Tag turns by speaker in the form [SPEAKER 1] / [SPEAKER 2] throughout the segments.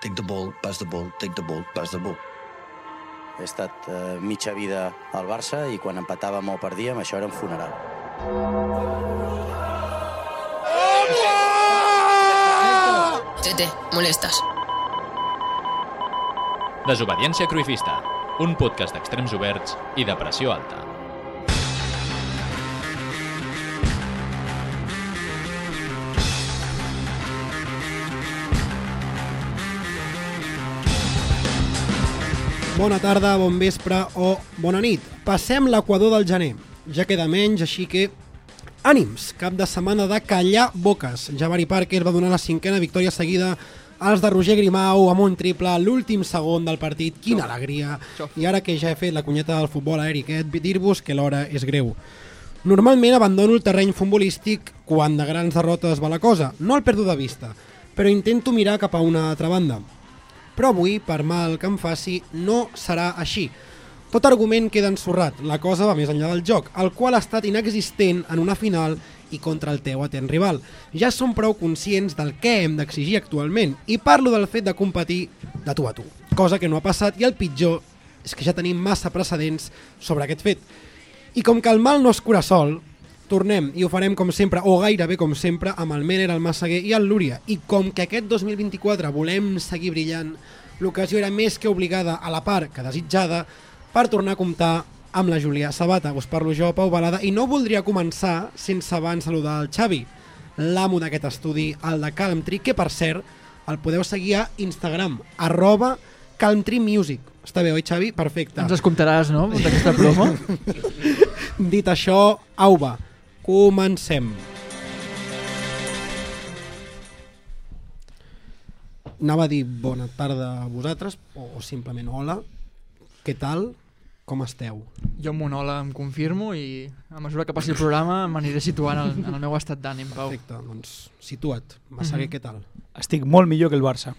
[SPEAKER 1] Take the ball, pass the ball, take the ball, pass the ball.
[SPEAKER 2] He estat eh, mitja vida al Barça i quan empatàvem o perdíem, això era un funeral.
[SPEAKER 3] Tete, molestas.
[SPEAKER 4] Desobediència Cruifista, un podcast d'extrems oberts i de pressió alta.
[SPEAKER 5] Bona tarda, bon vespre o bona nit. Passem l'equador del gener. Ja queda menys, així que... Ànims! Cap de setmana de callar boques. Javari Parker va donar la cinquena victòria seguida als de Roger Grimau amb un triple a l'últim segon del partit. Quina alegria! I ara que ja he fet la cunyeta del futbol a Eriquet, dir-vos que l'hora és greu. Normalment abandono el terreny futbolístic quan de grans derrotes va la cosa. No el perdo de vista, però intento mirar cap a una altra banda. Però avui, per mal que em faci, no serà així. Tot argument queda ensorrat, la cosa va més enllà del joc, el qual ha estat inexistent en una final i contra el teu atent rival. Ja som prou conscients del què hem d'exigir actualment i parlo del fet de competir de tu a tu, cosa que no ha passat i el pitjor és que ja tenim massa precedents sobre aquest fet. I com que el mal no es cura sol, tornem i ho farem com sempre, o gairebé com sempre, amb el Mener, el Massaguer i el Lúria. I com que aquest 2024 volem seguir brillant, l'ocasió era més que obligada a la part que desitjada per tornar a comptar amb la Júlia Sabata. Us parlo jo, Pau Balada, i no voldria començar sense abans saludar el Xavi, l'amo d'aquest estudi, el de Calmtree, que per cert el podeu seguir a Instagram, arroba Calmtree Music. Està bé, oi, Xavi? Perfecte.
[SPEAKER 6] Ens escomptaràs, no?, d'aquesta promo.
[SPEAKER 5] Dit això, au va, comencem. Anava a dir bona tarda a vosaltres, o, o simplement hola, què tal, com esteu?
[SPEAKER 6] jo amb un hola em confirmo i a mesura que passi el programa m'aniré situant en, en el meu estat d'ànim, Pau.
[SPEAKER 5] Perfecte, doncs situa't, Massaguer, mm -hmm.
[SPEAKER 6] Mhm.
[SPEAKER 5] què tal?
[SPEAKER 7] Estic molt millor que el Barça.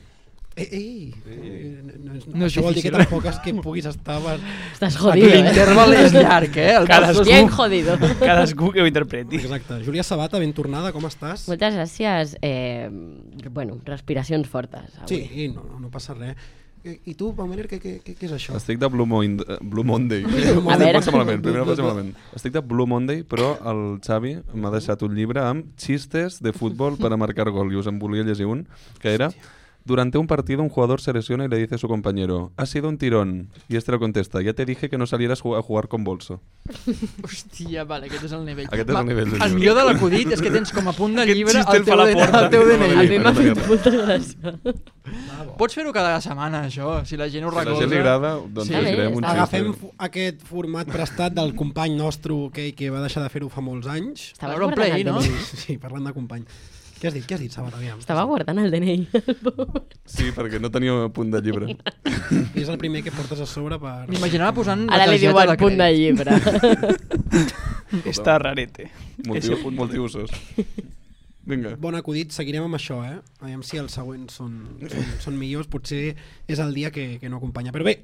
[SPEAKER 5] Ei, ei, eh, no, no, és-
[SPEAKER 6] No és
[SPEAKER 5] això vol dir que
[SPEAKER 6] difícil. eh?
[SPEAKER 5] tampoc és que puguis estar... per-
[SPEAKER 8] Estás jodido, ¿eh?
[SPEAKER 6] L'interval és llarg, eh? El
[SPEAKER 7] Cadascú.
[SPEAKER 6] Barça és
[SPEAKER 8] Bien
[SPEAKER 6] molt-
[SPEAKER 8] jodido.
[SPEAKER 7] Cadascú que ho interpreti.
[SPEAKER 5] Exacte, Júlia Sabata, ben tornada, com estàs?
[SPEAKER 8] Moltes gràcies. Eh, bueno, respiracions fortes. Avui.
[SPEAKER 5] Sí, no, no, no passa res. I, i tu, Pau Mener, què, què, què, què és això?
[SPEAKER 9] Estic de Blue, Mon Blue Monday.
[SPEAKER 8] A
[SPEAKER 9] Primera
[SPEAKER 8] veure.
[SPEAKER 9] passa malament, primera passa malament. Estic de Blue Monday, però el Xavi m'ha deixat un llibre amb xistes de futbol per a marcar gol. I us en volia llegir un, que era... Durante un partido un jugador se lesiona y le dice a su compañero, ha sido un tirón. Y este le contesta, ya te dije que no salieras ju- a jugar con bolso.
[SPEAKER 6] Hòstia, vale, aquest és el nivell.
[SPEAKER 9] Aquest és el nivell del
[SPEAKER 6] el
[SPEAKER 9] llibre.
[SPEAKER 6] millor de l'acudit és que tens com a punt de llibre
[SPEAKER 7] xiste
[SPEAKER 6] el
[SPEAKER 7] el fa
[SPEAKER 6] teu,
[SPEAKER 7] la
[SPEAKER 6] DNI,
[SPEAKER 7] porta.
[SPEAKER 6] el teu
[SPEAKER 9] A
[SPEAKER 8] A
[SPEAKER 6] DNI.
[SPEAKER 8] mi m'ha fet molta gràcia.
[SPEAKER 6] Pots fer-ho cada setmana, això, si la gent ho
[SPEAKER 9] Si a la
[SPEAKER 6] recolza.
[SPEAKER 9] gent li agrada, doncs
[SPEAKER 6] Sí.
[SPEAKER 9] sí, girem un
[SPEAKER 8] Està bé,
[SPEAKER 5] Agafem
[SPEAKER 9] xiste.
[SPEAKER 5] fo- aquest format prestat del company nostre que, que va deixar de fer-ho fa molts anys.
[SPEAKER 8] Estava
[SPEAKER 6] L'Auron
[SPEAKER 8] guardant
[SPEAKER 6] Play,
[SPEAKER 8] el
[SPEAKER 6] no?
[SPEAKER 8] DNI.
[SPEAKER 5] Sí, parlant de company. Què has dit? Què has dit, Sabata? Aviam.
[SPEAKER 8] Estava guardant el DNI.
[SPEAKER 9] Sí, perquè no tenia punt de llibre.
[SPEAKER 5] És el primer que portes a sobre per...
[SPEAKER 6] M'imaginava posant la
[SPEAKER 8] Ara li
[SPEAKER 6] targeta
[SPEAKER 8] diuen
[SPEAKER 6] de
[SPEAKER 8] punt de
[SPEAKER 6] crèdit.
[SPEAKER 8] llibre.
[SPEAKER 7] Està rarete.
[SPEAKER 9] Multi, multiusos. Vinga.
[SPEAKER 5] Bon acudit, seguirem amb això, eh? Aviam si els següents són, són, són millors, potser és el dia que, que no acompanya. Però bé,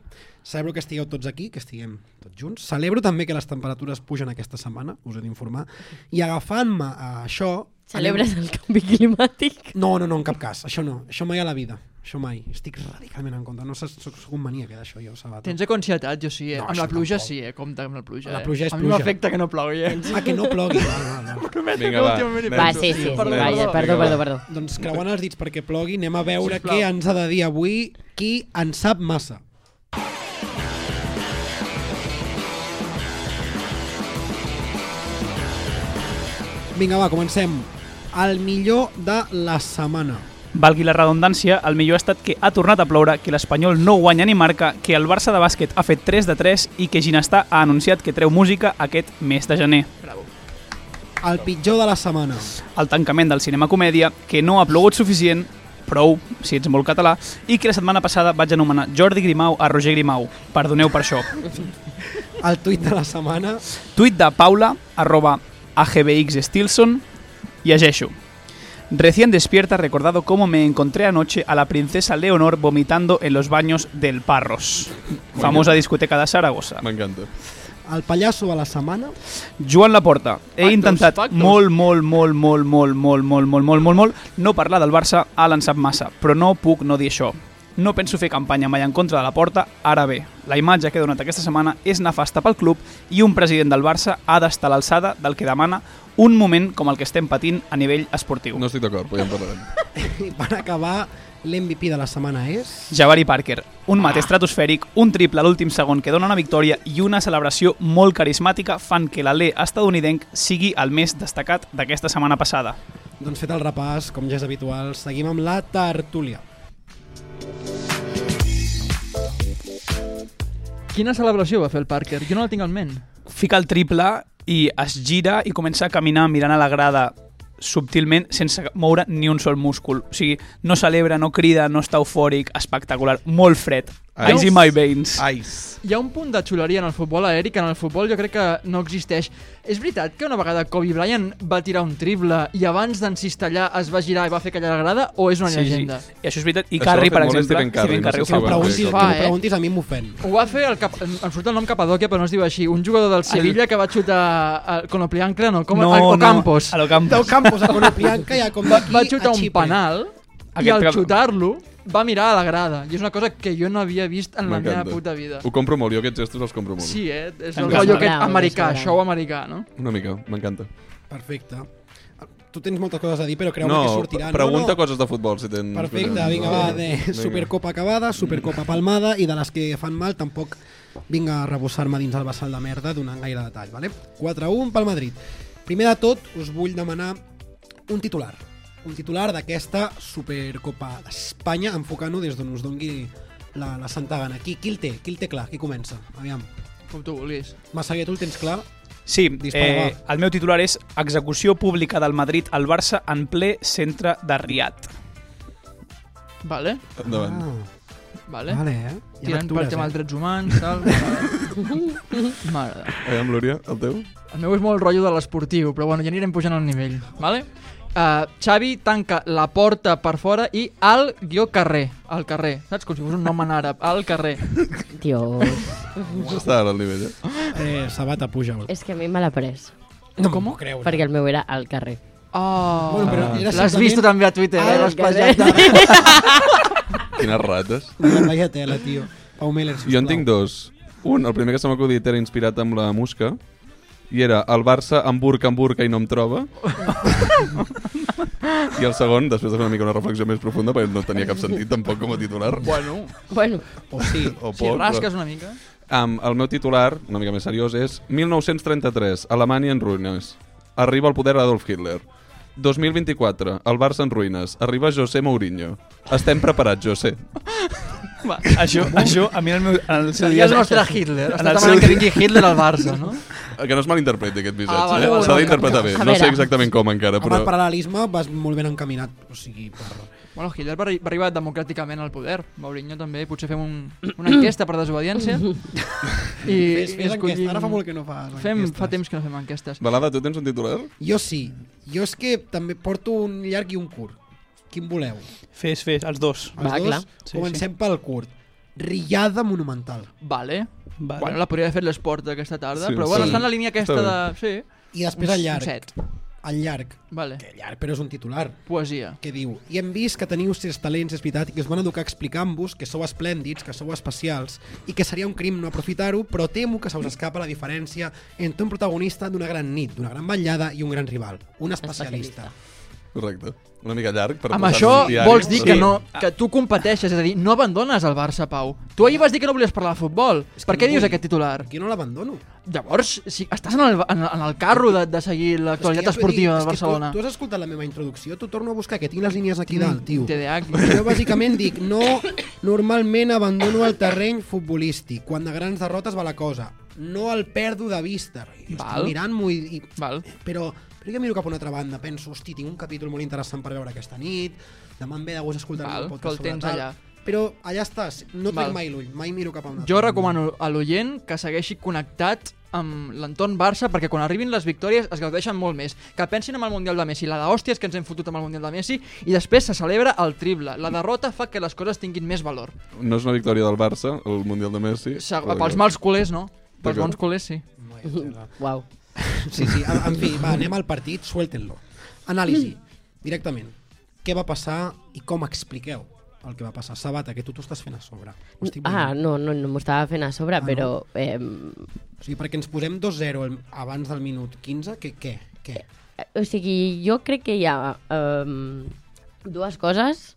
[SPEAKER 5] celebro que estigueu tots aquí, que estiguem tots junts. Celebro també que les temperatures pugen aquesta setmana, us he d'informar. I agafant-me a això... anem-
[SPEAKER 8] Celebres el canvi climàtic?
[SPEAKER 5] No, no, no, en cap cas. Això no. Això mai a la vida. Això mai. Estic radicalment en contra. No saps- soc, soc un maníac eh, d'això, jo, Sabat.
[SPEAKER 6] Tens de ansietat, jo sí, eh?
[SPEAKER 5] No,
[SPEAKER 6] amb la
[SPEAKER 5] això
[SPEAKER 6] pluja
[SPEAKER 5] tampoc.
[SPEAKER 6] sí, eh? Compte amb la pluja.
[SPEAKER 5] La
[SPEAKER 6] eh?
[SPEAKER 5] pluja és
[SPEAKER 6] a mi
[SPEAKER 5] pluja.
[SPEAKER 6] m'afecta que no plogui, eh?
[SPEAKER 5] Ah, que no plogui. Val, val,
[SPEAKER 9] Vinga,
[SPEAKER 5] val.
[SPEAKER 9] va.
[SPEAKER 6] Últimament hi
[SPEAKER 9] anem.
[SPEAKER 6] penso.
[SPEAKER 8] Va, Ah, sí, sí. sí.
[SPEAKER 6] Perdó, perdó.
[SPEAKER 8] Vaja, perdó,
[SPEAKER 9] Vinga,
[SPEAKER 8] perdó,
[SPEAKER 9] va.
[SPEAKER 8] perdó.
[SPEAKER 5] Doncs creuant els dits perquè plogui, anem a veure
[SPEAKER 6] Sisplau.
[SPEAKER 5] què ens ha de dir avui qui en sap massa. Vinga, va, comencem. El millor de la setmana.
[SPEAKER 7] Valgui la redundància, el millor ha estat que ha tornat a ploure, que l'Espanyol no guanya ni marca, que el Barça de bàsquet ha fet 3 de 3 i que Ginestà ha anunciat que treu música aquest mes de gener.
[SPEAKER 5] El pitjor de la setmana.
[SPEAKER 7] El tancament del cinema comèdia, que no ha plogut suficient, prou, si ets molt català, i que la setmana passada vaig anomenar Jordi Grimau a Roger Grimau. Perdoneu per això.
[SPEAKER 5] El tuit de la setmana.
[SPEAKER 7] Tuit de Paula, arroba agbxstilson, llegeixo. Recién despierta recordado cómo me encontré anoche a la princesa Leonor vomitando en los baños del Parros, famosa discoteca de Saragossa.
[SPEAKER 9] M'encanta.
[SPEAKER 5] El pallasso de la setmana.
[SPEAKER 7] Joan Laporta, he
[SPEAKER 6] Pactos,
[SPEAKER 7] intentat
[SPEAKER 6] pactos.
[SPEAKER 7] molt, molt, molt, molt, molt, molt, molt, molt, molt, molt, molt, no parlar del Barça a l'ensap massa, però no puc no dir això. No penso fer campanya mai en contra de la porta, ara bé, la imatge que he donat aquesta setmana és nefasta pel club i un president del Barça ha d'estar a l'alçada del que demana un moment com el que estem patint a nivell esportiu.
[SPEAKER 9] No estic d'acord, però ja en parlarem.
[SPEAKER 5] I per acabar, l'MVP de la setmana és...
[SPEAKER 7] Jabari Parker, un mat
[SPEAKER 9] Ah.
[SPEAKER 7] estratosfèric, un triple a l'últim segon que dona una victòria i una celebració molt carismàtica fan que l'alè estadounidenc sigui el més destacat d'aquesta setmana passada.
[SPEAKER 5] Doncs fet el repàs, com ja és habitual, seguim amb la tertúlia.
[SPEAKER 6] Quina celebració va fer el Parker? Jo no la tinc al ment.
[SPEAKER 7] Fica el triple i es gira i comença a caminar mirant a la grada subtilment sense moure ni un sol múscul. O sigui, no celebra, no crida, no està eufòric, espectacular, molt fred.
[SPEAKER 9] Ice.
[SPEAKER 7] Ice in my veins.
[SPEAKER 9] Ice.
[SPEAKER 6] Hi ha un punt de xuleria en el futbol aeri que en el futbol jo crec que no existeix. És veritat que una vegada Kobe Bryant va tirar un triple i abans d'encistellar es va girar i va fer callar la grada o és una
[SPEAKER 7] Sí, sí.
[SPEAKER 6] llegenda?
[SPEAKER 7] I això és veritat. I
[SPEAKER 9] Això ho
[SPEAKER 7] Carri,
[SPEAKER 9] ha fet
[SPEAKER 7] per
[SPEAKER 9] molt
[SPEAKER 7] exemple.
[SPEAKER 9] Stephen Curry, no sé
[SPEAKER 7] Curry ho
[SPEAKER 9] si ho
[SPEAKER 7] fa molt
[SPEAKER 5] Però
[SPEAKER 7] bé.
[SPEAKER 5] un si
[SPEAKER 9] que
[SPEAKER 5] ho
[SPEAKER 9] ho
[SPEAKER 6] fa, eh?
[SPEAKER 5] preguntis a mi m'ofèn.
[SPEAKER 6] Ho va fer el cap... Em surt el nom Capadocia, però no es diu així. Un jugador del Sevilla que va xutar el Conopliancle, no? Com
[SPEAKER 7] No,
[SPEAKER 6] el,
[SPEAKER 7] no,
[SPEAKER 6] Ocampos.
[SPEAKER 7] A lo Campos.
[SPEAKER 5] Del Campos a Conopianca i a com d'aquí
[SPEAKER 6] va xutar
[SPEAKER 5] a
[SPEAKER 6] un
[SPEAKER 5] Xipre.
[SPEAKER 6] penal i
[SPEAKER 7] Aquest
[SPEAKER 6] al
[SPEAKER 7] cap-
[SPEAKER 6] xutar-lo va mirar a la grada. I és una cosa que jo no havia vist en la meva
[SPEAKER 9] M'encanta.
[SPEAKER 6] puta vida.
[SPEAKER 9] Ho compro molt, jo aquests gestos els compro molt.
[SPEAKER 6] Sí, eh? És
[SPEAKER 7] Em
[SPEAKER 6] el
[SPEAKER 7] sembla
[SPEAKER 6] rotllo
[SPEAKER 8] bravo,
[SPEAKER 6] aquest
[SPEAKER 8] em
[SPEAKER 6] americà,
[SPEAKER 8] sembla bravo.
[SPEAKER 6] show americà, no?
[SPEAKER 9] Una mica, m'encanta.
[SPEAKER 5] Perfecte. Tu tens moltes coses a dir, però creu
[SPEAKER 9] No,
[SPEAKER 5] que sortiran.
[SPEAKER 9] pregunta
[SPEAKER 5] no, no.
[SPEAKER 9] coses de futbol si tens...
[SPEAKER 5] Perfecte, vinga, va, de Supercopa acabada, Supercopa palmada i de les que fan mal tampoc vinga a rebussar-me dins el vessal de merda donant gaire detall, vale? 4-1 pel Madrid. Primer de tot, us vull demanar un titular. Un titular d'aquesta Supercopa d'Espanya, enfocant-ho des d'on us dongui la, la santa gana. Qui, qui el té? Qui el té clar? Qui comença? Aviam.
[SPEAKER 6] Com tu vulguis.
[SPEAKER 5] Massaguer, tu el tens clar?
[SPEAKER 7] Sí,
[SPEAKER 5] Dispara,
[SPEAKER 7] eh, el meu titular és Execució pública del Madrid al Barça en ple centre de Riad.
[SPEAKER 6] Vale,
[SPEAKER 9] Endavant.
[SPEAKER 6] vale.
[SPEAKER 5] Ah, vale, eh? Hi ha
[SPEAKER 6] Tirant
[SPEAKER 5] lectures,
[SPEAKER 6] pel
[SPEAKER 5] eh?
[SPEAKER 6] tema dels drets humans, tal. Vale. Mare. de-
[SPEAKER 9] Aviam, Lúria, el teu?
[SPEAKER 6] El meu és molt rotllo de l'esportiu, però bueno, ja anirem pujant el nivell, vale? Uh, Xavi tanca la porta per fora i al guió carrer, al carrer, saps? Com si fos un nom en àrab, al carrer.
[SPEAKER 8] Dios,
[SPEAKER 9] Està ara al nivell, eh?
[SPEAKER 5] Eh, Sabata, puja -ho.
[SPEAKER 8] és que a mi me l'ha pres.
[SPEAKER 5] No Com? Creu.
[SPEAKER 8] Perquè el meu era al carrer.
[SPEAKER 6] Oh,
[SPEAKER 5] Bueno, però era
[SPEAKER 6] l'has
[SPEAKER 5] simplement
[SPEAKER 6] vist tu també a Twitter, eh?
[SPEAKER 8] al
[SPEAKER 6] L'has
[SPEAKER 8] carrer.
[SPEAKER 6] passat.
[SPEAKER 9] Quines rates.
[SPEAKER 5] Vaya tela, tio. Pau Meller, sisplau.
[SPEAKER 9] Jo en tinc dos. Un, el primer que se m'ha acudit era inspirat amb la musca, i era el Barça amb burca, amb burca i no em troba. I el segon, després de fer una mica una reflexió més profunda, perquè no tenia cap sentit tampoc com a titular.
[SPEAKER 6] Bueno,
[SPEAKER 8] Bueno,
[SPEAKER 5] O sí.
[SPEAKER 9] O
[SPEAKER 6] si
[SPEAKER 9] poc,
[SPEAKER 6] rasques una mica...
[SPEAKER 9] Um, el meu titular, una mica més seriós, és 1933, Alemanya en ruïnes. Arriba al poder Adolf Hitler. 2024, el Barça en ruïnes. Arriba José Mourinho. Estem preparats, José.
[SPEAKER 7] Va, això, això, a mi en el meu... En el seu dia,
[SPEAKER 6] Seria el nostre Hitler.
[SPEAKER 7] En
[SPEAKER 6] Està
[SPEAKER 7] el
[SPEAKER 6] demanant
[SPEAKER 7] seu
[SPEAKER 6] que
[SPEAKER 7] dia-
[SPEAKER 6] vingui Hitler al Barça, no?
[SPEAKER 9] Que no es malinterpreti aquest missatge.
[SPEAKER 6] Ah, vale,
[SPEAKER 9] eh?
[SPEAKER 6] vale,
[SPEAKER 9] S'ha
[SPEAKER 6] vale.
[SPEAKER 9] d'interpretar bé.
[SPEAKER 8] A
[SPEAKER 9] No sé
[SPEAKER 8] veure.
[SPEAKER 9] exactament com encara,
[SPEAKER 5] Amb el
[SPEAKER 9] però...
[SPEAKER 5] paral·lelisme vas molt ben encaminat. O sigui, per...
[SPEAKER 6] Bueno, Hitler va, arri- va arribar democràticament al poder. Mourinho també. Potser fem un, una enquesta per desobediència. I
[SPEAKER 5] Fes, fes enquesta. Ara fa molt que no fas
[SPEAKER 6] Fem,
[SPEAKER 5] enquestes.
[SPEAKER 6] fa temps que no fem enquestes.
[SPEAKER 9] Balada, tu tens un titular?
[SPEAKER 5] Jo sí. Jo és que també porto un llarg i un curt. Quin voleu?
[SPEAKER 7] Fes, fes, els dos.
[SPEAKER 5] Els
[SPEAKER 8] Va,
[SPEAKER 5] dos?
[SPEAKER 8] clar.
[SPEAKER 7] Sí,
[SPEAKER 5] Comencem pel curt. Rillada monumental.
[SPEAKER 6] Vale.
[SPEAKER 7] Vale.
[SPEAKER 6] Bueno, la podria haver fet l'esport aquesta tarda,
[SPEAKER 9] Sí,
[SPEAKER 6] però bueno,
[SPEAKER 9] sí.
[SPEAKER 6] està en la línia aquesta de...
[SPEAKER 9] Està
[SPEAKER 6] Sí,
[SPEAKER 5] I després el llarg.
[SPEAKER 6] set.
[SPEAKER 5] El llarg.
[SPEAKER 6] Vale.
[SPEAKER 5] Que llarg, però és un titular.
[SPEAKER 6] Poesia.
[SPEAKER 5] que diu i hem vist que teniu certs talents, és veritat, i que us van educar explicant-vos que sou esplèndids, que sou especials i que seria un crim no aprofitar-ho, però temo que se us escapa la diferència entre un protagonista d'una gran nit, d'una gran ballada i un gran rival, un especialista.
[SPEAKER 9] Correcte. Una mica llarg. Per
[SPEAKER 6] Amb
[SPEAKER 9] posar-nos
[SPEAKER 6] això
[SPEAKER 9] un diari.
[SPEAKER 6] vols dir que,
[SPEAKER 9] Sí.
[SPEAKER 6] no, que tu competeixes, és a dir, no abandones el Barça, Pau. Tu ahir vas dir que no volies parlar de futbol.
[SPEAKER 5] És que
[SPEAKER 6] Per què
[SPEAKER 5] no
[SPEAKER 6] dius
[SPEAKER 5] vull.
[SPEAKER 6] aquest titular?
[SPEAKER 5] Aquí no l'abandono.
[SPEAKER 6] Llavors, si estàs en el, en, en el carro de, de seguir
[SPEAKER 5] És que ja
[SPEAKER 6] l'actualitat
[SPEAKER 5] t'ho he dit, és
[SPEAKER 6] esportiva de
[SPEAKER 5] que
[SPEAKER 6] Barcelona. Mm,
[SPEAKER 5] Tu, tu has escoltat la meva introducció? T'ho torno a buscar, que tinc les línies aquí dalt, tio.
[SPEAKER 6] TDAH.
[SPEAKER 5] Jo bàsicament dic, no, normalment abandono el terreny futbolístic. Quan de grans derrotes va la cosa. No el perdo de vista. Jo
[SPEAKER 6] Val.
[SPEAKER 5] estic mirant-m'ho i, i
[SPEAKER 6] Val.
[SPEAKER 5] però, però jo miro cap a una altra banda, penso, hosti, tinc un capítol molt interessant per veure aquesta nit, demà em ve de gust escoltar el
[SPEAKER 6] Val, que el
[SPEAKER 5] podcast
[SPEAKER 6] tens
[SPEAKER 5] tal,
[SPEAKER 6] allà.
[SPEAKER 5] Però allà estàs, no
[SPEAKER 6] Val.
[SPEAKER 5] trec mai l'ull, mai miro cap a una altra
[SPEAKER 6] Jo
[SPEAKER 5] banda.
[SPEAKER 6] recomano a l'oient que segueixi connectat amb l'entorn Barça perquè quan arribin les victòries es gaudeixen molt més. Que pensin en el Mundial de Messi, la d'hòsties que ens hem fotut amb el Mundial de Messi i després se celebra el triple. La derrota fa que les coses tinguin més valor.
[SPEAKER 9] No és una victòria del Barça, el Mundial de Messi.
[SPEAKER 6] Se-
[SPEAKER 9] però
[SPEAKER 6] Pels
[SPEAKER 9] que-
[SPEAKER 6] mals culers, no? Pels
[SPEAKER 9] D'acord.
[SPEAKER 6] bons culers, sí.
[SPEAKER 8] Uau.
[SPEAKER 5] Sí, sí, en, en fi, va, anem al partit, sueltenlo. Anàlisi, directament. Què va passar i com expliqueu el que va passar. Sabata, que tu t'ho estàs fent a sobre. Ho estic
[SPEAKER 8] Ah,
[SPEAKER 5] veient.
[SPEAKER 8] no, no, no m'ho estava fent a sobre,
[SPEAKER 5] no?
[SPEAKER 8] però... em,
[SPEAKER 5] O sigui, perquè ens posem 2-0 el- abans del minut 15, que què? Què?
[SPEAKER 8] Eh, O sigui, jo crec que hi ha um, dues coses.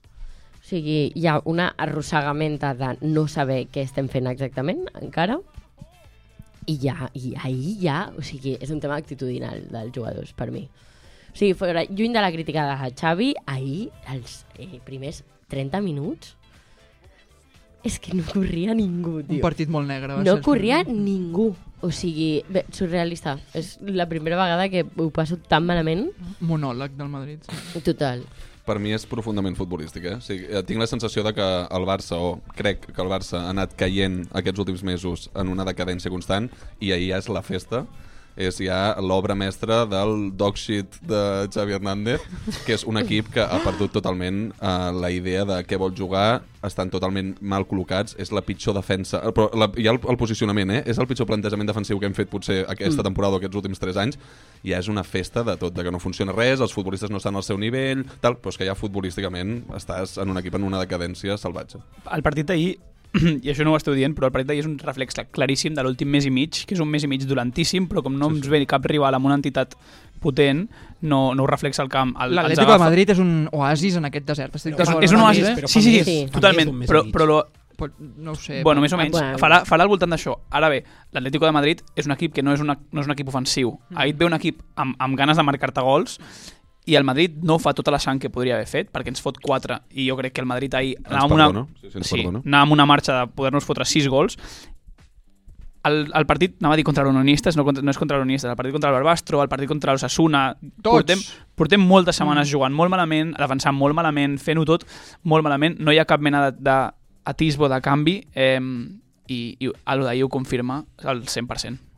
[SPEAKER 8] O sigui, hi ha una arrossegamenta de no saber què estem fent exactament, encara. I ja, i ahir ja, o sigui, és un tema actitudinal dels jugadors, per mi. O sigui, fora, lluny de la crítica de Xavi, ahir, els eh, primers 30 minuts, és que no corria ningú,
[SPEAKER 6] Un
[SPEAKER 8] tio.
[SPEAKER 6] partit molt negre. va ser,
[SPEAKER 8] No
[SPEAKER 6] espero.
[SPEAKER 8] corria ningú. O sigui, bé, surrealista. És la primera vegada que ho passo tan malament.
[SPEAKER 6] Monòleg del Madrid. sí.
[SPEAKER 8] Total.
[SPEAKER 10] Per mi és profundament futbolístic, eh? O sigui, eh, tinc la sensació de que el Barça, o crec que el Barça, ha anat caient aquests últims mesos en una decadència constant i ahir ja és la festa és ja l'obra mestra del dog shit de Xavi Hernández, que és un equip que ha perdut totalment eh, la idea de què vol jugar, estan totalment mal col·locats, és la pitjor defensa, eh, però la, ja el, el posicionament, eh? és el pitjor plantejament defensiu que hem fet potser aquesta
[SPEAKER 6] Mm.
[SPEAKER 10] temporada o aquests últims 3 anys, ja és una festa de tot, de que no funciona res, els futbolistes no estan al seu nivell, tal, però és que ja futbolísticament estàs en un equip en una decadència salvatge.
[SPEAKER 7] el partit d'ahir, i això no ho esteu dient, però el partit d'ahir és un reflex claríssim de l'últim mes i mig, que és un mes i mig dolentíssim, però com no ens ve cap rival amb una entitat potent, no, no ho reflexa el camp. El- ens
[SPEAKER 6] L'Atlético de
[SPEAKER 7] agafa.
[SPEAKER 6] Madrid és un oasis en aquest desert. Estic
[SPEAKER 5] Però
[SPEAKER 7] És,
[SPEAKER 6] d'acord
[SPEAKER 7] és un
[SPEAKER 6] amb
[SPEAKER 5] Fa
[SPEAKER 7] oasis,
[SPEAKER 5] més,
[SPEAKER 6] ells,
[SPEAKER 5] però
[SPEAKER 7] sí, sí,
[SPEAKER 5] fa
[SPEAKER 7] sí,
[SPEAKER 5] més
[SPEAKER 7] totalment,
[SPEAKER 5] d'un mes i
[SPEAKER 7] però,
[SPEAKER 5] mig.
[SPEAKER 7] però lo,
[SPEAKER 6] Pot- No ho sé.
[SPEAKER 7] bueno, més o
[SPEAKER 8] Ah,
[SPEAKER 7] menys.
[SPEAKER 8] bueno.
[SPEAKER 7] Farà, farà al voltant d'això. Ara bé, l'Atlético de Madrid és un equip que no és, una, no és un equip ofensiu. Ahir et ve un equip amb, amb ganes de marcar-te gols i el Madrid no fa tota la sang que podria haver fet perquè ens fot 4 i jo crec que el Madrid ahir anava amb una,
[SPEAKER 10] perdona. Sí, sí, ens perdona.
[SPEAKER 7] anava amb una marxa de poder-nos fotre 6 gols el, el partit, anava a dir contra l'Unionistes, no, contra- no és contra l'Unionistes, el partit contra el Barbastro, el partit contra l'Ossassuna...
[SPEAKER 6] Tots.
[SPEAKER 7] Portem, portem moltes setmanes jugant molt malament, avançant molt malament, fent-ho tot molt malament, no hi ha cap mena de, de atisbo de canvi eh, i, i a lo d'ahir ho confirma al 100%.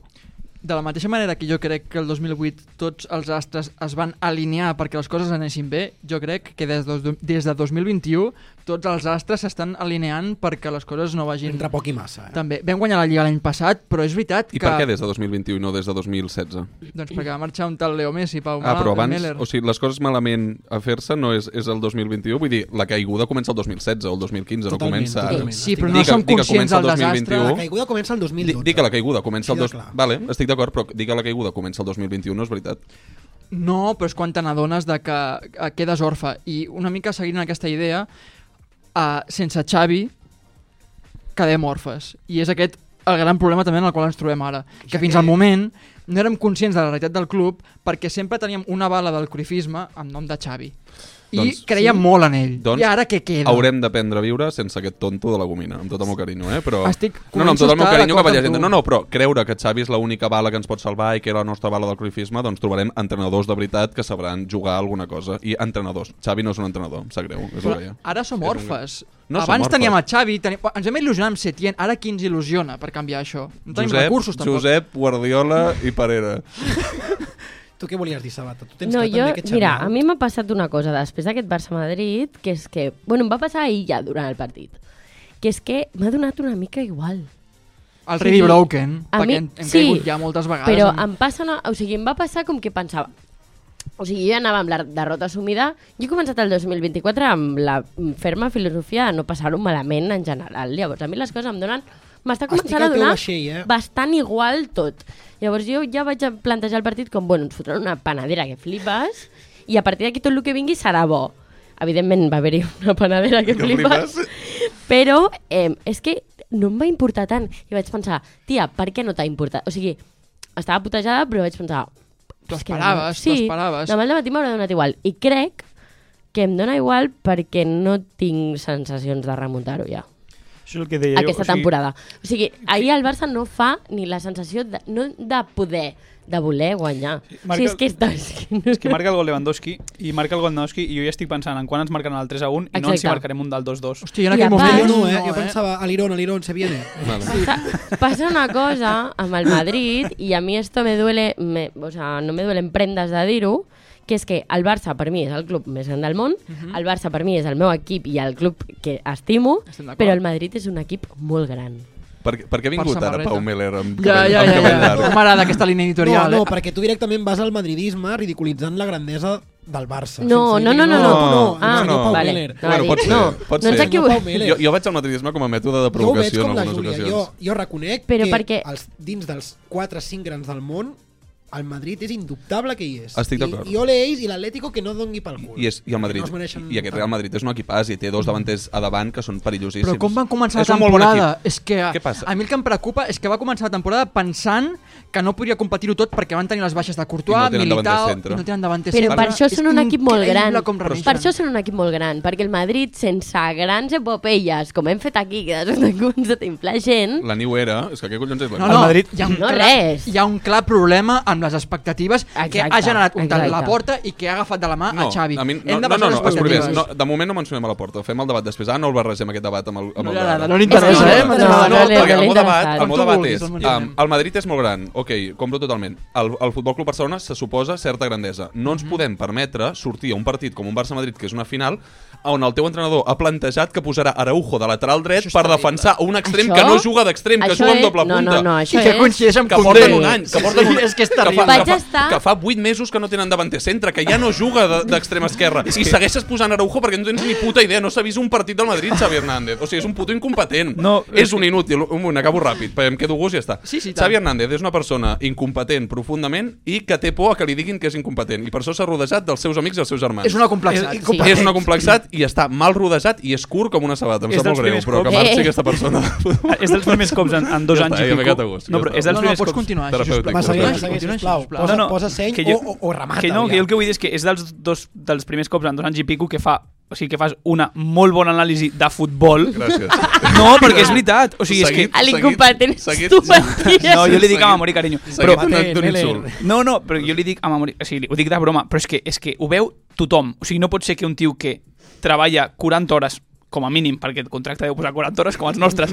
[SPEAKER 6] De la mateixa manera que jo crec que el 2008 tots els astres es van alinear perquè les coses anessin bé, jo crec que des, dos, des de 2021 tots els astres s'estan alineant perquè les coses no vagin...
[SPEAKER 5] Entre poc i massa, eh?
[SPEAKER 6] També. Vam guanyar la Lliga l'any passat, però és veritat
[SPEAKER 10] I
[SPEAKER 6] que...
[SPEAKER 10] per què des de 2021 i no des de 2016?
[SPEAKER 6] Doncs perquè va marxar un tal Leo Messi, Pau
[SPEAKER 10] Ah, però abans,
[SPEAKER 6] Meller.
[SPEAKER 10] o sigui, les coses malament a fer-se no és, és el 2021, vull dir, la caiguda comença el 2016 o el 2015, no
[SPEAKER 5] Totalment,
[SPEAKER 10] comença...
[SPEAKER 5] totalment.
[SPEAKER 6] sí,
[SPEAKER 5] estic
[SPEAKER 6] però
[SPEAKER 10] Dir
[SPEAKER 6] no
[SPEAKER 10] que-
[SPEAKER 6] som
[SPEAKER 10] dir que
[SPEAKER 6] conscients
[SPEAKER 10] comença el
[SPEAKER 6] del desastre.
[SPEAKER 10] 2021.
[SPEAKER 5] La caiguda comença el
[SPEAKER 10] Di,
[SPEAKER 5] 2012.
[SPEAKER 10] di que la caiguda comença el...
[SPEAKER 5] Així de
[SPEAKER 10] Dos...
[SPEAKER 5] clar.
[SPEAKER 10] Vale, estic d'acord, però dir que la caiguda comença el 2021 no és veritat.
[SPEAKER 6] No, però és quan te n'adones de que eh, quedes orfe. I una mica seguint aquesta idea, eh, sense Xavi quedem orfes. I és aquest el gran problema també en el qual ens trobem ara. Que fins al moment no érem conscients de la realitat del club perquè sempre teníem una bala del corifisme amb nom de Xavi. I
[SPEAKER 10] Doncs-
[SPEAKER 6] creiem molt en ell.
[SPEAKER 10] Doncs
[SPEAKER 6] I ara què queda?
[SPEAKER 10] Haurem d'aprendre a viure sense aquest tonto de la gomina, amb tot el meu carinyo, eh? Però...
[SPEAKER 6] Estic-
[SPEAKER 10] No, no, amb tot
[SPEAKER 6] començo a
[SPEAKER 10] el meu
[SPEAKER 6] estar
[SPEAKER 10] carinyo cap a la
[SPEAKER 6] d'acord amb
[SPEAKER 10] gent.
[SPEAKER 6] tu.
[SPEAKER 10] No, no, però creure que Xavi és l'única bala que ens pot salvar i que era la nostra bala del cruifisme, doncs trobarem entrenadors de veritat que sabran jugar alguna cosa. I entrenadors. Xavi no és un entrenador, em sap greu. És el
[SPEAKER 6] Però
[SPEAKER 10] que hi ha.
[SPEAKER 6] ara som
[SPEAKER 10] És un-
[SPEAKER 6] orfes.
[SPEAKER 10] No som
[SPEAKER 6] Abans
[SPEAKER 10] orfes.
[SPEAKER 6] teníem a Xavi, tenim... ens vam il·lusionar amb Setién, ara qui ens il·lusiona per canviar això? No tenim
[SPEAKER 10] Josep,
[SPEAKER 6] recursos tampoc.
[SPEAKER 10] Josep, Guardiola i Parera.
[SPEAKER 5] Tu què volies dir, Sabata? Tu tens
[SPEAKER 8] No,
[SPEAKER 5] que
[SPEAKER 8] jo,
[SPEAKER 5] també que
[SPEAKER 8] mira,
[SPEAKER 5] xarrar.
[SPEAKER 8] a mi m'ha passat una cosa després d'aquest Barça-Madrid, que és que, bueno, em va passar ahir ja durant el partit, que és que m'ha donat una mica igual.
[SPEAKER 6] El
[SPEAKER 8] Sí.
[SPEAKER 6] Ready Broken,
[SPEAKER 8] A
[SPEAKER 6] perquè
[SPEAKER 8] mi-
[SPEAKER 6] hem, hem
[SPEAKER 8] sí,
[SPEAKER 6] caigut ja moltes vegades.
[SPEAKER 8] Però
[SPEAKER 6] amb-
[SPEAKER 8] em passa una... O sigui, em va passar com que pensava... O sigui, jo ja anava amb la derrota assumida. Jo he començat el 2024 amb la ferma filosofia de no passar-ho malament en general. Llavors, a mi les coses em donen... M'està
[SPEAKER 5] Estic
[SPEAKER 8] començant
[SPEAKER 5] al
[SPEAKER 8] a
[SPEAKER 5] teu
[SPEAKER 8] donar
[SPEAKER 5] vaixell, eh?
[SPEAKER 8] bastant igual tot. Llavors jo ja vaig a plantejar el partit com, bueno, ens fotran una panadera que flipes i a partir d'aquí tot el que vingui serà bo. Evidentment va haver-hi una panadera que,
[SPEAKER 10] Que flipes.
[SPEAKER 8] flipes, però eh, és que no em va importar tant. I vaig pensar, tia, per què no t'ha importat? O sigui, estava putejada, però vaig pensar...
[SPEAKER 6] T'ho
[SPEAKER 8] és que
[SPEAKER 6] esperaves, t'ho
[SPEAKER 8] demà- sí,
[SPEAKER 6] esperaves.
[SPEAKER 8] Demà al matí m'haurà donat igual. I crec que em dóna igual perquè no tinc sensacions de remuntar-ho ja
[SPEAKER 11] Això és el que
[SPEAKER 7] Eh,
[SPEAKER 11] deia
[SPEAKER 8] aquesta
[SPEAKER 11] jo. o sigui,
[SPEAKER 8] temporada. O sigui, ahir el Barça no fa ni la sensació de, no de poder, de voler guanyar.
[SPEAKER 7] marca-
[SPEAKER 8] O sigui, és que, està, és que no...
[SPEAKER 7] És que marca el gol Lewandowski i marca el gol Lewandowski i jo ja estic pensant en quan ens marcaran el 3 a 1 i no ens hi
[SPEAKER 8] Exacte.
[SPEAKER 7] marcarem un del 2 2.
[SPEAKER 6] Hòstia, jo en
[SPEAKER 8] I
[SPEAKER 6] aquell
[SPEAKER 8] a
[SPEAKER 6] moment...
[SPEAKER 5] Jo
[SPEAKER 8] part-
[SPEAKER 5] no, eh? Jo pensava, a l'Iron, a l'Iron, se viene.
[SPEAKER 10] Vale.
[SPEAKER 8] Passa, passa una cosa amb el Madrid i a mi esto me duele, me, o sea, no me duelen prendes de dir-ho, que és que el Barça per mi és el club més gran del món,
[SPEAKER 6] Mhm.
[SPEAKER 8] el Barça per mi és el meu equip i el club que estimo,
[SPEAKER 6] Estem d'acord.
[SPEAKER 8] però el Madrid és un equip molt gran.
[SPEAKER 10] Per, per què ha vingut ara
[SPEAKER 6] samarreta.
[SPEAKER 10] Pau Meller amb
[SPEAKER 6] Ja,
[SPEAKER 10] cabell,
[SPEAKER 6] ja,
[SPEAKER 10] amb
[SPEAKER 6] ja,
[SPEAKER 10] cabell
[SPEAKER 6] ja.
[SPEAKER 10] llarg?
[SPEAKER 6] M'agrada aquesta línia
[SPEAKER 5] No,
[SPEAKER 6] editorial.
[SPEAKER 5] no,
[SPEAKER 6] eh?
[SPEAKER 5] perquè tu directament vas al madridisme ridiculitzant la grandesa del Barça.
[SPEAKER 8] No,
[SPEAKER 5] sense
[SPEAKER 8] no,
[SPEAKER 5] dir
[SPEAKER 8] no,
[SPEAKER 5] que
[SPEAKER 8] no, no.
[SPEAKER 5] no,
[SPEAKER 8] Ah,
[SPEAKER 5] sense dir Pau
[SPEAKER 8] vale.
[SPEAKER 5] Miller.
[SPEAKER 8] No, va dir-
[SPEAKER 10] bueno, pot ser,
[SPEAKER 8] no,
[SPEAKER 10] pot
[SPEAKER 8] no ens
[SPEAKER 10] ser.
[SPEAKER 8] equivoquem.
[SPEAKER 5] Pau Miller.
[SPEAKER 10] Jo, jo vaig al matriotisme com a mètode de
[SPEAKER 5] Jo ho veig
[SPEAKER 10] provocació
[SPEAKER 5] com
[SPEAKER 10] en
[SPEAKER 5] la
[SPEAKER 10] algunes
[SPEAKER 5] Júlia. Jo,
[SPEAKER 10] ocasions.
[SPEAKER 5] jo reconec
[SPEAKER 8] Però
[SPEAKER 5] que
[SPEAKER 8] perquè-
[SPEAKER 5] els, dins dels 4-5 grans del món, el Madrid és indubtable que hi és.
[SPEAKER 10] Estic
[SPEAKER 5] I,
[SPEAKER 10] d'acord.
[SPEAKER 5] I ole ells i l'Atlético que no doni pel cul.
[SPEAKER 10] I, és, i el Madrid,
[SPEAKER 5] No es mereixen Mm.
[SPEAKER 10] i aquest
[SPEAKER 5] tant.
[SPEAKER 10] Real Madrid és un equipàs i té dos davanters a davant que són perillosíssims.
[SPEAKER 6] Però com van començar
[SPEAKER 10] és
[SPEAKER 6] la
[SPEAKER 10] un molt bon
[SPEAKER 6] temporada?
[SPEAKER 10] equip.
[SPEAKER 6] és que
[SPEAKER 10] Què passa?
[SPEAKER 6] a mi el que em preocupa és que va començar la temporada pensant que no podria competir-ho tot perquè van tenir les baixes de
[SPEAKER 10] I
[SPEAKER 6] Courtois,
[SPEAKER 10] no tenen
[SPEAKER 6] Militao,
[SPEAKER 10] davanter
[SPEAKER 6] i
[SPEAKER 10] centre.
[SPEAKER 6] no tenen davanter
[SPEAKER 8] Però
[SPEAKER 10] sí,
[SPEAKER 8] per
[SPEAKER 10] sí.
[SPEAKER 8] això són un equip molt gran.
[SPEAKER 6] Com
[SPEAKER 8] Per això són un equip molt gran, perquè el Madrid, sense grans epopeies, com hem fet aquí, que de sobte ens infla gent,
[SPEAKER 10] La New Era, és que què collons és la
[SPEAKER 6] No,
[SPEAKER 10] New
[SPEAKER 6] no,
[SPEAKER 7] El Madrid-
[SPEAKER 6] hi ha un
[SPEAKER 8] No,
[SPEAKER 6] clar,
[SPEAKER 8] res.
[SPEAKER 6] Hi ha un clar problema amb les expectatives que
[SPEAKER 8] Exacte,
[SPEAKER 6] ha generat un tal
[SPEAKER 8] exacte.
[SPEAKER 6] la porta i que ha agafat de la mà a Xavi.
[SPEAKER 10] a mi, no,
[SPEAKER 6] Hem de
[SPEAKER 10] no, no,
[SPEAKER 6] baixar
[SPEAKER 10] no,
[SPEAKER 6] les
[SPEAKER 10] els primers, no,
[SPEAKER 6] expectatives.
[SPEAKER 10] de moment no mencionem a la porta, fem el debat després. Ah, no el barregem aquest debat amb el, amb
[SPEAKER 6] No
[SPEAKER 10] el
[SPEAKER 6] li
[SPEAKER 10] de-
[SPEAKER 6] agrada, no li interessa,
[SPEAKER 10] No,
[SPEAKER 6] eh?
[SPEAKER 10] no,
[SPEAKER 6] No, no,
[SPEAKER 10] no, no,
[SPEAKER 6] li-
[SPEAKER 10] perquè
[SPEAKER 6] no
[SPEAKER 10] el
[SPEAKER 6] li
[SPEAKER 10] meu debat,
[SPEAKER 8] interessa.
[SPEAKER 10] el
[SPEAKER 6] Com
[SPEAKER 10] meu debat és,
[SPEAKER 6] tu vulguis,
[SPEAKER 10] um,
[SPEAKER 6] doncs,
[SPEAKER 10] el Madrid és molt gran, ok, compro totalment. El, el Futbol Club Barcelona se suposa certa grandesa. No ens podem permetre sortir a un partit com un Barça-Madrid, que és una final, on el teu entrenador ha plantejat que posarà Araujo de lateral dret per defensar un extrem
[SPEAKER 8] Això-
[SPEAKER 10] que no juga d'extrem, que
[SPEAKER 8] això
[SPEAKER 10] juga amb
[SPEAKER 8] és-
[SPEAKER 10] doble
[SPEAKER 8] no,
[SPEAKER 10] punta.
[SPEAKER 8] no, no, això
[SPEAKER 6] I que
[SPEAKER 8] és-
[SPEAKER 6] coincideix amb
[SPEAKER 10] que
[SPEAKER 6] Condé.
[SPEAKER 10] porten un any, que porten un
[SPEAKER 6] Sí, és que és
[SPEAKER 10] que
[SPEAKER 6] terrible.
[SPEAKER 10] fa,
[SPEAKER 8] Vaig
[SPEAKER 10] que, fa,
[SPEAKER 8] estar-
[SPEAKER 10] que fa 8 mesos que no tenen davanter centre, que ja no juga de- d'extrem esquerra. I segueixes posant Araujo perquè no tens ni puta idea, no s'ha vist un partit del Madrid, Xavi Hernández. O sigui, és un puto incompetent.
[SPEAKER 7] No,
[SPEAKER 10] és un inútil. Un moment, acabo ràpid, perquè em quedo gust i ja està.
[SPEAKER 6] Sí, sí, tant.
[SPEAKER 10] Xavi Hernández és una persona incompetent profundament i que té por a que li diguin que és incompetent. I per això s'ha rodejat dels seus amics i els seus germans.
[SPEAKER 6] És una complexa.
[SPEAKER 8] Sí.
[SPEAKER 10] És un complexat i està mal rodejat i és curt com una sabata. Em
[SPEAKER 7] És
[SPEAKER 10] sap molt
[SPEAKER 7] dels
[SPEAKER 10] greu,
[SPEAKER 7] primers
[SPEAKER 10] però que
[SPEAKER 7] cops.
[SPEAKER 10] marxi
[SPEAKER 8] Eh.
[SPEAKER 10] aquesta persona.
[SPEAKER 7] És dels primers cops en, en dos
[SPEAKER 10] Ja
[SPEAKER 7] anys
[SPEAKER 10] està, ja
[SPEAKER 7] i
[SPEAKER 10] m'he
[SPEAKER 7] pico.
[SPEAKER 10] quedat a gust,
[SPEAKER 7] no,
[SPEAKER 10] ja
[SPEAKER 7] però
[SPEAKER 10] està.
[SPEAKER 7] és dels
[SPEAKER 6] No, no,
[SPEAKER 7] primers
[SPEAKER 6] pots
[SPEAKER 7] cops.
[SPEAKER 6] continuar,
[SPEAKER 10] cops.
[SPEAKER 6] això, sisplau.
[SPEAKER 10] Terapèutic,
[SPEAKER 5] Va, segueix,
[SPEAKER 10] terapèutic.
[SPEAKER 5] segueix,
[SPEAKER 6] Continua,
[SPEAKER 5] sisplau.
[SPEAKER 6] sisplau.
[SPEAKER 5] Posa,
[SPEAKER 7] No, no,
[SPEAKER 5] posa seny
[SPEAKER 7] que jo-
[SPEAKER 5] o, o, o remata.
[SPEAKER 7] Que no, que jo el que vull dir és que és dels, dos, dels primers cops en dos anys i pico que fa o sigui, que fas una molt bona anàlisi de futbol.
[SPEAKER 10] Gràcies.
[SPEAKER 7] No, perquè és veritat. O sigui, és que...
[SPEAKER 10] Seguit.
[SPEAKER 8] a l'incompetent és
[SPEAKER 10] Seguit,
[SPEAKER 8] tu,
[SPEAKER 10] seguit.
[SPEAKER 8] Matías.
[SPEAKER 7] No, jo li dic
[SPEAKER 10] Seguit.
[SPEAKER 7] a memòria, carinyo.
[SPEAKER 10] Però,
[SPEAKER 7] Però,
[SPEAKER 10] Seguim d'un
[SPEAKER 5] Miller.
[SPEAKER 10] insult.
[SPEAKER 7] no, no, però jo li dic a memòria... O sigui, ho dic de broma, però és que, és que ho veu tothom. O sigui, no pot ser que un tio que treballa 40 hores com a mínim, perquè el contracte deu posar 40 hores com els nostres,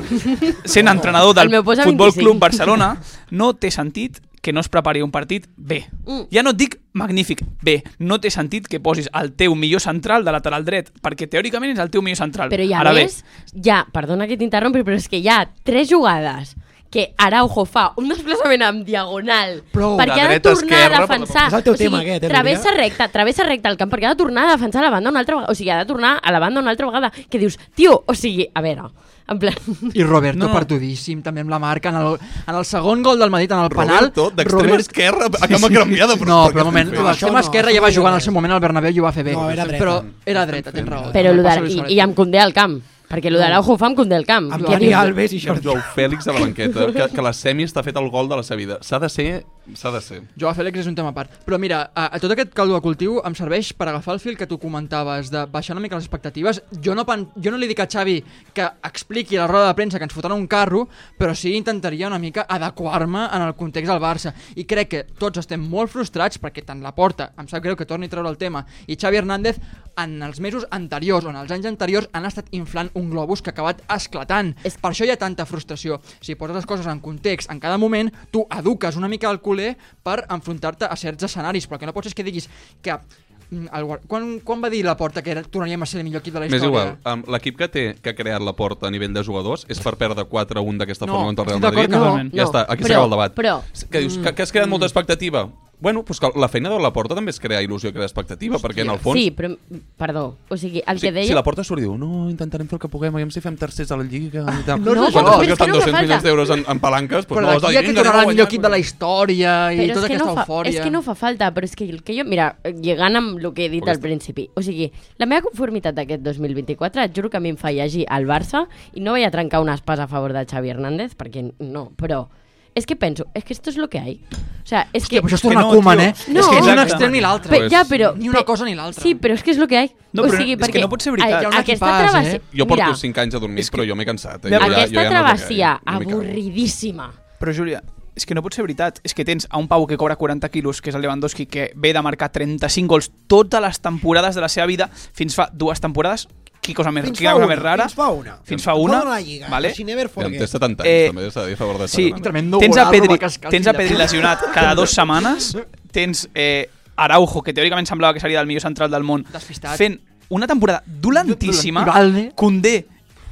[SPEAKER 7] sent entrenador del
[SPEAKER 8] El meu posa
[SPEAKER 7] Futbol
[SPEAKER 8] 25.
[SPEAKER 7] Club Barcelona, no té sentit que no es prepari un partit bé.
[SPEAKER 8] Mm.
[SPEAKER 7] Ja no et dic magnífic, bé, no té sentit que posis el teu millor central de lateral dret, perquè teòricament és el teu millor central.
[SPEAKER 8] Però ja
[SPEAKER 7] Ara
[SPEAKER 8] ves, ja, perdona que t'interrompi, però és que hi ha tres jugades que Araujo fa un desplaçament amb diagonal
[SPEAKER 6] Prou.
[SPEAKER 8] perquè
[SPEAKER 10] De
[SPEAKER 8] ha de
[SPEAKER 10] dreta a
[SPEAKER 8] tornar
[SPEAKER 10] esquerra,
[SPEAKER 8] a defensar.
[SPEAKER 5] És el teu tema, aquest, eh,
[SPEAKER 8] travessa
[SPEAKER 5] Núria?
[SPEAKER 8] recta, travessa recta el camp perquè ha de tornar a defensar la banda una altra vegada. O sigui, ha de tornar a la banda una altra vegada. Que dius, tio, o sigui, a veure, en plan...
[SPEAKER 6] I Roberto
[SPEAKER 7] No, no.
[SPEAKER 6] perdudíssim, també amb la marca, en el, en el segon gol del Madrid, en el penal.
[SPEAKER 10] Roberto, d'extrema
[SPEAKER 6] Robert-
[SPEAKER 10] esquerra, Ah, a cama canviada, però
[SPEAKER 6] no,
[SPEAKER 10] per què
[SPEAKER 6] però un moment,
[SPEAKER 10] estem fent?
[SPEAKER 6] l'extrema
[SPEAKER 5] Això no, això
[SPEAKER 6] esquerra ja
[SPEAKER 5] no
[SPEAKER 6] va
[SPEAKER 5] era
[SPEAKER 6] jugar al
[SPEAKER 5] dreta.
[SPEAKER 6] seu moment al Bernabéu i ho va fer bé.
[SPEAKER 5] No, era dreta.
[SPEAKER 6] Però era dreta, tens raó.
[SPEAKER 8] Però lo
[SPEAKER 6] Passa
[SPEAKER 8] de,
[SPEAKER 6] Luis
[SPEAKER 8] i,
[SPEAKER 6] Suárez.
[SPEAKER 8] i amb Condé al camp, perquè lo d'Araujo ho fa amb Condé al camp.
[SPEAKER 5] Amb
[SPEAKER 8] Que
[SPEAKER 5] Dani
[SPEAKER 8] dius,
[SPEAKER 5] Alves i Jordi.
[SPEAKER 10] Joao Fèlix a la banqueta, que, que la semi està fet el gol de la seva vida. S'ha de ser... S'ha de ser.
[SPEAKER 6] Joao Fèlix és un tema a part. Però mira, a, a tot aquest caldo de cultiu em serveix per agafar el fil que tu comentaves de baixar una mica les expectatives. Jo no, pen, jo no li dic a Xavi que expliqui a la roda de premsa que ens fotran un carro, però sí intentaria una mica adequar-me en el context del Barça. I crec que tots estem molt frustrats perquè tant la porta, em sap greu que torni a treure el tema, i Xavi Hernández en els mesos anteriors o en els anys anteriors han estat inflant un globus que ha acabat esclatant.
[SPEAKER 8] És-
[SPEAKER 6] Per això hi ha tanta frustració. Si poses les coses en context en cada moment, tu eduques una mica el culer per enfrontar-te a certs escenaris, però el que no pots és que diguis que... mm, El, Guar- quan, quan va dir la porta que era, tornaríem a ser el millor equip de la
[SPEAKER 10] M'és
[SPEAKER 6] història?
[SPEAKER 10] igual, um, l'equip que té que ha creat la porta a nivell de jugadors és per perdre 4-1 d'aquesta
[SPEAKER 6] No,
[SPEAKER 10] forma contra el Real
[SPEAKER 6] estic
[SPEAKER 7] d'acord
[SPEAKER 10] Madrid.
[SPEAKER 7] que no.
[SPEAKER 10] Ja està, aquí s'acaba el debat.
[SPEAKER 8] Però,
[SPEAKER 10] Que dius que, que has creat molta expectativa. Bueno, doncs que la feina de la porta també és crear il·lusió i crear expectativa, perquè en el fons...
[SPEAKER 8] sí, però, perdó, o sigui, el
[SPEAKER 10] si,
[SPEAKER 8] que deia...
[SPEAKER 10] si la porta surt i diu no, intentarem fer el que puguem, aviam si fem tercers a la Lliga i tal.
[SPEAKER 8] No, no,
[SPEAKER 10] Quan
[SPEAKER 8] no, però és que
[SPEAKER 10] després gasten
[SPEAKER 8] no fa
[SPEAKER 10] 200 milions
[SPEAKER 8] falta.
[SPEAKER 10] d'euros en, en palanques,
[SPEAKER 6] Però
[SPEAKER 10] doncs no,
[SPEAKER 6] d'aquí a que tornarà el millor equip de la història i
[SPEAKER 8] però
[SPEAKER 6] tota
[SPEAKER 8] és que,
[SPEAKER 6] aquesta
[SPEAKER 8] no fa,
[SPEAKER 6] eufòria...
[SPEAKER 8] és que no fa falta, però és que el que jo... Mira, lligant amb el que he dit al
[SPEAKER 10] Aquesta.
[SPEAKER 8] principi, o sigui, la meva conformitat d'aquest 2024, et juro que a mi em fa llegir al Barça i no vaig a trencar una espasa a favor de Xavi Hernández, perquè no, però... És que penso, és que esto es lo que hay. O sea, és
[SPEAKER 6] Hòstia,
[SPEAKER 8] que...
[SPEAKER 6] però això és
[SPEAKER 7] que
[SPEAKER 6] tornar
[SPEAKER 7] no,
[SPEAKER 6] a Koeman,
[SPEAKER 7] tio.
[SPEAKER 6] eh?
[SPEAKER 8] No.
[SPEAKER 6] és que ni un
[SPEAKER 7] Exacte.
[SPEAKER 6] extrem ni l'altre.
[SPEAKER 8] Pe- ja, però,
[SPEAKER 6] Ni una
[SPEAKER 8] pe-
[SPEAKER 6] cosa ni l'altra.
[SPEAKER 8] Sí, però és que és lo que hay.
[SPEAKER 7] No,
[SPEAKER 8] o
[SPEAKER 7] però
[SPEAKER 8] sigui,
[SPEAKER 7] és que
[SPEAKER 8] perquè
[SPEAKER 7] no pot ser veritat.
[SPEAKER 8] el-
[SPEAKER 7] Hi ha
[SPEAKER 6] un
[SPEAKER 8] Aquesta
[SPEAKER 6] equipàs,
[SPEAKER 8] travessia...
[SPEAKER 6] eh?
[SPEAKER 10] Jo porto
[SPEAKER 8] Mira,
[SPEAKER 10] 5 anys adormit, però jo m'he cansat. Eh?
[SPEAKER 7] Ja,
[SPEAKER 10] Jo ja- jo
[SPEAKER 8] Aquesta
[SPEAKER 10] ja no sé eh, què,
[SPEAKER 8] travessia
[SPEAKER 10] no m'hi cago.
[SPEAKER 8] avorridíssima.
[SPEAKER 7] Però, Júlia, és que no pot ser veritat. És que tens a un pau que cobra 40 quilos, que és el Lewandowski, que ve de marcar 35 gols totes les temporades de la seva vida, fins fa dues temporades. Qui cosa més,
[SPEAKER 5] Fins
[SPEAKER 7] qui
[SPEAKER 5] fa
[SPEAKER 7] cosa
[SPEAKER 5] una,
[SPEAKER 7] més rara.
[SPEAKER 5] fins fa una.
[SPEAKER 7] Fins fa una.
[SPEAKER 5] Fora la Lliga,
[SPEAKER 7] Vale?
[SPEAKER 5] she never
[SPEAKER 10] Ja en té
[SPEAKER 5] forget.
[SPEAKER 10] 70 anys,
[SPEAKER 7] Eh,
[SPEAKER 10] també s'ha de dir a favor de
[SPEAKER 7] Sí,
[SPEAKER 10] Sarri.
[SPEAKER 6] Tremendo
[SPEAKER 7] tens a
[SPEAKER 6] golazo,
[SPEAKER 7] Pedri,
[SPEAKER 6] va cascar el
[SPEAKER 7] tens
[SPEAKER 6] fill
[SPEAKER 7] a
[SPEAKER 6] de
[SPEAKER 7] Pedri
[SPEAKER 6] puta.
[SPEAKER 7] lesionat cada dues setmanes, tens eh, Araujo, que teòricament semblava que seria el millor central del món,
[SPEAKER 6] Despistat.
[SPEAKER 7] fent una temporada dolentíssima,
[SPEAKER 6] Valde.
[SPEAKER 7] Condé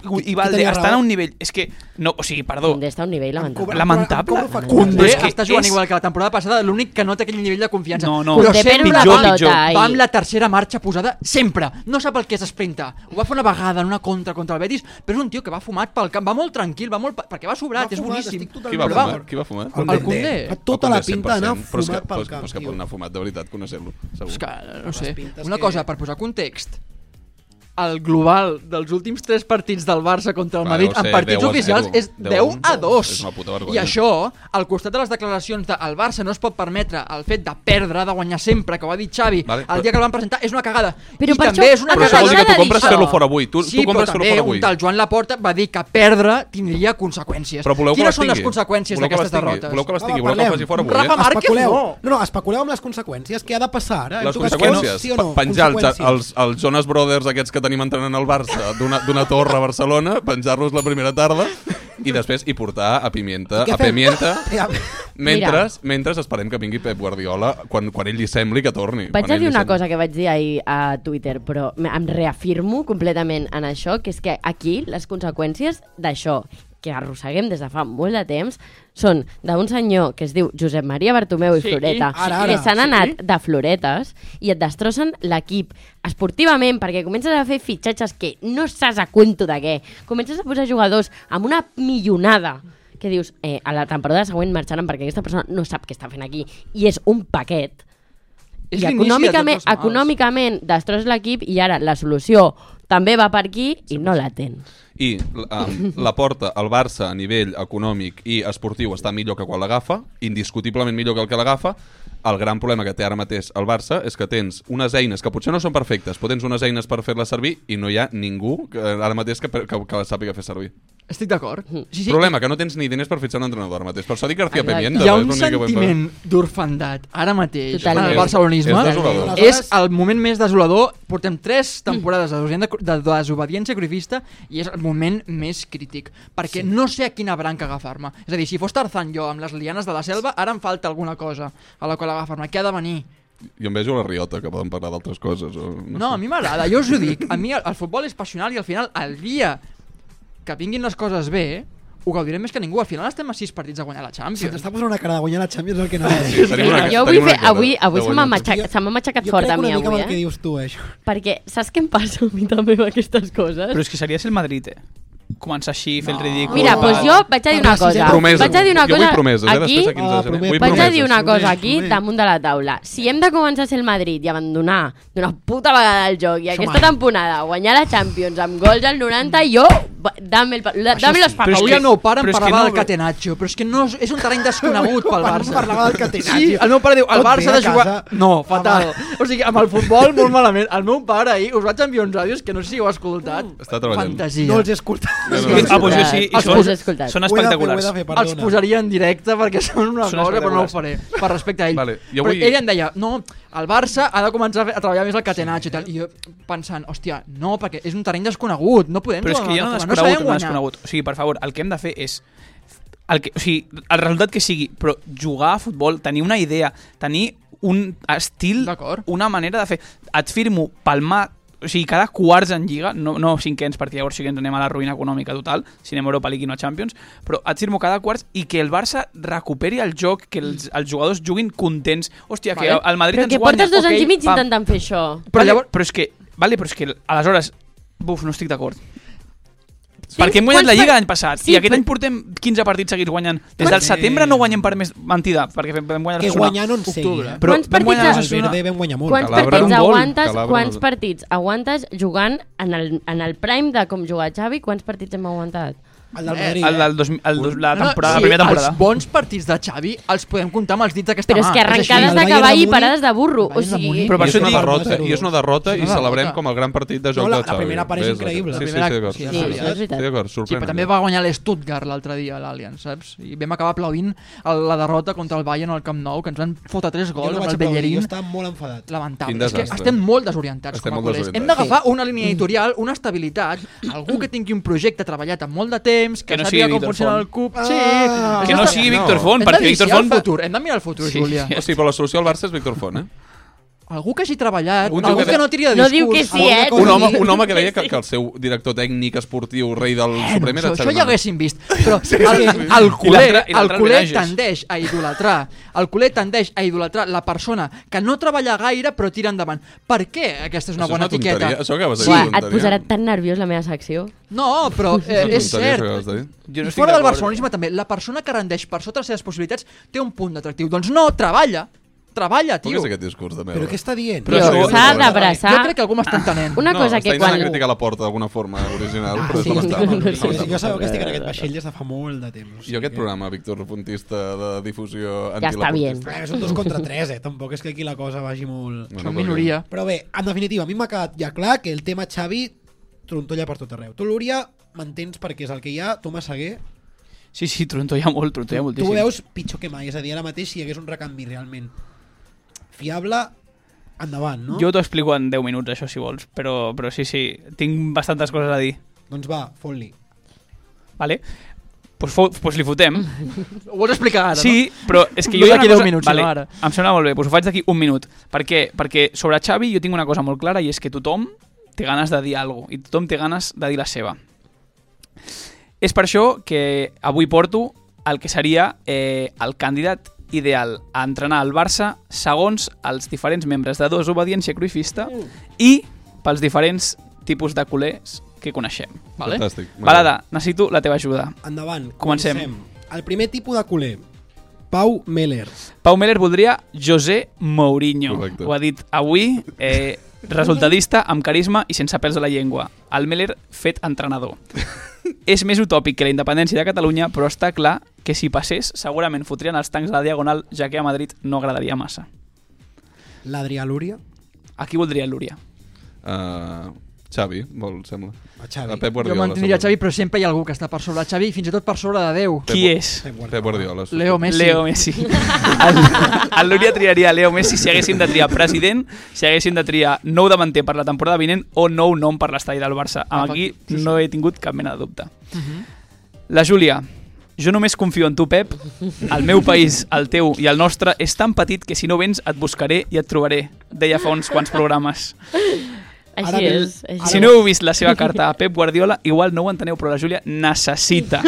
[SPEAKER 7] i Valde
[SPEAKER 5] tenia
[SPEAKER 7] estan
[SPEAKER 5] raó.
[SPEAKER 7] a un nivell... És que... No, o sigui,
[SPEAKER 6] Oh.
[SPEAKER 7] perdó.
[SPEAKER 8] Condé està a un nivell lamentable.
[SPEAKER 7] Lamentable.
[SPEAKER 5] Em cobro
[SPEAKER 6] Condé
[SPEAKER 7] És que
[SPEAKER 6] està jugant
[SPEAKER 7] és-
[SPEAKER 6] igual que la temporada passada, l'únic que no té aquell nivell de confiança.
[SPEAKER 7] No, no.
[SPEAKER 6] Però
[SPEAKER 8] Condé perd
[SPEAKER 6] sempre
[SPEAKER 8] una
[SPEAKER 7] pitjor,
[SPEAKER 8] pilota
[SPEAKER 7] pitjor.
[SPEAKER 8] i...
[SPEAKER 6] va amb la tercera marxa posada sempre. No sap el que és sprintar. Ho va fer una vegada en una contra contra el Betis, però és un tio que va fumat pel camp, va molt tranquil, va molt... pa- perquè va sobrat,
[SPEAKER 5] Va
[SPEAKER 6] és
[SPEAKER 5] fumat,
[SPEAKER 6] boníssim.
[SPEAKER 5] estic totalment
[SPEAKER 10] Qui va
[SPEAKER 6] Però va-
[SPEAKER 10] fumar? Qui va fumar?
[SPEAKER 5] El Condé.
[SPEAKER 6] El Condé.
[SPEAKER 5] Fa tota la
[SPEAKER 10] Condé,
[SPEAKER 5] pinta d'anar
[SPEAKER 10] 100%, però és
[SPEAKER 5] fumat
[SPEAKER 10] que- però
[SPEAKER 5] pel
[SPEAKER 10] és-
[SPEAKER 5] camp,
[SPEAKER 10] Però és que
[SPEAKER 5] tio.
[SPEAKER 10] pot anar fumat, de veritat, coneixent-lo. Segur.
[SPEAKER 6] És que, no sé,
[SPEAKER 5] pintes
[SPEAKER 6] una
[SPEAKER 5] que-
[SPEAKER 6] cosa, per posar context, el global dels últims 3 partits del Barça contra el
[SPEAKER 10] Va,
[SPEAKER 6] Madrid
[SPEAKER 10] deu ser
[SPEAKER 6] en partits
[SPEAKER 10] 10 a
[SPEAKER 6] oficials
[SPEAKER 10] 0.
[SPEAKER 6] és 10,
[SPEAKER 10] 10
[SPEAKER 6] a 2.
[SPEAKER 10] És una puta vergonya.
[SPEAKER 6] I això, al costat de les declaracions de el Barça no es pot permetre el fet de perdre, de guanyar sempre, que ho ha dit Xavi,
[SPEAKER 10] Vale,
[SPEAKER 6] el
[SPEAKER 10] però-
[SPEAKER 6] dia que el van presentar, és una cagada.
[SPEAKER 8] Però
[SPEAKER 6] I
[SPEAKER 8] per
[SPEAKER 6] també
[SPEAKER 8] això-
[SPEAKER 6] és una
[SPEAKER 10] Però
[SPEAKER 8] Acabes
[SPEAKER 10] això vol dir que
[SPEAKER 8] de
[SPEAKER 10] tu
[SPEAKER 8] dir
[SPEAKER 10] compres
[SPEAKER 8] això.
[SPEAKER 10] fer-lo fora avui. Tu,
[SPEAKER 6] sí,
[SPEAKER 10] tu compres
[SPEAKER 6] però
[SPEAKER 10] fer-lo
[SPEAKER 6] també
[SPEAKER 10] fora
[SPEAKER 6] un
[SPEAKER 10] avui.
[SPEAKER 6] tal Joan Laporta va dir que perdre tindria conseqüències.
[SPEAKER 10] Però voleu que
[SPEAKER 6] Quines
[SPEAKER 10] les
[SPEAKER 6] són les
[SPEAKER 10] tingui?
[SPEAKER 6] conseqüències
[SPEAKER 10] Voleu que les
[SPEAKER 6] d'aquestes
[SPEAKER 10] tingui?
[SPEAKER 6] derrotes?
[SPEAKER 10] Voleu que les
[SPEAKER 5] Va,
[SPEAKER 10] tingui?
[SPEAKER 5] va,
[SPEAKER 10] Voleu que les
[SPEAKER 5] parlem.
[SPEAKER 10] faci fora avui?
[SPEAKER 6] Rafa
[SPEAKER 10] eh?
[SPEAKER 6] Márquez
[SPEAKER 5] especuleu.
[SPEAKER 6] no.
[SPEAKER 5] no, especuleu amb les conseqüències. Què ha de passar? Ara?
[SPEAKER 10] Les
[SPEAKER 5] Tu creus que
[SPEAKER 10] conseqüències,
[SPEAKER 5] Sí o no?
[SPEAKER 10] pe- penjar els,
[SPEAKER 5] Conseqüències.
[SPEAKER 10] els, els Jonas Brothers aquests que tenim entrenant al Barça d'una d'una torre a Barcelona, penjar-los la primera tarda i després i portar a Pimienta,
[SPEAKER 5] Què
[SPEAKER 10] a
[SPEAKER 5] fem?
[SPEAKER 10] Pimienta,
[SPEAKER 5] Ja.
[SPEAKER 10] mentre, mentre esperem que vingui Pep Guardiola quan, quan ell li sembli que torni.
[SPEAKER 8] Vaig
[SPEAKER 10] quan
[SPEAKER 8] a
[SPEAKER 10] ell
[SPEAKER 8] dir
[SPEAKER 10] li
[SPEAKER 8] una
[SPEAKER 10] sembli.
[SPEAKER 8] cosa que vaig dir ahir a Twitter, però m- em reafirmo completament en això, que és que aquí les conseqüències d'això que arrosseguem des de fa molt de temps són d'un senyor que es diu Josep Maria Bartomeu
[SPEAKER 6] Sí,
[SPEAKER 8] i Floreta,
[SPEAKER 5] ara, ara,
[SPEAKER 8] que s'han
[SPEAKER 5] sí.
[SPEAKER 8] anat de floretes i et destrossen l'equip esportivament perquè comences a fer fitxatges que no saps a cuento de què. Comences a posar jugadors amb una millonada que dius, eh, a la temporada següent marxaran perquè aquesta persona no sap què està fent aquí i és un paquet
[SPEAKER 6] És l'inici de
[SPEAKER 8] i
[SPEAKER 6] Ah,
[SPEAKER 8] econòmicament,
[SPEAKER 6] tots els mals.
[SPEAKER 8] econòmicament destrossa l'equip i ara la solució també va per aquí i no la tens.
[SPEAKER 10] I um, la porta al Barça a nivell econòmic i esportiu està millor que quan l'agafa, indiscutiblement millor que el que l'agafa. El gran problema que té ara mateix el Barça és que tens unes eines que potser no són perfectes, però tens unes eines per fer-les servir i no hi ha ningú que, ara mateix que, que, que les sàpiga fer servir.
[SPEAKER 6] Estic d'acord.
[SPEAKER 8] Mm.
[SPEAKER 6] Sí,
[SPEAKER 10] Sí.
[SPEAKER 6] sí,
[SPEAKER 10] Problema, que no tens ni diners per fitxar un entrenador ara mateix. Per això dic García
[SPEAKER 8] Exacte.
[SPEAKER 10] Pemienta.
[SPEAKER 6] Hi ha un
[SPEAKER 10] és l'únic que podem
[SPEAKER 6] sentiment d'orfandat ara mateix
[SPEAKER 8] Totalment.
[SPEAKER 6] en el barcelonisme.
[SPEAKER 10] És desolador.
[SPEAKER 6] És el moment més desolador. Portem tres temporades de desobediència- de desobediència crifista i és el moment més crític. Perquè no sé a quina branca agafar-me. És a dir, si fos Tarzan jo amb les lianes de la selva, ara em falta alguna cosa a la qual agafar-me. Què ha de venir?
[SPEAKER 10] fer. Jo em vejo la Riota, que poden parlar d'altres coses. O...
[SPEAKER 6] No, a mi m'agrada, jo us ho dic. A mi el, el futbol és passional i al final, el dia que vinguin les coses bé, ho gaudirem més que ningú. Al final estem a sis partits a guanyar la
[SPEAKER 5] Si
[SPEAKER 6] Champions.
[SPEAKER 5] t'està posant una cara de guanyar la Champions, el que no és.
[SPEAKER 10] Sí, tenim una-
[SPEAKER 8] jo
[SPEAKER 10] tenim
[SPEAKER 8] avui,
[SPEAKER 10] una
[SPEAKER 8] fe,
[SPEAKER 10] cara
[SPEAKER 8] avui, avui
[SPEAKER 10] de
[SPEAKER 8] se m'ha
[SPEAKER 10] guanyar.
[SPEAKER 8] matxac- se m'ha matxacat
[SPEAKER 5] Jo
[SPEAKER 8] fort
[SPEAKER 5] crec
[SPEAKER 8] a mi
[SPEAKER 5] una mica amb
[SPEAKER 8] avui,
[SPEAKER 5] el que
[SPEAKER 8] eh?
[SPEAKER 5] dius tu, eh, això.
[SPEAKER 8] Perquè saps què em passa a mi també amb aquestes coses?
[SPEAKER 7] Però és que seria ser el Madrid, eh? Començar així, fer el ridícul...
[SPEAKER 8] Mira,
[SPEAKER 7] tal.
[SPEAKER 8] doncs jo vaig a dir una
[SPEAKER 5] Parla, si ja-
[SPEAKER 8] cosa.
[SPEAKER 10] Promeses.
[SPEAKER 8] Vaig a dir una
[SPEAKER 10] Jo
[SPEAKER 8] cosa
[SPEAKER 10] vull promeses, eh?
[SPEAKER 8] aquí.
[SPEAKER 10] Després de 15 de
[SPEAKER 5] Ah,
[SPEAKER 10] gener.
[SPEAKER 5] promet-
[SPEAKER 10] Vull
[SPEAKER 8] Vaig a
[SPEAKER 10] promeses.
[SPEAKER 8] dir una
[SPEAKER 5] promeses.
[SPEAKER 8] cosa aquí
[SPEAKER 5] Promeses.
[SPEAKER 8] damunt de la taula. Si hem de començar a ser el Madrid i abandonar d'una puta vegada el joc i aquesta
[SPEAKER 6] mai.
[SPEAKER 8] temporada guanyar la Champions amb gols al 90, jo... va- Dame, el, pa- la- dame los
[SPEAKER 7] Però és que-
[SPEAKER 6] Avui
[SPEAKER 8] papeles.
[SPEAKER 6] el meu pare em
[SPEAKER 7] però és que
[SPEAKER 6] parlava
[SPEAKER 7] no,
[SPEAKER 6] del
[SPEAKER 7] però-
[SPEAKER 6] Catenaccio, però és que no, és- és un terreny desconegut pel Barça.
[SPEAKER 5] Parlava del catenatge.
[SPEAKER 6] Sí, el meu pare diu, el
[SPEAKER 5] Tot
[SPEAKER 6] Barça
[SPEAKER 5] bé
[SPEAKER 6] ha
[SPEAKER 5] a
[SPEAKER 6] de jugar...
[SPEAKER 5] casa.
[SPEAKER 6] No,
[SPEAKER 5] Ah,
[SPEAKER 6] fatal.
[SPEAKER 5] va.
[SPEAKER 6] O sigui, amb el futbol molt malament. El meu pare ahir, us vaig enviar uns àdios que no sé si ho heu escoltat.
[SPEAKER 10] Uh. Està treballant.
[SPEAKER 6] Fantasia.
[SPEAKER 5] No els he escoltat.
[SPEAKER 10] No,
[SPEAKER 7] Ah,
[SPEAKER 10] no,
[SPEAKER 7] doncs jo sí,
[SPEAKER 8] Escoltat,
[SPEAKER 7] i
[SPEAKER 8] els
[SPEAKER 7] són,
[SPEAKER 8] he escoltat.
[SPEAKER 7] són
[SPEAKER 5] Ho he de fer,
[SPEAKER 7] espectaculars.
[SPEAKER 5] ho he de fer,
[SPEAKER 6] els
[SPEAKER 5] perdona.
[SPEAKER 6] posaria en directe perquè són una
[SPEAKER 7] Són
[SPEAKER 6] cosa, però no ho
[SPEAKER 7] espectaculars.
[SPEAKER 6] faré. Per respecte a ell.
[SPEAKER 10] Vale, jo
[SPEAKER 6] però
[SPEAKER 10] vull-
[SPEAKER 6] ell em deia, no, el Barça ha de començar a fer- a treballar més el catenatge i tal. I jo pensant, hòstia, no, perquè és un terreny desconegut, no podem
[SPEAKER 7] Però és
[SPEAKER 6] jugar
[SPEAKER 7] que ja
[SPEAKER 6] amb
[SPEAKER 7] no
[SPEAKER 6] el
[SPEAKER 7] desconegut,
[SPEAKER 6] sabem
[SPEAKER 7] no,
[SPEAKER 6] guanyar.
[SPEAKER 7] desconegut. O sigui, per favor, el que hem de fer és el que, o sigui, el resultat que sigui, però jugar a futbol, tenir una idea, tenir un estil,
[SPEAKER 6] D'acord.
[SPEAKER 7] una manera de fer. Et firmo palmar o sigui, cada quarts en Lliga, no, no cinquens perquè llavors sí que ens anem a la ruïna econòmica total, si anem a Europa League i no a Champions, però et firmo cada quarts i que el Barça recuperi el joc, que els, els jugadors juguin contents. Hòstia,
[SPEAKER 6] Vale.
[SPEAKER 7] que el Madrid
[SPEAKER 8] Però que
[SPEAKER 7] ens guanya.
[SPEAKER 8] portes dos
[SPEAKER 7] ok,
[SPEAKER 8] anys i mig
[SPEAKER 7] pam.
[SPEAKER 8] intentant fer això.
[SPEAKER 7] Però,
[SPEAKER 6] Vale,
[SPEAKER 7] llavors, però és que, vale, però és que aleshores, buf, no estic d'acord.
[SPEAKER 8] Tens
[SPEAKER 7] Perquè hem guanyat
[SPEAKER 8] quants
[SPEAKER 7] la Lliga
[SPEAKER 8] par-
[SPEAKER 7] l'any passat
[SPEAKER 8] Sí,
[SPEAKER 7] i aquest
[SPEAKER 8] però-
[SPEAKER 7] any portem 15 partits seguits guanyant. Des del setembre no guanyem per més mentida, perquè vam vam guanyar
[SPEAKER 5] Que
[SPEAKER 7] l'Osasuna.
[SPEAKER 5] guanyar no eh? en sé.
[SPEAKER 6] Octubre.
[SPEAKER 7] Però
[SPEAKER 8] Quants
[SPEAKER 7] vam guanyar
[SPEAKER 8] partits
[SPEAKER 5] El
[SPEAKER 7] l'Osasuna.
[SPEAKER 5] Verde vam guanyar molt.
[SPEAKER 8] Quants
[SPEAKER 10] Calabra,
[SPEAKER 8] partits,
[SPEAKER 10] un gol.
[SPEAKER 8] aguantes,
[SPEAKER 10] Calabra,
[SPEAKER 8] quants
[SPEAKER 10] no.
[SPEAKER 8] partits aguantes jugant en el, en el prime de com jugar Xavi? Quants partits hem aguantat?
[SPEAKER 5] El del Madrid.
[SPEAKER 7] El del dos, el
[SPEAKER 5] eh?
[SPEAKER 7] dos, la,
[SPEAKER 6] No, no,
[SPEAKER 7] temporada,
[SPEAKER 6] sí,
[SPEAKER 7] la primera temporada.
[SPEAKER 6] Els bons partits de Xavi els podem comptar amb els dits d'aquesta
[SPEAKER 8] Però
[SPEAKER 6] mà.
[SPEAKER 8] és que arrencades
[SPEAKER 5] El
[SPEAKER 8] de
[SPEAKER 5] Bayern de
[SPEAKER 8] cavall i
[SPEAKER 5] Múnich-
[SPEAKER 8] parades de burro.
[SPEAKER 6] El
[SPEAKER 8] O
[SPEAKER 6] Bayern de
[SPEAKER 8] sigui,
[SPEAKER 6] Múnich.
[SPEAKER 7] Però
[SPEAKER 10] I
[SPEAKER 7] per
[SPEAKER 10] és
[SPEAKER 7] això
[SPEAKER 10] una
[SPEAKER 7] dic-
[SPEAKER 10] derrota,
[SPEAKER 5] dic-
[SPEAKER 10] i és una derrota,
[SPEAKER 6] És
[SPEAKER 10] i
[SPEAKER 6] una
[SPEAKER 10] celebrem
[SPEAKER 6] derrota.
[SPEAKER 10] com el gran partit de joc
[SPEAKER 5] No, la-
[SPEAKER 10] del
[SPEAKER 5] la
[SPEAKER 10] Xavi.
[SPEAKER 5] primera part és
[SPEAKER 10] Ves,
[SPEAKER 5] increïble.
[SPEAKER 6] La
[SPEAKER 10] Sí, sí,
[SPEAKER 6] primera-
[SPEAKER 10] sí, d'acord.
[SPEAKER 6] sí,
[SPEAKER 10] Sí,
[SPEAKER 6] és
[SPEAKER 10] d'acord.
[SPEAKER 8] veritat.
[SPEAKER 10] Sí, d'acord,
[SPEAKER 6] Sí, però
[SPEAKER 10] sorprèn.
[SPEAKER 6] també va guanyar l'Stuttgart l'altre dia, l'Allianz, saps? I vam acabar aplaudint el, la derrota contra el Bayern al Camp Nou, que ens van fotre tres
[SPEAKER 5] Jo
[SPEAKER 6] gols
[SPEAKER 5] no
[SPEAKER 6] amb
[SPEAKER 5] vaig
[SPEAKER 6] el
[SPEAKER 5] aplaudir, jo
[SPEAKER 6] Bellerín.
[SPEAKER 5] estava molt enfadat.
[SPEAKER 6] Lamentable.
[SPEAKER 10] Quin
[SPEAKER 6] És que
[SPEAKER 10] desastre.
[SPEAKER 6] estem molt desorientats
[SPEAKER 10] Estem
[SPEAKER 6] com a
[SPEAKER 10] molt
[SPEAKER 6] col·legis. Hem
[SPEAKER 10] desorientats.
[SPEAKER 6] d'agafar una línia editorial, una estabilitat, algú que tingui un projecte treballat amb molt de temps, que,
[SPEAKER 7] Que no
[SPEAKER 6] sàpiga
[SPEAKER 7] sigui
[SPEAKER 6] com
[SPEAKER 7] Víctor
[SPEAKER 6] funciona
[SPEAKER 7] Font.
[SPEAKER 6] el CUP.
[SPEAKER 5] Ah.
[SPEAKER 6] Sí.
[SPEAKER 5] Que
[SPEAKER 7] Que no sigui Víctor Font,
[SPEAKER 6] Hem de
[SPEAKER 7] perquè Víctor
[SPEAKER 6] viciar el
[SPEAKER 7] Font...
[SPEAKER 6] futur, hem de mirar el futur,
[SPEAKER 7] Sí,
[SPEAKER 6] Júlia.
[SPEAKER 7] sí.
[SPEAKER 10] Hosti, però la solució al Barça és Víctor Font, eh?
[SPEAKER 6] Algú que hagi treballat,
[SPEAKER 10] Algú
[SPEAKER 6] algú,
[SPEAKER 10] diu
[SPEAKER 6] algú
[SPEAKER 10] que-
[SPEAKER 6] que, no tiri de
[SPEAKER 8] No
[SPEAKER 6] discurs.
[SPEAKER 8] diu que sí, eh?
[SPEAKER 10] Un home, un home que deia que, que el seu director tècnic esportiu, rei del
[SPEAKER 6] Eh,
[SPEAKER 10] Suprem,
[SPEAKER 6] no,
[SPEAKER 10] era
[SPEAKER 6] això, això
[SPEAKER 10] Xavi
[SPEAKER 6] ja ho
[SPEAKER 10] Hernández.
[SPEAKER 6] haguéssim vist. Però el, el culer,
[SPEAKER 7] l'altre- i l'altre
[SPEAKER 6] el
[SPEAKER 7] el
[SPEAKER 6] culer
[SPEAKER 7] Benages.
[SPEAKER 6] tendeix a idolatrar. El culer tendeix a idolatrar la persona que no treballa gaire però tira endavant. Per què aquesta és una
[SPEAKER 10] Això és
[SPEAKER 6] bona
[SPEAKER 10] una tonteria,
[SPEAKER 6] etiqueta?
[SPEAKER 10] això que vas dir.
[SPEAKER 8] Uah,
[SPEAKER 10] Sí.
[SPEAKER 8] et posarà tan nerviós la meva secció.
[SPEAKER 6] No, però eh,
[SPEAKER 10] Una
[SPEAKER 6] és
[SPEAKER 10] tonteria, això
[SPEAKER 6] cert.
[SPEAKER 10] que vas dir.
[SPEAKER 7] Jo
[SPEAKER 6] I
[SPEAKER 7] no estic
[SPEAKER 6] fora del
[SPEAKER 7] d'acord.
[SPEAKER 6] barcelonisme també, la persona que rendeix per sota les seves possibilitats té un punt d'atractiu. Doncs no, treballa. Treballa,
[SPEAKER 10] Com
[SPEAKER 6] tio.
[SPEAKER 10] és aquest discurs de merda?
[SPEAKER 5] Però què està dient?
[SPEAKER 7] Però
[SPEAKER 8] Tio,
[SPEAKER 7] això-
[SPEAKER 8] S'ha
[SPEAKER 10] Jo
[SPEAKER 8] d'abraçar...
[SPEAKER 6] Jo crec que algú m'està entenent.
[SPEAKER 8] Una cosa
[SPEAKER 10] està
[SPEAKER 8] que
[SPEAKER 10] intentant
[SPEAKER 8] quan...
[SPEAKER 10] criticar la porta d'alguna forma original,
[SPEAKER 5] Ah,
[SPEAKER 10] però
[SPEAKER 5] sí,
[SPEAKER 10] és
[SPEAKER 5] sí,
[SPEAKER 10] lamentable.
[SPEAKER 5] sí,
[SPEAKER 10] És
[SPEAKER 5] sí, sí, jo
[SPEAKER 10] lamentable.
[SPEAKER 5] sabeu que estic en aquest vaixell des de fa molt de temps.
[SPEAKER 10] Jo aquest programa, Víctor, puntista de difusió
[SPEAKER 8] Ja
[SPEAKER 10] antilaportista...
[SPEAKER 8] està bien.
[SPEAKER 5] Eh, són dos contra tres, eh? Tampoc és que aquí la cosa vagi molt...
[SPEAKER 6] Som minoria.
[SPEAKER 5] Però bé, en definitiva, a mi m'ha quedat ja clar que el tema Xavi trontolla per tot arreu. Tu, Lúria, m'entens perquè és el que hi ha, tu, Massaguer,
[SPEAKER 7] Sí, sí, trontolla molt, trontolla
[SPEAKER 5] tu
[SPEAKER 7] moltíssim.
[SPEAKER 5] ho veus pitjor que mai. És a dir, ara mateix, si hi hagués un recanvi realment fiable, endavant, no?
[SPEAKER 7] Jo t'ho explico en 10 minuts, això, si vols. Però, però sí, sí, tinc bastantes coses a dir.
[SPEAKER 5] Doncs va, fot-li.
[SPEAKER 7] Vale? Pues, fo- pues li fotem.
[SPEAKER 6] Ho vols explicar ara,
[SPEAKER 7] sí, però és que
[SPEAKER 6] No
[SPEAKER 7] jo hi ha
[SPEAKER 6] d'aquí
[SPEAKER 7] una
[SPEAKER 6] deu
[SPEAKER 7] cosa-
[SPEAKER 6] minuts,
[SPEAKER 7] vale,
[SPEAKER 6] sinó ara.
[SPEAKER 7] Em sembla molt bé, doncs ho faig d'aquí un minut. Per què? Perquè sobre Xavi jo tinc una cosa molt clara i és que tothom té ganes de dir alguna cosa i tothom té ganes de dir la seva. És per això que avui porto el que seria eh, el candidat ideal a entrenar al Barça segons els diferents membres de dos obediència cruifista i pels diferents tipus de culers que coneixem. Vale?
[SPEAKER 10] Fantàstic.
[SPEAKER 7] Balada, necessito la teva ajuda.
[SPEAKER 5] Endavant.
[SPEAKER 7] Comencem.
[SPEAKER 5] El primer tipus de culer, Pau Meller.
[SPEAKER 7] Pau Meller voldria José Mourinho.
[SPEAKER 10] Correcte.
[SPEAKER 7] Ho ha dit avui, eh, resultadista, amb carisma i sense pèls a la llengua. El Meller fet entrenador. És més utòpic que la independència de Catalunya, però està clar que si passés segurament fotrien els tancs a la diagonal, ja que a Madrid no agradaria massa.
[SPEAKER 5] L'Adrià Lúria.
[SPEAKER 7] A qui voldria el Lúria?
[SPEAKER 10] Uh, Xavi, vol, sembla.
[SPEAKER 5] A Xavi.
[SPEAKER 10] A
[SPEAKER 6] no?
[SPEAKER 10] Pep
[SPEAKER 6] Jo
[SPEAKER 10] Guardiola.
[SPEAKER 6] mantindria
[SPEAKER 10] segurament.
[SPEAKER 6] Xavi, però sempre hi ha algú que està per sobre de Xavi, i fins i tot per sobre de Déu.
[SPEAKER 7] Qui és?
[SPEAKER 5] Pep Guardiola.
[SPEAKER 10] Pep Guardiola. suposo.
[SPEAKER 6] Leo Messi.
[SPEAKER 7] Leo Messi. El, el Lúria triaria Leo Messi si haguéssim de triar president, si haguéssim de triar nou davanter per la temporada vinent o nou nom per l'estadi del Barça.
[SPEAKER 8] Ah,
[SPEAKER 7] Amb aquí no he tingut cap mena de dubte.
[SPEAKER 8] Uh-huh.
[SPEAKER 7] La Júlia, jo només confio en tu, Pep. El meu país, el teu i el nostre és tan petit que si no vens et buscaré i et trobaré, deia fa uns quants programes.
[SPEAKER 5] Ara
[SPEAKER 8] Així
[SPEAKER 5] ve el-
[SPEAKER 8] és. Així.
[SPEAKER 7] Si no heu vist la seva carta a Pep Guardiola, igual no ho enteneu, però la Júlia necessita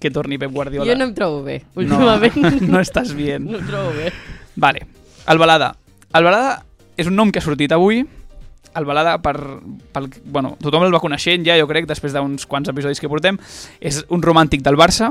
[SPEAKER 7] que torni Pep Guardiola.
[SPEAKER 8] Jo no em trobo bé, últimament.
[SPEAKER 7] No, no estàs bien.
[SPEAKER 8] No em trobo bé.
[SPEAKER 7] Vale, el Balada. El Balada és un nom que ha sortit avui. El Balada, per, pel, bueno, tothom el va coneixent ja, jo crec, després d'uns quants episodis que portem. És un romàntic del Barça.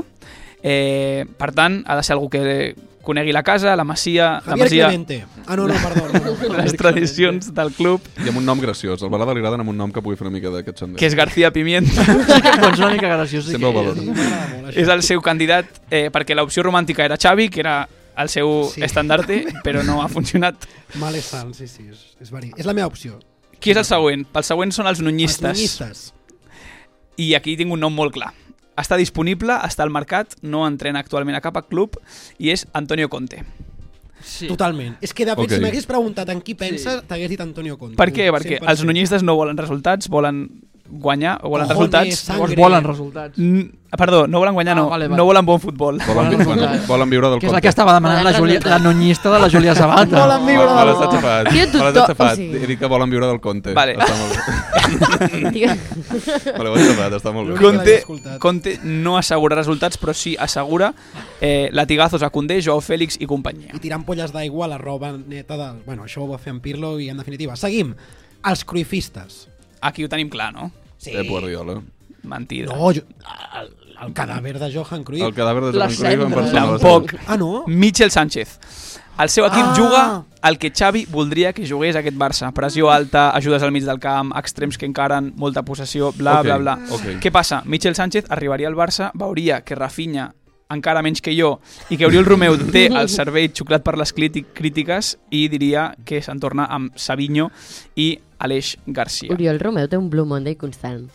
[SPEAKER 7] Eh, per tant, ha de ser algú que conegui la casa, la masia, la
[SPEAKER 5] Javier
[SPEAKER 7] masia,
[SPEAKER 5] Clemente. Ah, no, no, perdó. perdó.
[SPEAKER 7] les tradicions del club,
[SPEAKER 10] I amb un nom graciós. Al Balada li agraden amb un nom que pugui fer una mica d'aquest sender.
[SPEAKER 7] que és García Pimienta.
[SPEAKER 6] doncs una mica graciós. Sí
[SPEAKER 10] Sempre
[SPEAKER 6] que
[SPEAKER 10] ho
[SPEAKER 6] és.
[SPEAKER 10] valoro.
[SPEAKER 5] M'agrada molt, això.
[SPEAKER 7] és el seu candidat, eh, perquè l'opció romàntica era Xavi, que era el seu
[SPEAKER 5] Sí.
[SPEAKER 7] sí. estandarte, però no ha funcionat.
[SPEAKER 5] Male sal, sí, sí. És, és, verí. és la meva opció.
[SPEAKER 7] Qui és el següent? El següent són els nunyistes.
[SPEAKER 5] Els nunyistes.
[SPEAKER 7] i aquí tinc un nom molt clar. Està disponible, està al mercat, no entrena actualment a cap club i és Antonio Conte.
[SPEAKER 6] Mm. Sí.
[SPEAKER 5] Totalment. És que de fet,
[SPEAKER 10] Ok.
[SPEAKER 5] si m'hagués preguntat en qui penses, t'hagués dit Antonio Conte.
[SPEAKER 7] Per
[SPEAKER 6] Uh,
[SPEAKER 7] què? Perquè els nunyistes no volen resultats, volen guanyar o volen
[SPEAKER 5] Cojones,
[SPEAKER 7] resultats.
[SPEAKER 5] sangre.
[SPEAKER 6] Llavors volen resultats.
[SPEAKER 7] N- Perdó, no volen guanyar,
[SPEAKER 6] Ah,
[SPEAKER 7] no.
[SPEAKER 6] vale, vale.
[SPEAKER 7] No volen bon futbol.
[SPEAKER 10] Volen, vi- bueno, volen viure del
[SPEAKER 6] Que és la que estava demanant la,
[SPEAKER 8] Volen
[SPEAKER 6] Júlia, la
[SPEAKER 8] resultats.
[SPEAKER 6] nonyista de la Júlia Sabata.
[SPEAKER 5] Volen viure
[SPEAKER 10] Me l'has
[SPEAKER 5] del-
[SPEAKER 10] aixafat.
[SPEAKER 8] Tio,
[SPEAKER 10] Me l'has
[SPEAKER 8] tothom- o
[SPEAKER 10] aixafat.
[SPEAKER 8] sigui-
[SPEAKER 10] He dit que volen viure del Conte.
[SPEAKER 7] Vale.
[SPEAKER 10] Està molt bé.
[SPEAKER 8] Tio,
[SPEAKER 10] Me l'heu aixafat, està molt bé.
[SPEAKER 5] L'únic- l'he
[SPEAKER 7] Conte,
[SPEAKER 5] escoltat.
[SPEAKER 7] Conte no assegura resultats, però sí assegura eh, latigazos a Condé, Joao Fèlix i companyia.
[SPEAKER 5] I tirant polles d'aigua a la roba neta del... Bueno, això ho va fer en Pirlo i en definitiva. Seguim. Els cruifistes.
[SPEAKER 7] Aquí ho tenim clar, no?
[SPEAKER 5] Sí.
[SPEAKER 10] Pep Guardiola.
[SPEAKER 7] Mentida.
[SPEAKER 5] No, jo, el, el cadàver de Johan Cruyff.
[SPEAKER 10] El cadàver de Joan
[SPEAKER 6] Les
[SPEAKER 10] Cruyff en
[SPEAKER 6] cendres.
[SPEAKER 10] persona.
[SPEAKER 7] Tampoc.
[SPEAKER 5] Ah, eh, no?
[SPEAKER 7] Oh. Michel Sánchez. El seu equip
[SPEAKER 5] Ah!
[SPEAKER 7] ah. juga el que Xavi voldria que jugués aquest Barça. Pressió alta, ajudes al mig del camp, extrems que encaren, molta possessió, bla,
[SPEAKER 10] Ok,
[SPEAKER 7] okay. bla, bla.
[SPEAKER 10] ok.
[SPEAKER 7] Què passa? Michel Sánchez arribaria al Barça, veuria que Rafinha encara menys que jo, i que Oriol Romeu té el cervell xuclat per les críti- crítiques i diria que se'n torna amb Savinho i Aleix Garcia.
[SPEAKER 8] Oriol Romeu té un Blue Monday constant.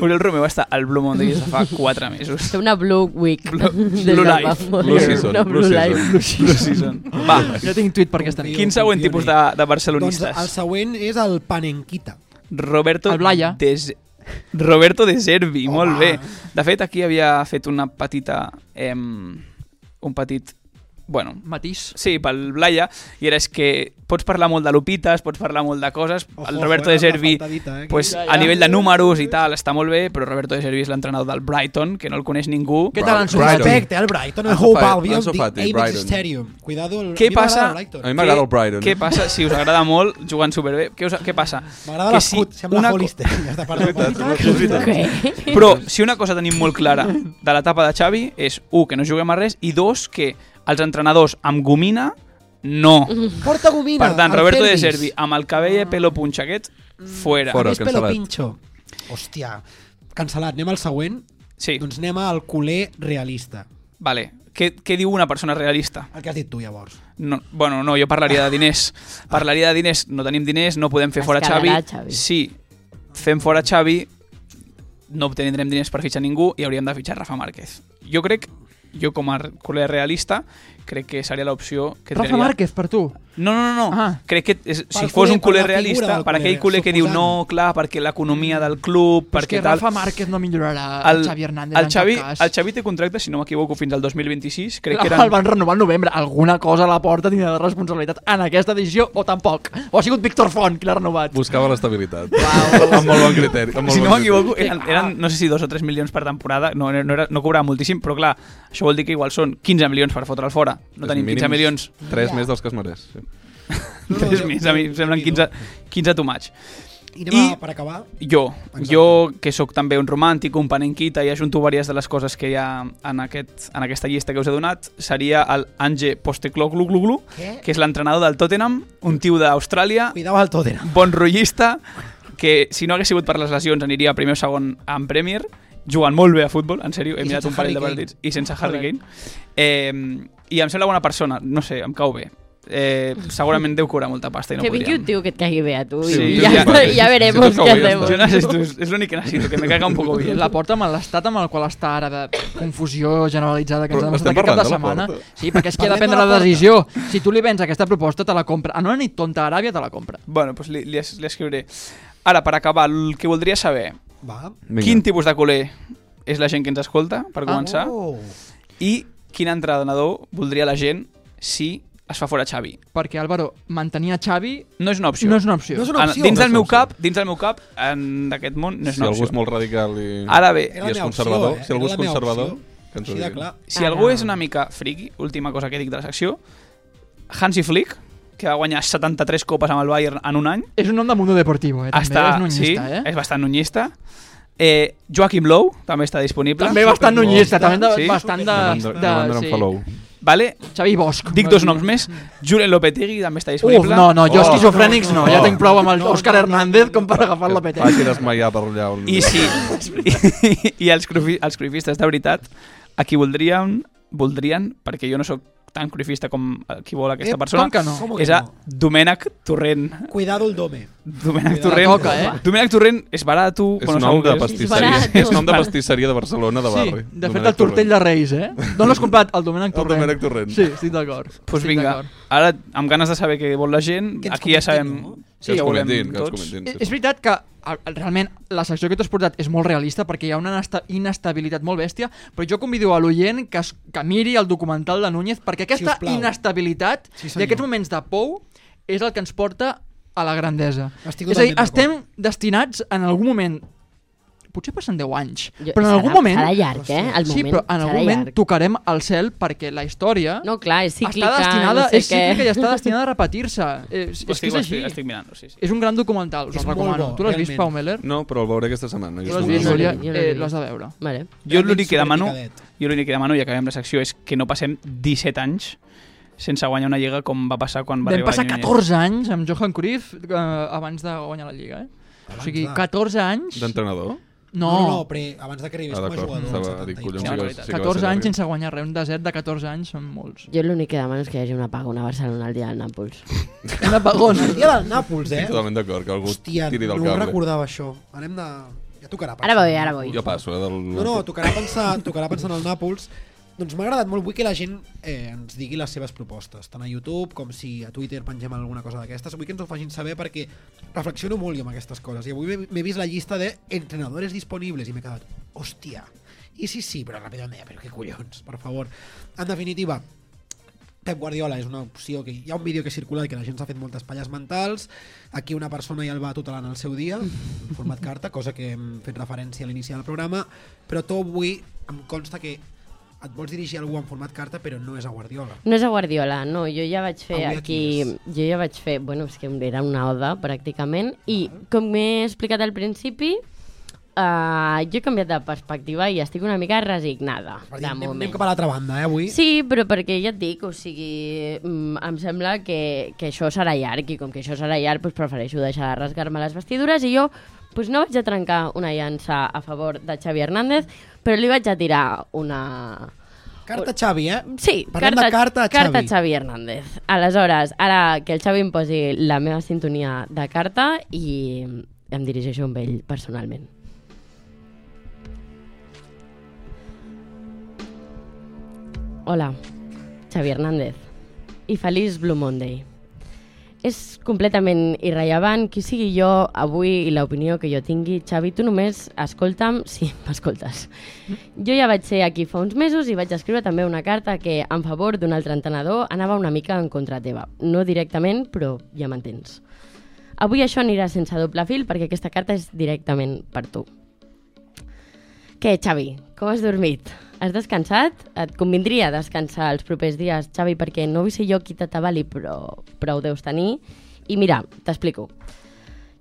[SPEAKER 7] Oriol Romeu està al Blue Monday des de fa 4 mesos.
[SPEAKER 8] Té una Blue Week.
[SPEAKER 7] Blue-
[SPEAKER 8] Des
[SPEAKER 7] Blue
[SPEAKER 8] del
[SPEAKER 7] Life.
[SPEAKER 8] Vapor.
[SPEAKER 10] Blue Season,
[SPEAKER 8] Una
[SPEAKER 10] Blue
[SPEAKER 8] Blue
[SPEAKER 10] Season.
[SPEAKER 8] Life.
[SPEAKER 7] Blue season. Va,
[SPEAKER 6] Jo tinc tuit per aquesta nit.
[SPEAKER 7] quin següent tipus de, de
[SPEAKER 5] Doncs
[SPEAKER 7] barcelonistes?
[SPEAKER 5] el següent és el Panenquita.
[SPEAKER 7] Roberto
[SPEAKER 6] El Blaya.
[SPEAKER 7] Des... Roberto De Servi,
[SPEAKER 5] Home.
[SPEAKER 7] molt bé. De fet, aquí havia fet una petita... Em... Un petit bueno,
[SPEAKER 6] Matís.
[SPEAKER 7] sí, pel Blaia, i era és que pots parlar molt de lupites, pots parlar molt de coses, el
[SPEAKER 5] Ojo,
[SPEAKER 7] Roberto
[SPEAKER 5] eh,
[SPEAKER 7] de
[SPEAKER 5] la
[SPEAKER 7] Servi,
[SPEAKER 5] faltadita, eh,
[SPEAKER 7] pues,
[SPEAKER 5] aquí.
[SPEAKER 7] a nivell de números i tal, està molt bé, però Roberto de Servi és l'entrenador del Brighton, que no el coneix ningú.
[SPEAKER 6] Què tal, Ansu?
[SPEAKER 10] Brighton.
[SPEAKER 5] Respecte al Brighton, el
[SPEAKER 10] Ansu
[SPEAKER 5] Hope
[SPEAKER 10] Fati,
[SPEAKER 5] Albion,
[SPEAKER 10] Ansu
[SPEAKER 5] the
[SPEAKER 10] Fati,
[SPEAKER 5] Apex
[SPEAKER 10] Brighton.
[SPEAKER 5] Stadium. Cuidado, el...
[SPEAKER 7] Què
[SPEAKER 5] a mi m'agrada
[SPEAKER 7] passa?
[SPEAKER 5] el Brighton.
[SPEAKER 10] A mi m'agrada
[SPEAKER 7] Què-
[SPEAKER 10] el Brighton.
[SPEAKER 7] Què passa? Si us agrada molt, jugant superbé. Què, us, què passa?
[SPEAKER 5] M'agrada
[SPEAKER 7] Que
[SPEAKER 5] l'escut, sembla
[SPEAKER 7] co-
[SPEAKER 5] Hollister. Ja està, perdó.
[SPEAKER 8] Què?
[SPEAKER 7] Però si una cosa tenim molt clara de l'etapa de Xavi és, un, que no juguem a res, i dos, que els entrenadors amb gomina, no.
[SPEAKER 5] Porta gomina,
[SPEAKER 7] Per tant,
[SPEAKER 5] el
[SPEAKER 7] Roberto de
[SPEAKER 5] Pelvis.
[SPEAKER 7] Servi, amb el cabell de pelo punxaquet,
[SPEAKER 5] Ah.
[SPEAKER 7] fuera.
[SPEAKER 10] Fora.
[SPEAKER 5] Més pelo
[SPEAKER 10] cancel·lat.
[SPEAKER 5] pincho. Hòstia, cancel·lat. Anem al següent?
[SPEAKER 7] Sí,
[SPEAKER 5] Doncs anem al culer realista.
[SPEAKER 7] vale. Què, què diu una persona realista?
[SPEAKER 5] El que has dit tu, llavors.
[SPEAKER 7] No, bueno, no, jo parlaria de diners. Parlaria de diners. No tenim diners, no podem fer
[SPEAKER 8] Es
[SPEAKER 7] fora Xavi.
[SPEAKER 8] quedarà Xavi.
[SPEAKER 7] Si fem fora Xavi, no obtindrem diners per fitxar ningú i hauríem de fitxar Rafa Márquez. Jo crec, jo com a culer realista, crec que seria l'opció que
[SPEAKER 6] Rafa
[SPEAKER 7] triaria.
[SPEAKER 6] Márquez, per tu.
[SPEAKER 7] No, no, no, no.
[SPEAKER 6] Ah.
[SPEAKER 7] Crec que és, si
[SPEAKER 5] culer,
[SPEAKER 7] fos un
[SPEAKER 5] per
[SPEAKER 7] culer
[SPEAKER 5] la figura
[SPEAKER 7] realista,
[SPEAKER 5] del
[SPEAKER 7] per aquell
[SPEAKER 5] culer,
[SPEAKER 7] culer que diu
[SPEAKER 5] suposant.
[SPEAKER 7] no, clar, perquè l'economia del club,
[SPEAKER 6] Però és
[SPEAKER 7] perquè
[SPEAKER 6] que
[SPEAKER 7] tal...
[SPEAKER 6] Rafa Márquez no millorarà el, Xavi Hernández
[SPEAKER 7] el Xavi,
[SPEAKER 6] en cap cas.
[SPEAKER 7] el Xavi té contracte, si no m'equivoco, fins al 2026. Crec que
[SPEAKER 6] Eren...
[SPEAKER 7] eren...
[SPEAKER 6] El van renovar al novembre. Alguna cosa a la porta tindrà de responsabilitat en aquesta edició o tampoc. O ha sigut Víctor Font qui l'ha renovat.
[SPEAKER 10] Buscava l'estabilitat. amb molt bon criteri. Amb molt
[SPEAKER 7] si no
[SPEAKER 10] bon
[SPEAKER 7] m'equivoco,
[SPEAKER 6] Sí,
[SPEAKER 7] eren,
[SPEAKER 6] clar.
[SPEAKER 7] eren, no sé si dos o tres milions per temporada, no, no, era, no cobrava moltíssim, però clar, això vol dir que igual són 15 milions per fotre'l fora. No tenim 15 milions,
[SPEAKER 10] 3 més dels que es mereix. Sí.
[SPEAKER 7] tres més, a mi em semblen 15, 15 to match.
[SPEAKER 5] I anem
[SPEAKER 7] I-
[SPEAKER 5] I... A, per acabar.
[SPEAKER 7] Jo, jo que sóc també un romàntic, un panenquita i ajunto diverses de les coses que hi ha en, aquest, en aquesta llista que us he donat, seria el Ange Postecloglu,
[SPEAKER 5] Què?
[SPEAKER 7] que és l'entrenador del Tottenham, un tio d'Austràlia,
[SPEAKER 5] Cuidao al Tottenham.
[SPEAKER 7] bon rotllista, que si no hagués sigut per les lesions aniria primer o segon en Premier, jugant molt bé a futbol, en sèrio, he
[SPEAKER 5] I
[SPEAKER 7] mirat
[SPEAKER 5] sense
[SPEAKER 7] un parell de
[SPEAKER 5] Harry
[SPEAKER 7] partits, i sense Harry Kane. Eh, I em sembla bona persona, no sé, em cau bé. Eh, segurament deu cobrar molta pasta i no
[SPEAKER 8] que vingui
[SPEAKER 7] podríem.
[SPEAKER 8] un tio que et cagui bé a tu
[SPEAKER 7] Sí,
[SPEAKER 8] y
[SPEAKER 7] un
[SPEAKER 8] ya,
[SPEAKER 7] tio que-
[SPEAKER 8] ya veremos
[SPEAKER 10] Sí, toca
[SPEAKER 8] qué
[SPEAKER 10] avui,
[SPEAKER 8] hacemos.
[SPEAKER 7] Yo necesito, es lo único que necesito, que me caga un poco bien.
[SPEAKER 6] La porta amb l'estat amb el qual està ara de confusió generalitzada que ens
[SPEAKER 10] Però
[SPEAKER 6] ha demostrat
[SPEAKER 10] estem
[SPEAKER 6] aquest cap de setmana.
[SPEAKER 10] parlant de la
[SPEAKER 6] Sí, perquè és qui ha de
[SPEAKER 5] Parlem de
[SPEAKER 6] prendre
[SPEAKER 5] la
[SPEAKER 6] la
[SPEAKER 5] porta.
[SPEAKER 6] decisió. Si tu li vens aquesta proposta, te la compra. En una nit tonta a Aràbia te la compra.
[SPEAKER 7] Bueno, pues li, li, es- li escriuré. Ara, per acabar, el que voldria saber,
[SPEAKER 5] Va.
[SPEAKER 7] Vinga. quin tipus de culer és la gent que ens escolta, per començar,
[SPEAKER 5] Oh.
[SPEAKER 7] i quin entrenador voldria la gent si es fa fora Xavi.
[SPEAKER 6] Perquè, Álvaro, mantenir a Xavi
[SPEAKER 7] No és una opció.
[SPEAKER 6] no és una opció.
[SPEAKER 5] No és una
[SPEAKER 7] En-
[SPEAKER 5] opció.
[SPEAKER 7] Dins
[SPEAKER 5] No
[SPEAKER 7] del
[SPEAKER 5] és
[SPEAKER 7] meu
[SPEAKER 5] una
[SPEAKER 7] cap, dins del meu cap, en d'aquest món, no és
[SPEAKER 10] Si
[SPEAKER 7] una
[SPEAKER 10] algú
[SPEAKER 7] opció.
[SPEAKER 10] és molt radical i,
[SPEAKER 7] Ara bé,
[SPEAKER 5] Era la
[SPEAKER 10] i és
[SPEAKER 5] meva
[SPEAKER 10] conservador,
[SPEAKER 5] opció, eh?
[SPEAKER 10] si algú
[SPEAKER 5] Era
[SPEAKER 10] és
[SPEAKER 5] la meva
[SPEAKER 10] conservador,
[SPEAKER 5] opció.
[SPEAKER 10] que ens ho
[SPEAKER 5] Així de
[SPEAKER 10] digui.
[SPEAKER 5] clar.
[SPEAKER 7] si algú és una mica friki, última cosa que dic de la secció, Hansi Flick, que va guanyar 73 copes amb el Bayern en un any,
[SPEAKER 6] És un nom de Mundo Deportivo, eh? També
[SPEAKER 7] Ah, està,
[SPEAKER 6] és nunyista,
[SPEAKER 7] sí,
[SPEAKER 6] eh?
[SPEAKER 7] és bastant nunyista. Eh, Joaquim Lou també està disponible.
[SPEAKER 6] També bastant nunyista, també de,
[SPEAKER 7] Sí?
[SPEAKER 6] bastant de...
[SPEAKER 10] Demanda- demanda en
[SPEAKER 6] sí.
[SPEAKER 10] Falou.
[SPEAKER 7] Vale?
[SPEAKER 6] Xavi Bosch.
[SPEAKER 7] Dic dos noms més. Julien Lopetegui també està
[SPEAKER 6] Uf,
[SPEAKER 7] disponible.
[SPEAKER 6] no, no, jo
[SPEAKER 10] Oh,
[SPEAKER 6] esquizofrènics no, ja
[SPEAKER 10] no.
[SPEAKER 6] tinc prou amb el Òscar Hernández com per agafar la
[SPEAKER 10] Que
[SPEAKER 6] peta.
[SPEAKER 10] Faci desmaiar per allà. On...
[SPEAKER 7] I sí, i, i els, crufi, els cruifistes de veritat, a qui voldrien, voldrien, perquè jo no sóc tan cruifista com el qui vol aquesta
[SPEAKER 6] Eh,
[SPEAKER 7] persona,
[SPEAKER 6] com que no?
[SPEAKER 5] Com que
[SPEAKER 7] és a
[SPEAKER 5] no?
[SPEAKER 7] Domènec Torrent.
[SPEAKER 5] Cuidado el dome.
[SPEAKER 7] Domènec
[SPEAKER 5] Cuidado.
[SPEAKER 7] Torrent.
[SPEAKER 6] Toca, eh?
[SPEAKER 7] Domènec Torrent és barat, tu...
[SPEAKER 10] És nom de pastisseria.
[SPEAKER 8] Barato.
[SPEAKER 10] És nom de pastisseria de Barcelona de
[SPEAKER 6] Sí,
[SPEAKER 10] barri.
[SPEAKER 6] de fet el tortell de Reis, eh? D'on l'has comprat? El Domènec
[SPEAKER 10] El
[SPEAKER 6] Torrent.
[SPEAKER 10] Domènec Torrent.
[SPEAKER 6] Sí, estic d'acord.
[SPEAKER 8] Doncs
[SPEAKER 7] Pues
[SPEAKER 6] Estic
[SPEAKER 7] vinga,
[SPEAKER 6] d'acord.
[SPEAKER 7] ara amb ganes de saber què vol la gent,
[SPEAKER 5] Que ens
[SPEAKER 7] aquí ja
[SPEAKER 5] comentin,
[SPEAKER 7] sabem...
[SPEAKER 5] no?
[SPEAKER 10] Sí, que ens comentin, que ens
[SPEAKER 7] tots.
[SPEAKER 10] comentin.
[SPEAKER 6] És Eh, és veritat que a- a- realment la secció que t'has portat és molt realista perquè hi ha una inesta- inestabilitat molt bèstia, però jo convido a l'oient que, es- que miri el documental de Núñez perquè aquesta
[SPEAKER 5] Sisplau.
[SPEAKER 6] inestabilitat
[SPEAKER 5] Sí,
[SPEAKER 6] i
[SPEAKER 5] senyor.
[SPEAKER 6] aquests moments de pou és el que ens porta a la grandesa.
[SPEAKER 5] Estic
[SPEAKER 6] és a dir,
[SPEAKER 5] totalment
[SPEAKER 6] estem destinats en algun moment, potser passen 10 anys,
[SPEAKER 8] Jo-
[SPEAKER 6] però en
[SPEAKER 8] serà-
[SPEAKER 6] algun moment...
[SPEAKER 8] Serà llarg, eh? El moment,
[SPEAKER 6] sí, però en
[SPEAKER 8] serà
[SPEAKER 6] algun moment
[SPEAKER 8] llarg.
[SPEAKER 6] tocarem el cel perquè la història
[SPEAKER 8] No, clar, és cíclica,
[SPEAKER 6] està destinada,
[SPEAKER 8] no sé
[SPEAKER 6] és cíclica
[SPEAKER 8] què.
[SPEAKER 6] i està destinada a repetir-se. Eh, És, és que
[SPEAKER 7] Estic,
[SPEAKER 6] és així.
[SPEAKER 7] estic, estic mirant sí, sí.
[SPEAKER 6] És un gran documental, us
[SPEAKER 5] És
[SPEAKER 6] el
[SPEAKER 5] molt
[SPEAKER 6] recomano.
[SPEAKER 5] bo,
[SPEAKER 6] tu l'has vist,
[SPEAKER 5] realment.
[SPEAKER 6] Pau Meller?
[SPEAKER 10] No, però el veuré aquesta setmana.
[SPEAKER 6] Tu
[SPEAKER 10] Jo
[SPEAKER 6] l'has
[SPEAKER 10] estic
[SPEAKER 6] vist,
[SPEAKER 8] no,
[SPEAKER 10] molt
[SPEAKER 6] Julià?
[SPEAKER 8] no, no, no,
[SPEAKER 6] Eh,
[SPEAKER 8] no.
[SPEAKER 6] L'has de veure.
[SPEAKER 8] Vale.
[SPEAKER 7] Jo l'únic que demano,
[SPEAKER 5] Superpicadet.
[SPEAKER 7] jo l'únic que demano, i acabem la secció, és que no passem 17 anys sense guanyar una lliga com va passar quan va
[SPEAKER 6] Vam
[SPEAKER 7] arribar
[SPEAKER 6] passar
[SPEAKER 7] Núñez.
[SPEAKER 6] 14 anys amb Johan Cruyff eh, abans de guanyar la Lliga, eh? o sigui,
[SPEAKER 5] va.
[SPEAKER 6] 14 anys...
[SPEAKER 10] D'entrenador?
[SPEAKER 6] No,
[SPEAKER 5] no, no, però abans de que arribés
[SPEAKER 10] Ah,
[SPEAKER 5] com a
[SPEAKER 10] d'acord.
[SPEAKER 5] jugador.
[SPEAKER 10] Estava
[SPEAKER 5] al 70 i
[SPEAKER 10] dic,
[SPEAKER 5] pico.
[SPEAKER 10] collons, sí
[SPEAKER 7] Quina
[SPEAKER 10] que va- sí
[SPEAKER 7] bèstia.
[SPEAKER 10] que va ser
[SPEAKER 6] 14 anys
[SPEAKER 10] llarg.
[SPEAKER 6] sense guanyar res. Un desert de 14 anys són molts.
[SPEAKER 8] Jo l'únic que demano és que hi hagi una paga, una Barcelona al dia del Nàpols.
[SPEAKER 6] Un apagón.
[SPEAKER 5] El dia del Nàpols, eh?
[SPEAKER 10] Estic totalment d'acord que algú
[SPEAKER 5] Hòstia,
[SPEAKER 10] tiri del
[SPEAKER 5] no
[SPEAKER 10] cable.
[SPEAKER 5] recordava això. Anem de... Ja tocarà.
[SPEAKER 8] Ara
[SPEAKER 5] pensar
[SPEAKER 8] voy,
[SPEAKER 5] en
[SPEAKER 8] ara
[SPEAKER 5] Nàpols.
[SPEAKER 8] voy.
[SPEAKER 10] Jo passo, eh? Del...
[SPEAKER 5] No, no, tocarà pensar, tocarà pensar en el Nàpols. Doncs m'ha agradat molt, vull que la gent eh, ens digui les seves propostes, tant a YouTube com si a Twitter pengem alguna cosa d'aquestes. Vull que ens ho facin saber perquè reflexiono molt jo amb aquestes coses. I avui m'he- m'he vist la llista de entrenadores disponibles i m'he quedat, hòstia, i sí, sí, però ràpidament, però què collons, per favor. En definitiva, Pep Guardiola és una opció que hi ha un vídeo que circula que la gent s'ha fet moltes palles mentals aquí una persona ja el va tutelant al seu dia en format carta, cosa que hem fet referència a l'inici del programa, però tu avui em consta que et vols dirigir a algú en format carta però no és a Guardiola
[SPEAKER 8] No és a Guardiola, no, jo ja vaig fer
[SPEAKER 5] Avui a qui
[SPEAKER 8] aquí... Jo ja vaig fer... Bueno, és que era una oda, pràcticament, i com he explicat al principi, uh, jo he canviat de perspectiva i estic una mica resignada,
[SPEAKER 5] Per dir,
[SPEAKER 8] de
[SPEAKER 5] anem, anem
[SPEAKER 8] moment.
[SPEAKER 5] cap a l'altra banda, eh, avui
[SPEAKER 8] Sí, però perquè ja et dic, o sigui, mm, em sembla que, que això serà llarg i com que això serà llarg doncs prefereixo deixar de rasgar-me les vestidures i jo doncs no vaig a trencar una llança a favor de Xavi Hernández, però li vaig a tirar una...
[SPEAKER 5] Carta Xavi, eh?
[SPEAKER 8] Sí,
[SPEAKER 5] Parlem de carta a Xavi.
[SPEAKER 8] carta a Xavi Hernández. Aleshores, ara que el Xavi em posi la meva sintonia de carta i em dirigeixo amb ell personalment. Hola, Xavi Hernández i feliç Blue Monday. És completament irrellevant qui sigui jo avui i l'opinió que jo tingui. Xavi, tu només escolta'm si m'escoltes. Jo ja vaig ser aquí fa uns mesos i vaig escriure també una carta que, en favor d'un altre entrenador, anava una mica en contra teva. No directament, però ja m'entens. Avui això anirà sense doble fil perquè aquesta carta és directament per tu. Què, Xavi? Com has dormit? Has descansat? Et convindria descansar els propers dies, Xavi, perquè no vull ser jo qui t'atabali, però, però ho deus tenir. I mira, t'explico.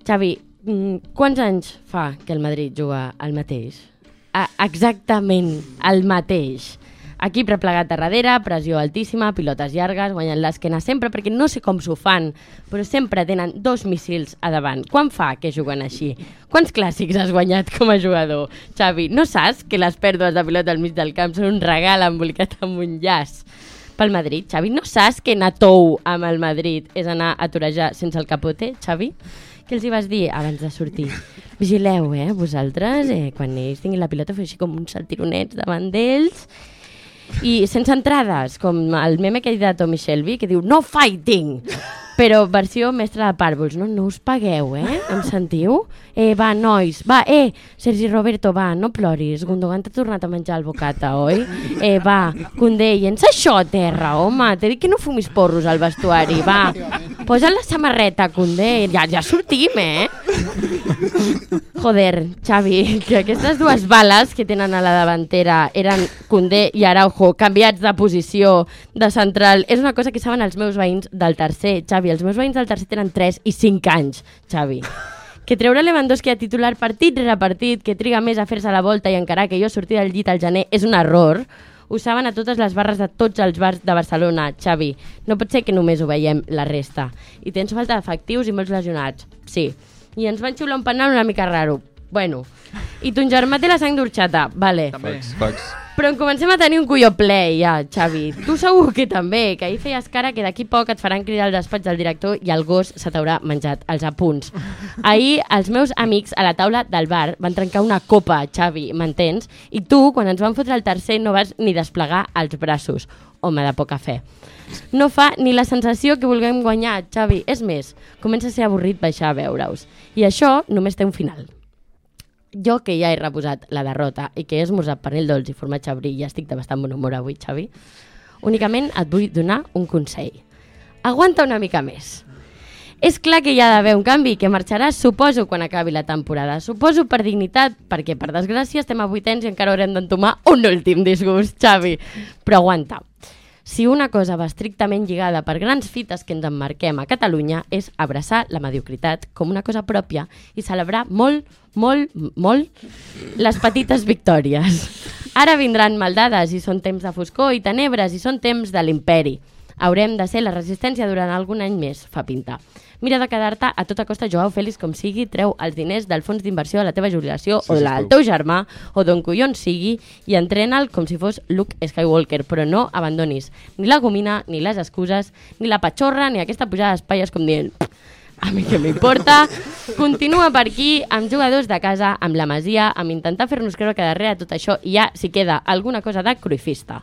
[SPEAKER 8] Xavi, mm, quants anys fa que el Madrid juga al mateix? A exactament el mateix. Equip replegat a darrere, pressió altíssima, pilotes llargues, guanyant l'esquena sempre, perquè no sé com s'ho fan, però sempre tenen dos missils a davant. Quan fa que juguen així? Quants clàssics has guanyat com a jugador? Xavi, no saps que les pèrdues de pilota al mig del camp són un regal embolicat amb un llaç? Pel Madrid, Xavi, no saps que anar tou amb el Madrid és anar a torejar sense el capote, Xavi? Què els hi vas dir abans de sortir? Vigileu, eh, vosaltres, eh, quan ells tinguin la pilota, feu així com uns saltironets davant d'ells i sense entrades, com el meme aquell de Tommy Shelby que diu no fighting, però versió mestra de pàrvols, no, no us pagueu, eh? Em sentiu? Eh, va, nois, va, eh, Sergi Roberto, va, no ploris, Gundogan t'ha tornat a menjar el bocata, oi? Eh, va, Condé, llença això a terra, home, t'he dit que no fumis porros al vestuari, va, posa la samarreta, Condé, ja, ja sortim, eh? Joder, Xavi, que aquestes dues bales que tenen a la davantera eren Condé i Araujo, canviats de posició de central, és una cosa que saben els meus veïns del tercer, Xavi. Els meus veïns del tercer tenen 3 i 5 anys, Xavi. Que treure Lewandowski a titular partit rere partit, que triga més a fer-se la volta i encarar que jo sortir del llit al gener és un error, ho saben a totes les barres de tots els bars de Barcelona, Xavi. No pot ser que només ho veiem la resta. I tens falta d'efectius i molts lesionats. Sí. I ens van xiular un penal una mica raro. Bueno. I ton germà té la sang d'orxata. Vale.
[SPEAKER 6] També.
[SPEAKER 9] Fax.
[SPEAKER 8] Però en comencem a tenir un colló ple ja, Xavi. Tu segur que també, que ahir feies cara que d'aquí poc et faran cridar al despatx del director i el gos se t'haurà menjat els apunts. Ahir els meus amics a la taula del bar van trencar una copa, Xavi, m'entens? I tu, quan ens van fotre el tercer, no vas ni desplegar els braços. Home, de poca fe. No fa ni la sensació que vulguem guanyar, Xavi. És més, comença a ser avorrit baixar a veure-us. I això només té un final. Jo que ja he reposat la derrota i que he esmorzat pernil dolç i formatge brí i estic de bastant bon humor avui, Xavi, únicament et vull donar un consell. Aguanta una mica més. És clar que hi ha d'haver un canvi, que marxaràs, suposo, quan acabi la temporada. Suposo per dignitat, perquè, per desgràcia, estem a vuitens i encara haurem d'entomar un últim disgust, Xavi. Però aguanta. Si una cosa va estrictament lligada per grans fites que ens emmarquem a Catalunya és abraçar la mediocritat com una cosa pròpia i celebrar molt, molt, molt les petites victòries. Ara vindran maldades i són temps de foscor i tenebres i són temps de l'imperi. Haurem de ser la resistència durant algun any més, fa pinta. Mira de quedar-te a tota costa, Joao Félix, com sigui, treu els diners del fons d'inversió de la teva jubilació sí, o del teu germà o d'on collons sigui i entrena'l com si fos Luke Skywalker, però no abandonis ni la gomina, ni les excuses, ni la patxorra, ni aquesta pujada d'espatlles com dient a mi que m'importa. Continua per aquí amb jugadors de casa, amb la masia, amb intentar fer-nos creure que darrere de tot això hi ha, si queda, alguna cosa de cruifista.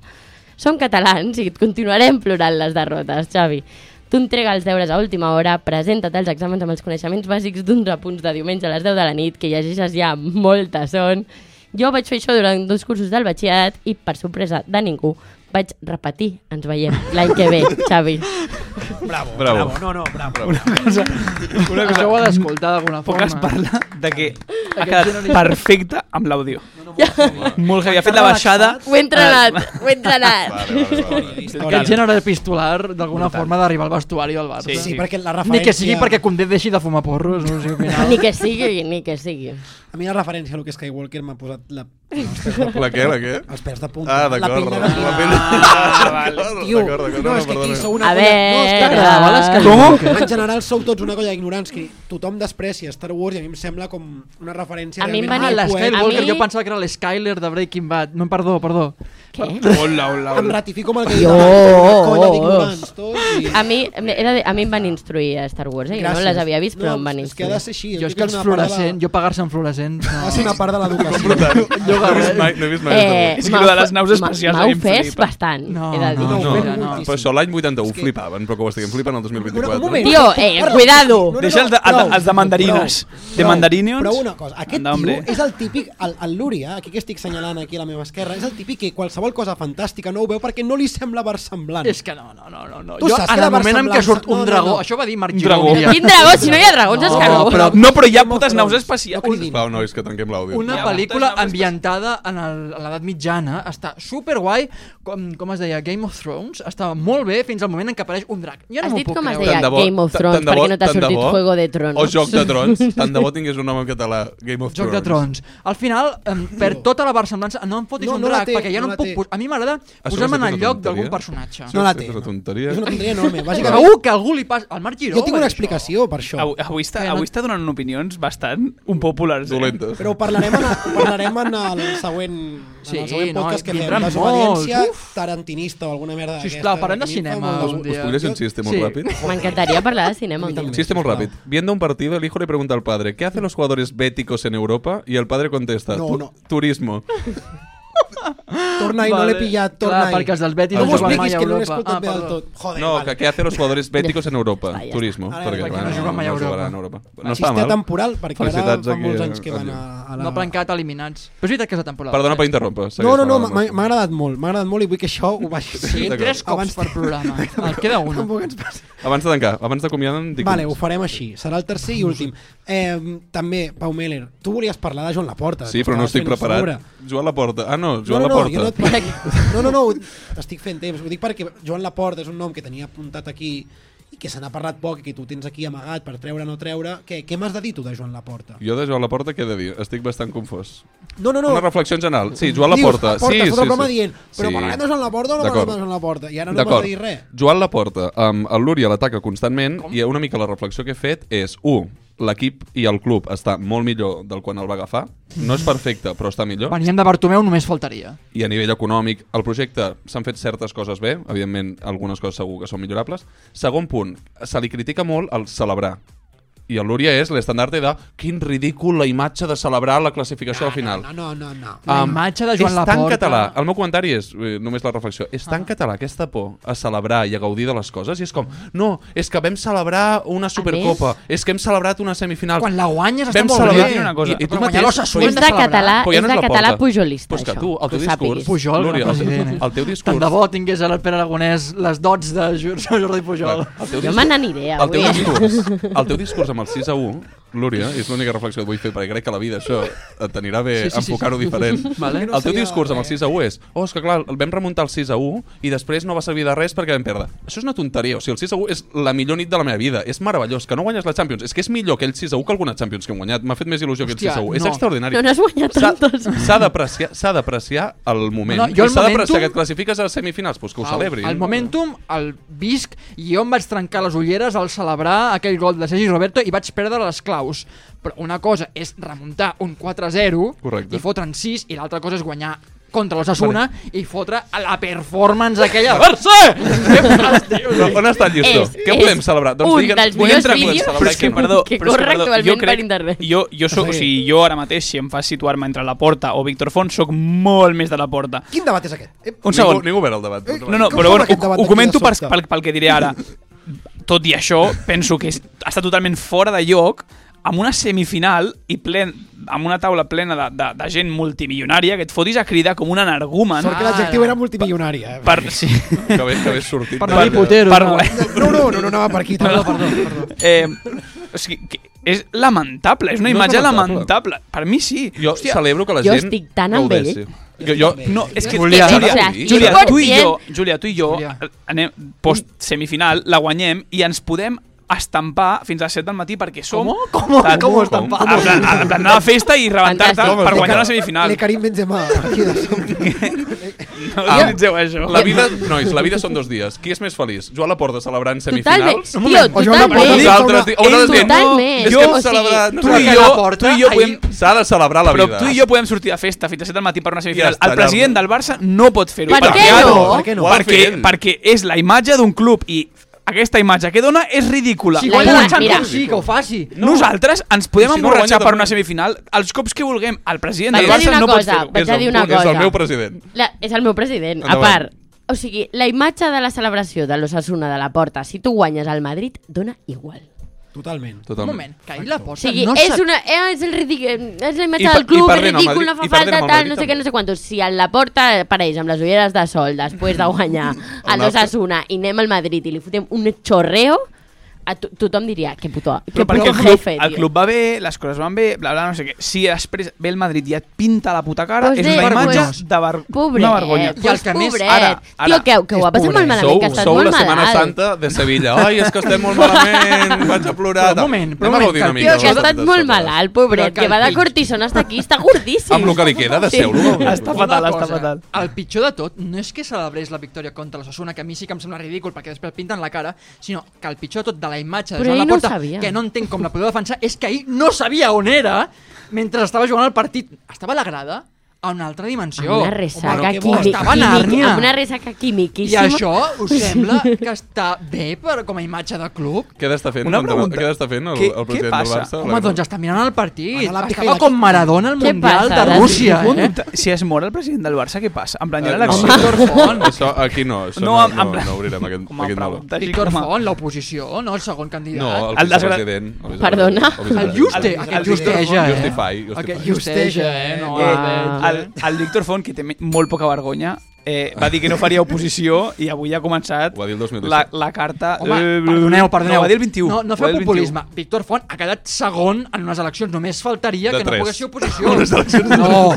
[SPEAKER 8] Som catalans i et continuarem plorant les derrotes, Xavi. Tu entrega els deures a última hora, presenta't als exàmens amb els coneixements bàsics d'uns apunts de diumenge a les 10 de la nit, que llegeixes ja amb molta son. Jo vaig fer això durant dos cursos del batxillerat i, per sorpresa de ningú, vaig repetir. Ens veiem l'any que ve, Xavi.
[SPEAKER 5] Bravo,
[SPEAKER 9] Bravo.
[SPEAKER 5] bravo. No, no, bravo.
[SPEAKER 7] Una cosa, una cosa
[SPEAKER 6] Això ho ha d'escoltar d'alguna
[SPEAKER 7] Poc
[SPEAKER 6] forma.
[SPEAKER 7] es parla de que ha
[SPEAKER 6] Aquest
[SPEAKER 7] quedat
[SPEAKER 6] generis-
[SPEAKER 7] perfecte amb l'àudio. Molt heavy. Ha fet la baixada.
[SPEAKER 8] Ho he entrenat, ho he entrenat.
[SPEAKER 6] Aquest gènere epistolar d'alguna forma d'arribar al vestuari del Barça.
[SPEAKER 5] Sí, sí,
[SPEAKER 7] sí.
[SPEAKER 5] perquè la
[SPEAKER 6] Ni
[SPEAKER 5] referència...
[SPEAKER 6] que sigui perquè Condé deixi de fumar porros, no sé, al final.
[SPEAKER 8] Ni que sigui, ni que sigui.
[SPEAKER 5] A mi la referència a Luke Skywalker m'ha posat la... no, els pèls de punta.
[SPEAKER 10] La què, la què?
[SPEAKER 5] Els pèls de punta.
[SPEAKER 10] Ah,
[SPEAKER 5] La
[SPEAKER 10] d'acord.
[SPEAKER 5] pell de
[SPEAKER 10] La
[SPEAKER 5] gallina.
[SPEAKER 10] pell de...
[SPEAKER 7] Ah, val.
[SPEAKER 5] Tio,
[SPEAKER 10] D'acord, d'acord,
[SPEAKER 5] no,
[SPEAKER 10] no,
[SPEAKER 5] és que aquí
[SPEAKER 10] perdona.
[SPEAKER 5] sou una
[SPEAKER 8] A
[SPEAKER 5] colla... No, és que
[SPEAKER 8] veure.
[SPEAKER 5] agrada.
[SPEAKER 6] les que-
[SPEAKER 5] Com? En general sou tots una colla d'ignorants que tothom desprecia Star Wars i a mi em sembla com una referència...
[SPEAKER 8] A mi em
[SPEAKER 5] realment
[SPEAKER 8] venia-
[SPEAKER 5] molt
[SPEAKER 6] Ah, la
[SPEAKER 5] poètica.
[SPEAKER 6] Skywalker,
[SPEAKER 8] A mi-
[SPEAKER 6] jo pensava que era l'Skyler de Breaking Bad. No, perdó, perdó.
[SPEAKER 8] Què?
[SPEAKER 7] Hola, hola,
[SPEAKER 5] Em
[SPEAKER 7] hola.
[SPEAKER 5] ratifico amb el que he dit
[SPEAKER 8] Jo.
[SPEAKER 5] abans, sou una colla d'ignorants tots i...
[SPEAKER 8] A mi, era de, a mi em van instruir a Star Wars, eh? Jo no les havia vist, però
[SPEAKER 5] no,
[SPEAKER 8] em van
[SPEAKER 5] és que Ah, ha
[SPEAKER 8] instruir.
[SPEAKER 5] de ser així.
[SPEAKER 6] Jo és
[SPEAKER 5] crec
[SPEAKER 6] que els
[SPEAKER 5] una part de la-
[SPEAKER 6] fluorescents, jo pagar-se en fluorescents...
[SPEAKER 5] Ha de ser
[SPEAKER 6] No.
[SPEAKER 5] una part de l'educació.
[SPEAKER 10] Jo no he vist mai, no he vist mai.
[SPEAKER 8] Eh,
[SPEAKER 7] És que lo de les naus espacials a mi
[SPEAKER 8] M'heu
[SPEAKER 7] em
[SPEAKER 8] fes
[SPEAKER 7] flipa.
[SPEAKER 8] bastant,
[SPEAKER 6] No,
[SPEAKER 8] he de dir.
[SPEAKER 6] no,
[SPEAKER 5] No,
[SPEAKER 6] no,
[SPEAKER 5] no.
[SPEAKER 10] Per això l'any 81 flipaven, però que ho estiguem flipant el
[SPEAKER 5] Però,
[SPEAKER 10] 2024.
[SPEAKER 5] un moment.
[SPEAKER 8] Tio, eh, cuidado.
[SPEAKER 5] No, no, no,
[SPEAKER 7] Deixa els de,
[SPEAKER 5] prou,
[SPEAKER 7] els de mandarines.
[SPEAKER 5] prou,
[SPEAKER 7] De
[SPEAKER 5] prou.
[SPEAKER 7] mandarinions?
[SPEAKER 5] Però una cosa, aquest
[SPEAKER 7] Anda, hombre.
[SPEAKER 5] tio és el típic, el, el Lúria, aquí que estic senyalant aquí a la meva esquerra, és el típic que qualsevol cosa fantàstica no ho veu perquè no li sembla versemblant.
[SPEAKER 6] És que no, no, no, no. no.
[SPEAKER 5] Tu
[SPEAKER 6] Jo,
[SPEAKER 5] saps
[SPEAKER 6] en
[SPEAKER 5] que la
[SPEAKER 6] el moment en què
[SPEAKER 5] versemblança-
[SPEAKER 6] surt
[SPEAKER 5] no,
[SPEAKER 6] un
[SPEAKER 5] no,
[SPEAKER 6] dragó,
[SPEAKER 5] no.
[SPEAKER 6] això va dir Marc
[SPEAKER 7] Un dragó.
[SPEAKER 6] Giró un dia.
[SPEAKER 8] Quin dragó? Si no hi ha dragons, és que no.
[SPEAKER 7] No, però, no, però hi ha putes naus
[SPEAKER 5] No
[SPEAKER 7] espacials.
[SPEAKER 5] cridin.
[SPEAKER 10] Pau, nois, que tanquem l'àudio.
[SPEAKER 6] Una
[SPEAKER 7] Ja,
[SPEAKER 8] tota
[SPEAKER 6] pel·lícula
[SPEAKER 7] moltes naus
[SPEAKER 6] ambientada en el- a l'edat mitjana està super guai, com, com es deia, Game of Thrones, estava molt bé fins al moment en què apareix un drac. Jo no
[SPEAKER 8] Has
[SPEAKER 6] m'ho
[SPEAKER 8] dit
[SPEAKER 6] puc
[SPEAKER 8] com es
[SPEAKER 6] creure.
[SPEAKER 8] deia
[SPEAKER 10] Tant de bo-
[SPEAKER 8] Game of
[SPEAKER 10] tant-
[SPEAKER 8] Thrones,
[SPEAKER 10] tant de bo-
[SPEAKER 8] perquè no t'ha
[SPEAKER 10] tant de
[SPEAKER 8] sortit
[SPEAKER 10] bo-
[SPEAKER 8] Juego de Tronos.
[SPEAKER 10] O Joc de Trons. Tant de bo tingués un nom en català. Game of
[SPEAKER 6] Joc
[SPEAKER 10] Thrones.
[SPEAKER 6] de Trons. Al final, em, perd tota la versemblança. No em fotis
[SPEAKER 5] No,
[SPEAKER 6] un
[SPEAKER 5] no la
[SPEAKER 6] drac,
[SPEAKER 5] té,
[SPEAKER 6] perquè ja
[SPEAKER 5] no
[SPEAKER 6] no,
[SPEAKER 5] la
[SPEAKER 6] em puc...
[SPEAKER 5] té.
[SPEAKER 6] posar- A mi m'agrada
[SPEAKER 10] no
[SPEAKER 6] posar-me
[SPEAKER 10] sé
[SPEAKER 6] en
[SPEAKER 10] si
[SPEAKER 6] el
[SPEAKER 10] és
[SPEAKER 6] lloc d'algun
[SPEAKER 10] una tonteria.
[SPEAKER 6] personatge.
[SPEAKER 5] No la
[SPEAKER 10] Sí,
[SPEAKER 5] té.
[SPEAKER 10] És una
[SPEAKER 5] És una
[SPEAKER 10] tonteria.
[SPEAKER 5] tonteria enorme. Bàsicament,
[SPEAKER 6] Segur que algú li passa... Al Marc Giró
[SPEAKER 5] jo tinc
[SPEAKER 6] va
[SPEAKER 5] una
[SPEAKER 6] dir això.
[SPEAKER 5] explicació per això.
[SPEAKER 7] Avui, avui, està,
[SPEAKER 6] Mira, no-
[SPEAKER 7] avui està donant opinions bastant impopulars. Eh?
[SPEAKER 10] Dolentes.
[SPEAKER 5] Però ho parlarem en, ho parlarem en el següent,
[SPEAKER 6] Sí,
[SPEAKER 5] en el següent
[SPEAKER 6] no,
[SPEAKER 5] podcast que fem.
[SPEAKER 6] vindran
[SPEAKER 5] Desobediència
[SPEAKER 6] molts,
[SPEAKER 5] tarantinista o alguna merda d'aquesta.
[SPEAKER 6] Sisplau, parlem de
[SPEAKER 5] que a mi em fa
[SPEAKER 6] cinema
[SPEAKER 5] molt de
[SPEAKER 6] un dia.
[SPEAKER 5] gust.
[SPEAKER 10] Us podries fer un xiste molt
[SPEAKER 6] Sí.
[SPEAKER 10] ràpid?
[SPEAKER 8] M'encantaria parlar de cinema
[SPEAKER 5] A
[SPEAKER 8] un
[SPEAKER 5] mi
[SPEAKER 8] dia.
[SPEAKER 5] també.
[SPEAKER 10] Chiste muy
[SPEAKER 5] Sisplau.
[SPEAKER 10] rápido. Viendo un partido, el hijo le pregunta al padre, ¿qué hacen los jugadores béticos en Europa? Y el padre contesta,
[SPEAKER 5] No,
[SPEAKER 10] "Tu-
[SPEAKER 5] no.
[SPEAKER 10] turismo.
[SPEAKER 5] Torna-hi, no l'he pillat,
[SPEAKER 6] Clar,
[SPEAKER 5] torna-hi.
[SPEAKER 6] perquè els del Betis
[SPEAKER 10] No
[SPEAKER 6] no,
[SPEAKER 10] m'ho
[SPEAKER 5] m'ho
[SPEAKER 6] no juguen mai
[SPEAKER 5] expliquis, que
[SPEAKER 6] a
[SPEAKER 5] no
[SPEAKER 6] Europa. Ah,
[SPEAKER 5] l'he escoltat bé del
[SPEAKER 6] perdó.
[SPEAKER 5] tot. Joder,
[SPEAKER 10] No,
[SPEAKER 5] vale.
[SPEAKER 10] que ¿qué hacen los jugadores béticos en Europa?
[SPEAKER 8] Ah, ja
[SPEAKER 10] Turismo.
[SPEAKER 5] Ara,
[SPEAKER 10] Perquè,
[SPEAKER 5] perquè
[SPEAKER 10] clar,
[SPEAKER 5] no
[SPEAKER 10] no,
[SPEAKER 5] juguen
[SPEAKER 6] mai a
[SPEAKER 10] no jugaran
[SPEAKER 6] Europa.
[SPEAKER 10] a Europa. No està
[SPEAKER 5] Xiste
[SPEAKER 10] mal.
[SPEAKER 5] temporal, perquè ara
[SPEAKER 10] Felicitats
[SPEAKER 5] fa
[SPEAKER 10] a qui-
[SPEAKER 5] molts anys que
[SPEAKER 10] a
[SPEAKER 5] van
[SPEAKER 10] qui-
[SPEAKER 5] a, a la...
[SPEAKER 6] No plancat eliminats. Però és veritat que és la temporada.
[SPEAKER 10] Perdona per interrompre. segueix
[SPEAKER 5] No, no, no,
[SPEAKER 10] parlant.
[SPEAKER 5] m'ha m'ha agradat molt, m'ha agradat molt i vull que això ho vagi...
[SPEAKER 6] Sí,
[SPEAKER 10] D'acord.
[SPEAKER 6] tres cops
[SPEAKER 5] Abans-
[SPEAKER 6] per programa. El queda una.
[SPEAKER 5] Tampoc ens passi.
[SPEAKER 10] Abans de tancar, abans d'acomiadar, dic
[SPEAKER 5] Vale, ho
[SPEAKER 10] uns.
[SPEAKER 5] farem així. Serà el tercer i últim. Eh, també, Pau Meller, tu volies parlar de Joan Laporta.
[SPEAKER 10] Sí, però no
[SPEAKER 5] Estaves fent
[SPEAKER 10] estic
[SPEAKER 5] un
[SPEAKER 10] preparat.
[SPEAKER 5] sobre.
[SPEAKER 10] Joan Laporta. Ah, no, Joan
[SPEAKER 5] no, no,
[SPEAKER 10] Laporta.
[SPEAKER 5] No, jo no, et parlo. no, no, no, ho- estic fent temps. Ho dic perquè Joan Laporta és un nom que tenia apuntat aquí i que se n'ha parlat poc i que tu ho tens aquí amagat per treure o no treure. Què, què m'has de dir tu de Joan Laporta?
[SPEAKER 10] Jo de Joan Laporta què he de dir? Estic bastant confós.
[SPEAKER 5] No, no, no.
[SPEAKER 10] Una reflexió en general. Sí, Joan
[SPEAKER 5] Dius,
[SPEAKER 10] Laporta.
[SPEAKER 5] Laporta,
[SPEAKER 10] Sí,
[SPEAKER 5] fot
[SPEAKER 10] sí,
[SPEAKER 5] el programa
[SPEAKER 10] sí.
[SPEAKER 5] dient, però parlarem de Joan Laporta o no
[SPEAKER 10] D'acord.
[SPEAKER 5] parlarem de Joan Laporta? I ara no m'has
[SPEAKER 10] D'acord.
[SPEAKER 5] de dir res.
[SPEAKER 10] Joan Laporta, um, el Lúria l'ataca constantment i una mica la reflexió que he fet és, un, l'equip i el club està molt millor del quan el va agafar. No és perfecte, però està millor.
[SPEAKER 6] Venien de Bartomeu, només faltaria.
[SPEAKER 10] I a nivell econòmic, el projecte s'han fet certes coses bé, evidentment algunes coses segur que són millorables. Segon punt, se li critica molt el celebrar. I el Lúria és l'estandard de quin ridícul la imatge de celebrar la classificació al final.
[SPEAKER 5] No, no, no, no.
[SPEAKER 6] La
[SPEAKER 10] Am,
[SPEAKER 6] imatge de Joan
[SPEAKER 10] és tan
[SPEAKER 6] Laporta. Ah.
[SPEAKER 10] català, el meu comentari és eh, només la reflexió, és tan català aquesta por a celebrar i a gaudir de les coses i és com, no, és que vam celebrar una supercopa, és que hem celebrat una semifinal
[SPEAKER 6] Quan la guanyes està
[SPEAKER 10] vam
[SPEAKER 6] molt
[SPEAKER 10] celebrar
[SPEAKER 6] bé.
[SPEAKER 7] Una cosa.
[SPEAKER 10] I, i tu
[SPEAKER 6] Però guanyar
[SPEAKER 10] mateix
[SPEAKER 6] l'Osasuna
[SPEAKER 10] però
[SPEAKER 8] És
[SPEAKER 10] ja
[SPEAKER 8] de
[SPEAKER 6] celebrar.
[SPEAKER 8] català,
[SPEAKER 10] Però ja
[SPEAKER 8] és
[SPEAKER 10] no
[SPEAKER 8] de
[SPEAKER 10] és la
[SPEAKER 8] català
[SPEAKER 10] porta.
[SPEAKER 8] pujolista,
[SPEAKER 10] Però és que
[SPEAKER 8] això.
[SPEAKER 10] tu, el teu
[SPEAKER 8] ho sàpigues.
[SPEAKER 10] discurs...
[SPEAKER 6] Pujol,
[SPEAKER 10] Núria,
[SPEAKER 6] gran
[SPEAKER 10] el teu-
[SPEAKER 6] president.
[SPEAKER 10] el teu discurs-
[SPEAKER 6] Tant de bo tingués el Pere Aragonès les dots de Jo- Jordi Pujol.
[SPEAKER 10] El teu
[SPEAKER 8] Jo
[SPEAKER 10] discurs-
[SPEAKER 8] me n'aniré
[SPEAKER 10] el
[SPEAKER 8] avui.
[SPEAKER 10] teu,
[SPEAKER 8] eh?
[SPEAKER 10] discurs, el teu discurs amb el 6 a 1, Lúria, és l'única reflexió que et vull fer, perquè crec que a la vida això et anirà bé
[SPEAKER 6] Sí,
[SPEAKER 10] sí,
[SPEAKER 6] sí, sí,
[SPEAKER 10] sí, enfocar-ho
[SPEAKER 6] sí.
[SPEAKER 10] diferent.
[SPEAKER 6] Vale.
[SPEAKER 10] El teu
[SPEAKER 5] seria
[SPEAKER 10] discurs amb el
[SPEAKER 5] res.
[SPEAKER 10] 6 a 1 és oh, és que clar, el vam remuntar el 6 a 1 i després no va servir de res perquè vam perdre. Això és una tonteria, o sigui, el 6 a 1 és la millor nit de la meva vida, és meravellós, que no guanyes la Champions, és que és millor aquell 6 a 1 que alguna Champions que hem guanyat, m'ha fet més il·lusió que el
[SPEAKER 6] Hòstia,
[SPEAKER 10] 6 a 1, és
[SPEAKER 6] no.
[SPEAKER 10] extraordinari.
[SPEAKER 8] No n'has guanyat
[SPEAKER 10] S'ha-
[SPEAKER 8] tantes.
[SPEAKER 10] S'ha d'apreciar s'ha d'apreciar el moment.
[SPEAKER 6] No, jo el
[SPEAKER 10] I s'ha
[SPEAKER 6] momentum-
[SPEAKER 10] d'apreciar que et classifiques a les semifinals, doncs que ho
[SPEAKER 6] Au,
[SPEAKER 10] celebri.
[SPEAKER 6] El momentum, el visc, i jo em vaig trencar les ulleres al celebrar aquell gol de Sergi Roberto i vaig perdre les claus. Però una cosa és remuntar un 4-0
[SPEAKER 10] Correcte.
[SPEAKER 6] i fotre'n 6, i l'altra cosa és guanyar contra l'Osasuna i fotre la performance aquella de Barça! Què fas, tio?
[SPEAKER 10] Però on està el llistó?
[SPEAKER 8] És-
[SPEAKER 10] Què
[SPEAKER 8] és
[SPEAKER 10] volem celebrar?
[SPEAKER 8] un
[SPEAKER 10] Doncs digue'ns,
[SPEAKER 8] dels
[SPEAKER 10] volem
[SPEAKER 8] millors
[SPEAKER 10] tra- volem
[SPEAKER 8] vídeos
[SPEAKER 10] celebrar
[SPEAKER 7] Però és
[SPEAKER 10] què?
[SPEAKER 7] que, perdó,
[SPEAKER 8] que
[SPEAKER 7] però és
[SPEAKER 8] corre
[SPEAKER 7] perdó,
[SPEAKER 8] actualment
[SPEAKER 7] jo crec,
[SPEAKER 8] per internet.
[SPEAKER 7] Jo, jo, soc, o sigui, jo ara mateix, si em fa situar-me entre la porta o Víctor Font, soc molt més de la porta.
[SPEAKER 5] Quin debat és aquest? Eh,
[SPEAKER 7] Un segon.
[SPEAKER 10] Ningú, ningú obre el debat.
[SPEAKER 7] No, no,
[SPEAKER 5] Com
[SPEAKER 7] però
[SPEAKER 5] fa
[SPEAKER 7] bueno,
[SPEAKER 5] aquest debat
[SPEAKER 7] ho, ho
[SPEAKER 5] d'aquí
[SPEAKER 7] comento
[SPEAKER 5] de
[SPEAKER 7] per,
[SPEAKER 5] sobte?
[SPEAKER 7] pel, pel que diré ara. Tot i això, penso que és- està totalment fora de lloc amb una semifinal i plen, amb una taula plena de, de, de gent multimilionària que et fotis a cridar com un energúmen
[SPEAKER 5] Sort que l'adjectiu era multimilionària. eh.
[SPEAKER 7] per, sí,
[SPEAKER 10] Que bé, que bé sortit.
[SPEAKER 6] Per
[SPEAKER 10] de-
[SPEAKER 6] anar putero.
[SPEAKER 7] per,
[SPEAKER 6] no.
[SPEAKER 7] guany-
[SPEAKER 5] No, no, no, no anava per aquí.
[SPEAKER 6] Perdó,
[SPEAKER 5] tampoc.
[SPEAKER 6] perdó, perdó.
[SPEAKER 7] Eh, o sigui, que és lamentable, és una
[SPEAKER 10] No és
[SPEAKER 7] imatge
[SPEAKER 10] lamentable.
[SPEAKER 7] lamentable. Per mi sí.
[SPEAKER 10] Jo Hòstia, celebro que la
[SPEAKER 8] jo
[SPEAKER 10] gent...
[SPEAKER 8] estic tan
[SPEAKER 10] que ho
[SPEAKER 8] amb ell.
[SPEAKER 10] deixi. Jo, jo,
[SPEAKER 7] No, és que,
[SPEAKER 10] Julià,
[SPEAKER 7] Júlia,
[SPEAKER 10] o
[SPEAKER 7] Júlia, Júlia,
[SPEAKER 10] sigui,
[SPEAKER 7] tu i jo,
[SPEAKER 8] 100%.
[SPEAKER 7] Júlia, tu i jo eh,
[SPEAKER 6] Julià.
[SPEAKER 7] anem post-semifinal, la guanyem i ens podem estampar fins a les 7 del matí perquè som...
[SPEAKER 6] Com? Com?
[SPEAKER 7] Tant-
[SPEAKER 6] Com estampar?
[SPEAKER 7] En plan, en plan, anar a la festa i rebentar-te
[SPEAKER 8] Fantàstic.
[SPEAKER 7] per guanyar la
[SPEAKER 5] Le
[SPEAKER 7] semifinal.
[SPEAKER 5] Karim Benzema. Aquí de sobre.
[SPEAKER 7] No utilitzeu això.
[SPEAKER 10] La vida, nois, la vida són dos dies. Qui és més feliç? Joan Laporta celebrant
[SPEAKER 8] Totalment,
[SPEAKER 10] semifinals?
[SPEAKER 8] tio,
[SPEAKER 5] O Joan Laporta
[SPEAKER 10] O
[SPEAKER 5] Ell
[SPEAKER 8] totalment.
[SPEAKER 5] fa una-
[SPEAKER 10] nosaltres, di- o nosaltres dient,
[SPEAKER 8] Totalment.
[SPEAKER 10] no, és
[SPEAKER 7] Jo-
[SPEAKER 10] que hem
[SPEAKER 8] o sigui,
[SPEAKER 10] celebrat... no
[SPEAKER 7] tu
[SPEAKER 10] sé
[SPEAKER 7] i
[SPEAKER 10] què".
[SPEAKER 7] jo-
[SPEAKER 10] tu i jo podem... S'ha de celebrar la
[SPEAKER 7] Però
[SPEAKER 10] vida.
[SPEAKER 7] tu i jo podem sortir de festa fins a les 7 del matí per una semifinal.
[SPEAKER 10] Ja està,
[SPEAKER 7] el president
[SPEAKER 10] ja.
[SPEAKER 7] del Barça no pot fer-ho.
[SPEAKER 8] Per
[SPEAKER 7] perquè-
[SPEAKER 8] què no?
[SPEAKER 5] Per què no?
[SPEAKER 10] Ho ha de
[SPEAKER 7] Perquè,
[SPEAKER 10] fer ell.
[SPEAKER 7] perquè és la imatge d'un club i aquesta imatge que dona és ridícula.
[SPEAKER 6] Si
[SPEAKER 8] La
[SPEAKER 6] guanya el
[SPEAKER 8] imatge, mira.
[SPEAKER 6] Champions, sí, que ho faci.
[SPEAKER 7] No. Nosaltres ens podem
[SPEAKER 10] I si no
[SPEAKER 7] emborratxar
[SPEAKER 10] guanya,
[SPEAKER 7] per
[SPEAKER 10] també.
[SPEAKER 7] una semifinal els cops que vulguem. El president
[SPEAKER 8] Vaig
[SPEAKER 7] del
[SPEAKER 8] a dir
[SPEAKER 7] Barça
[SPEAKER 8] una
[SPEAKER 7] no pot
[SPEAKER 8] cosa,
[SPEAKER 7] fer-ho.
[SPEAKER 8] vaig a dir una
[SPEAKER 10] És el
[SPEAKER 8] cosa.
[SPEAKER 10] meu president.
[SPEAKER 8] La, és el meu president,
[SPEAKER 10] Endavant.
[SPEAKER 8] a part. O sigui, la imatge de la celebració de l'Osasuna de la porta, si tu guanyes al Madrid, dona igual.
[SPEAKER 5] Totalment.
[SPEAKER 6] Un
[SPEAKER 10] Totalment.
[SPEAKER 6] moment, que ahir la
[SPEAKER 8] O
[SPEAKER 6] porta
[SPEAKER 8] sigui,
[SPEAKER 6] no
[SPEAKER 8] no
[SPEAKER 6] s'ha-
[SPEAKER 8] és, una, eh, és, el ridic... és la
[SPEAKER 10] I
[SPEAKER 8] imatge
[SPEAKER 10] per-
[SPEAKER 8] del club,
[SPEAKER 10] i
[SPEAKER 8] és
[SPEAKER 10] perden amb
[SPEAKER 8] ridícul,
[SPEAKER 10] Madrid-
[SPEAKER 8] no
[SPEAKER 10] i
[SPEAKER 8] fa
[SPEAKER 10] perden
[SPEAKER 8] falta,
[SPEAKER 10] amb
[SPEAKER 8] tal,
[SPEAKER 10] Madrid
[SPEAKER 8] no sé
[SPEAKER 10] també.
[SPEAKER 8] què, no sé quantos. Si a la eh, porta apareix amb les ulleres de sol després de guanyar a
[SPEAKER 10] Una-
[SPEAKER 8] l'Osasuna i anem al Madrid i li fotem un xorreo, a to tothom diria, que puto, que
[SPEAKER 7] Però perquè
[SPEAKER 8] puto
[SPEAKER 7] el
[SPEAKER 8] jefe,
[SPEAKER 7] club, el
[SPEAKER 8] tio".
[SPEAKER 7] club va bé, les coses van bé, bla, bla, no sé què. Si després ve el Madrid i et pinta la puta cara,
[SPEAKER 8] Pues
[SPEAKER 7] és
[SPEAKER 8] bé,
[SPEAKER 7] una imatge
[SPEAKER 8] pues-
[SPEAKER 7] de ver...
[SPEAKER 8] Pobret,
[SPEAKER 7] una vergonya.
[SPEAKER 8] pues
[SPEAKER 6] I el que més-
[SPEAKER 8] pobret.
[SPEAKER 7] Ara, ara,
[SPEAKER 8] Tio, que, que ho ha passat molt malament,
[SPEAKER 10] Sou,
[SPEAKER 8] que ha estat
[SPEAKER 10] sou
[SPEAKER 8] molt
[SPEAKER 10] la Setmana
[SPEAKER 8] malalt.
[SPEAKER 10] Santa de Sevilla. Ai, és que estem molt malament, vaig a plorar.
[SPEAKER 6] Però un moment, però un
[SPEAKER 10] Anem
[SPEAKER 6] moment,
[SPEAKER 10] a gaudir
[SPEAKER 6] que-
[SPEAKER 10] una mica
[SPEAKER 8] Tio, que
[SPEAKER 10] de
[SPEAKER 8] ha
[SPEAKER 10] les
[SPEAKER 8] estat
[SPEAKER 10] dates
[SPEAKER 8] molt
[SPEAKER 10] totes.
[SPEAKER 8] malalt, pobret,
[SPEAKER 6] Però
[SPEAKER 8] que va de
[SPEAKER 6] calquis.
[SPEAKER 8] cortisona hasta aquí, està gordíssim.
[SPEAKER 10] Amb el que li queda, deixeu-lo.
[SPEAKER 7] Està fatal, està fatal.
[SPEAKER 6] El pitjor de tot no és que celebrés la victòria contra l'Ossassuna, que a mi sí que em sembla ridícul perquè després pinten la cara, sinó que el pitjor de tot de la imatge de
[SPEAKER 8] Però
[SPEAKER 6] Joan
[SPEAKER 8] ell no ho
[SPEAKER 6] Laporta,
[SPEAKER 8] sabia.
[SPEAKER 6] que no entenc com la podeu defensar, és que ahir no sabia on era mentre estava jugant al partit. Estava a la grada, a una altra dimensió.
[SPEAKER 8] Amb una
[SPEAKER 6] Home,
[SPEAKER 8] ressaca
[SPEAKER 6] que bo,
[SPEAKER 8] química.
[SPEAKER 6] Estava a Nàrnia.
[SPEAKER 8] Amb una ressaca
[SPEAKER 6] I
[SPEAKER 8] quimiquíssima.
[SPEAKER 6] això us sembla que està bé per, com a imatge de club?
[SPEAKER 10] Què d'està fent?
[SPEAKER 7] Una
[SPEAKER 10] Quan te-
[SPEAKER 7] pregunta.
[SPEAKER 10] Què d'està fent el,
[SPEAKER 7] Què-
[SPEAKER 10] el
[SPEAKER 7] què
[SPEAKER 10] president del
[SPEAKER 7] passa?
[SPEAKER 10] Barça?
[SPEAKER 6] Home, doncs està mirant el partit.
[SPEAKER 5] Anava a picar i
[SPEAKER 6] Estava
[SPEAKER 5] la-
[SPEAKER 6] com Maradona al
[SPEAKER 8] Què
[SPEAKER 6] Mundial
[SPEAKER 8] passa,
[SPEAKER 6] de
[SPEAKER 8] Dani?
[SPEAKER 6] Rússia, eh?
[SPEAKER 7] Pregunta, si es mor el president del Barça, què passa? En plan, hi ha
[SPEAKER 10] Eh,
[SPEAKER 7] elecció.
[SPEAKER 10] no.
[SPEAKER 6] Víctor Font.
[SPEAKER 10] Això aquí no, això no,
[SPEAKER 7] No,
[SPEAKER 10] no,
[SPEAKER 7] amb-
[SPEAKER 10] no,
[SPEAKER 7] amb-
[SPEAKER 10] no obrirem aquest,
[SPEAKER 7] Com a
[SPEAKER 10] aquest meló.
[SPEAKER 7] pregunta, així
[SPEAKER 6] Víctor
[SPEAKER 7] com a-
[SPEAKER 6] Font, l'oposició, no el segon candidat.
[SPEAKER 10] No, el,
[SPEAKER 7] El desgra-
[SPEAKER 10] vicepresident. el vicepresident.
[SPEAKER 8] Perdona?
[SPEAKER 6] El
[SPEAKER 10] vicepresident.
[SPEAKER 6] Juste,
[SPEAKER 7] el-
[SPEAKER 6] aquest
[SPEAKER 7] el-
[SPEAKER 6] justeja, eh?
[SPEAKER 10] Justify, justify.
[SPEAKER 6] Aquest justeja, eh? No,
[SPEAKER 7] Eh,
[SPEAKER 6] ah.
[SPEAKER 7] el, el Víctor Font, que té me- molt poca vergonya, eh, va dir que no faria oposició i avui ha començat
[SPEAKER 10] Ho va dir el 2017.
[SPEAKER 7] la, la carta...
[SPEAKER 6] Home,
[SPEAKER 7] Eh,
[SPEAKER 6] perdoneu, perdoneu.
[SPEAKER 7] No, va dir el 21.
[SPEAKER 6] No, no
[SPEAKER 7] ho va
[SPEAKER 6] feu
[SPEAKER 7] dir el 21.
[SPEAKER 6] populisme. Víctor Font ha quedat segon en unes eleccions. Només faltaria
[SPEAKER 10] De
[SPEAKER 6] que no
[SPEAKER 10] tres.
[SPEAKER 6] pogués ser oposició. No,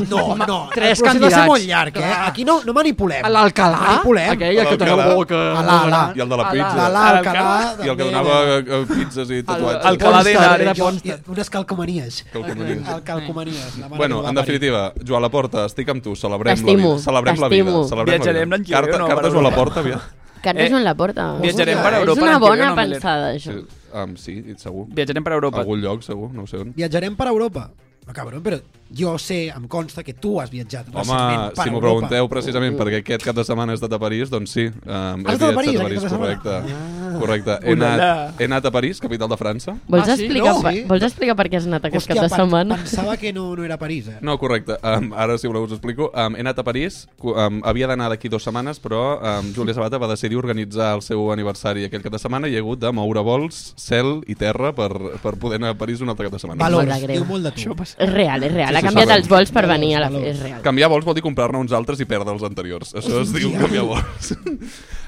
[SPEAKER 5] Oh,
[SPEAKER 6] no,
[SPEAKER 5] No, no.
[SPEAKER 6] Tres
[SPEAKER 5] el procés va
[SPEAKER 6] candidats.
[SPEAKER 5] ser molt llarg, eh? Aquí no, no manipulem.
[SPEAKER 6] L'Alcalà,
[SPEAKER 5] Manipulem.
[SPEAKER 6] aquell el que tenia el
[SPEAKER 10] L'Alcalà.
[SPEAKER 6] bol que...
[SPEAKER 5] Alà, alà.
[SPEAKER 10] I el de la
[SPEAKER 6] Alà.
[SPEAKER 10] pizza.
[SPEAKER 5] De l'Alcalà...
[SPEAKER 10] I el que donava eh, pizzas i tatuatges.
[SPEAKER 7] el Alcalá de
[SPEAKER 6] Constar,
[SPEAKER 7] Henares.
[SPEAKER 6] era Constar.
[SPEAKER 5] Jo- Unes calcomanies.
[SPEAKER 10] Que el comuniqui.
[SPEAKER 5] El calcomanies. La mare que
[SPEAKER 10] Bueno,
[SPEAKER 5] va
[SPEAKER 10] en
[SPEAKER 5] parir.
[SPEAKER 10] definitiva, Joan Laporta, estic amb tu, celebrem la
[SPEAKER 8] T'estimo,
[SPEAKER 10] vida. Celebrem la vida.
[SPEAKER 8] t'estimo.
[SPEAKER 10] Celebrem
[SPEAKER 7] Viatjarem
[SPEAKER 10] la
[SPEAKER 7] l'any que
[SPEAKER 10] vida.
[SPEAKER 7] ve o
[SPEAKER 10] Carta,
[SPEAKER 7] no,
[SPEAKER 10] cartes
[SPEAKER 7] per
[SPEAKER 10] o la
[SPEAKER 7] Europa?
[SPEAKER 10] porta, aviam.
[SPEAKER 8] Que no
[SPEAKER 7] Eh,
[SPEAKER 8] és on la porta.
[SPEAKER 7] viatjarem
[SPEAKER 8] Hòstia,
[SPEAKER 7] per Europa
[SPEAKER 8] És una
[SPEAKER 7] l'any que ve,
[SPEAKER 8] bona
[SPEAKER 7] no, Miller?
[SPEAKER 8] pensada, això.
[SPEAKER 10] Sí, um, sí, segur.
[SPEAKER 7] Viatjarem per
[SPEAKER 10] A
[SPEAKER 7] Europa.
[SPEAKER 10] algun lloc, segur, no ho sé on.
[SPEAKER 5] Viatjarem per Europa. No, cabrón, però jo sé, em consta que tu has viatjat
[SPEAKER 10] Home,
[SPEAKER 5] recentment per
[SPEAKER 10] si
[SPEAKER 5] Europa.
[SPEAKER 10] m'ho
[SPEAKER 5] Ah,
[SPEAKER 10] pregunteu precisament perquè aquest cap de setmana he estat a París, doncs sí. Um,
[SPEAKER 5] Has estat a París aquest cap de
[SPEAKER 10] correcte.
[SPEAKER 5] setmana? Ah.
[SPEAKER 10] Correcte. He
[SPEAKER 7] Ulala.
[SPEAKER 10] anat, he anat a París, capital de França.
[SPEAKER 8] Vols,
[SPEAKER 6] Ah, sí?
[SPEAKER 8] explicar,
[SPEAKER 5] No,
[SPEAKER 8] per-
[SPEAKER 5] sí.
[SPEAKER 8] vols explicar per què has anat aquest cap de
[SPEAKER 5] pen-
[SPEAKER 8] setmana?
[SPEAKER 5] pensava que no, no era París, eh?
[SPEAKER 10] No, correcte. Um, ara, si voleu, us explico. Um, he anat a París, cu- um, havia d'anar d'aquí dues setmanes, però um, Júlia Sabata va decidir organitzar el seu aniversari aquell cap de setmana i he hagut de moure vols, cel i terra per, per poder anar a París un altre cap de setmana.
[SPEAKER 5] Valors,
[SPEAKER 8] Molt de greu.
[SPEAKER 5] diu molt de tu.
[SPEAKER 8] És real, és real.
[SPEAKER 10] Sí,
[SPEAKER 8] Ha
[SPEAKER 10] sí,
[SPEAKER 8] canviat
[SPEAKER 10] saben.
[SPEAKER 8] els vols per
[SPEAKER 5] Valors,
[SPEAKER 8] venir a la...
[SPEAKER 5] valors.
[SPEAKER 8] És real.
[SPEAKER 10] Canviar vols vol dir comprar-ne uns altres i perdre els anteriors. Això es diu canviar vols. um,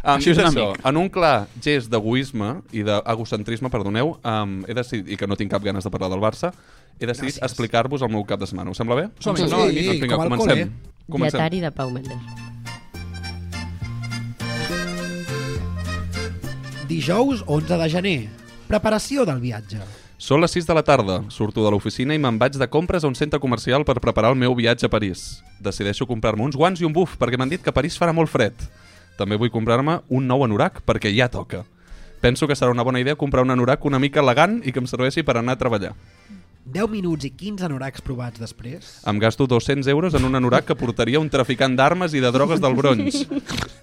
[SPEAKER 7] Això és un amic.
[SPEAKER 10] en un clar gest d'egoisme i d'egocentrisme, perdoneu, um, he decidit, i que no tinc cap ganes de parlar del Barça, he decidit explicar-vos el meu cap de setmana. Us sembla bé?
[SPEAKER 6] Som-hi.
[SPEAKER 10] Us sembla
[SPEAKER 5] Sí,
[SPEAKER 10] bé, amics?
[SPEAKER 5] sí,
[SPEAKER 10] Doncs vinga,
[SPEAKER 5] com eh? al
[SPEAKER 10] comencem.
[SPEAKER 5] col·le.
[SPEAKER 10] comencem.
[SPEAKER 8] Dietari de Pau Mendes.
[SPEAKER 5] Dijous, 11 de gener. Preparació del viatge.
[SPEAKER 10] Són les 6 de la tarda, surto de l'oficina i me'n vaig de compres a un centre comercial per preparar el meu viatge a París. Decideixo comprar-me uns guants i un buf, perquè m'han dit que París farà molt fred. També vull comprar-me un nou anorac, perquè ja toca. Penso que serà una bona idea comprar un anorac una mica elegant i que em serveixi per anar a treballar.
[SPEAKER 5] 10 minuts i 15 anoracs provats després.
[SPEAKER 10] Em gasto 200 euros en un anorac que portaria un traficant d'armes i de drogues del bronx.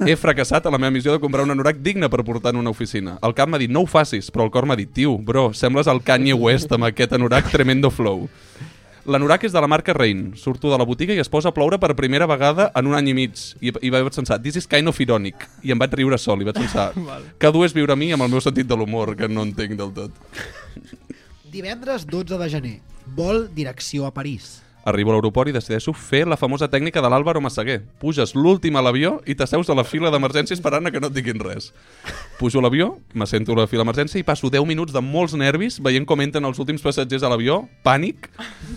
[SPEAKER 10] He fracassat a la meva missió de comprar un anorac digne per portar en una oficina. El cap m'ha dit, no ho facis, però el cor m'ha dit, tio, bro, sembles el Kanye West amb aquest anorac tremendo flow. L'anorac és de la marca Rain. Surto de la botiga i es posa a ploure per primera vegada en un any i mig. I, i vaig pensar, this is kind of ironic. I em vaig riure sol i vaig pensar, que dur és viure a mi amb el meu sentit de l'humor, que no entenc del tot.
[SPEAKER 5] Divendres 12 de gener. Vol direcció a París.
[SPEAKER 10] Arribo a l'aeroport i decideixo fer la famosa tècnica de l'Àlvaro Massaguer. Puges l'últim a l'avió i t'asseus a la fila d'emergència esperant a que no et diguin res. Pujo a l'avió, m'assento a la fila d'emergència i passo 10 minuts de molts nervis veient com entren els últims passatgers a l'avió, pànic,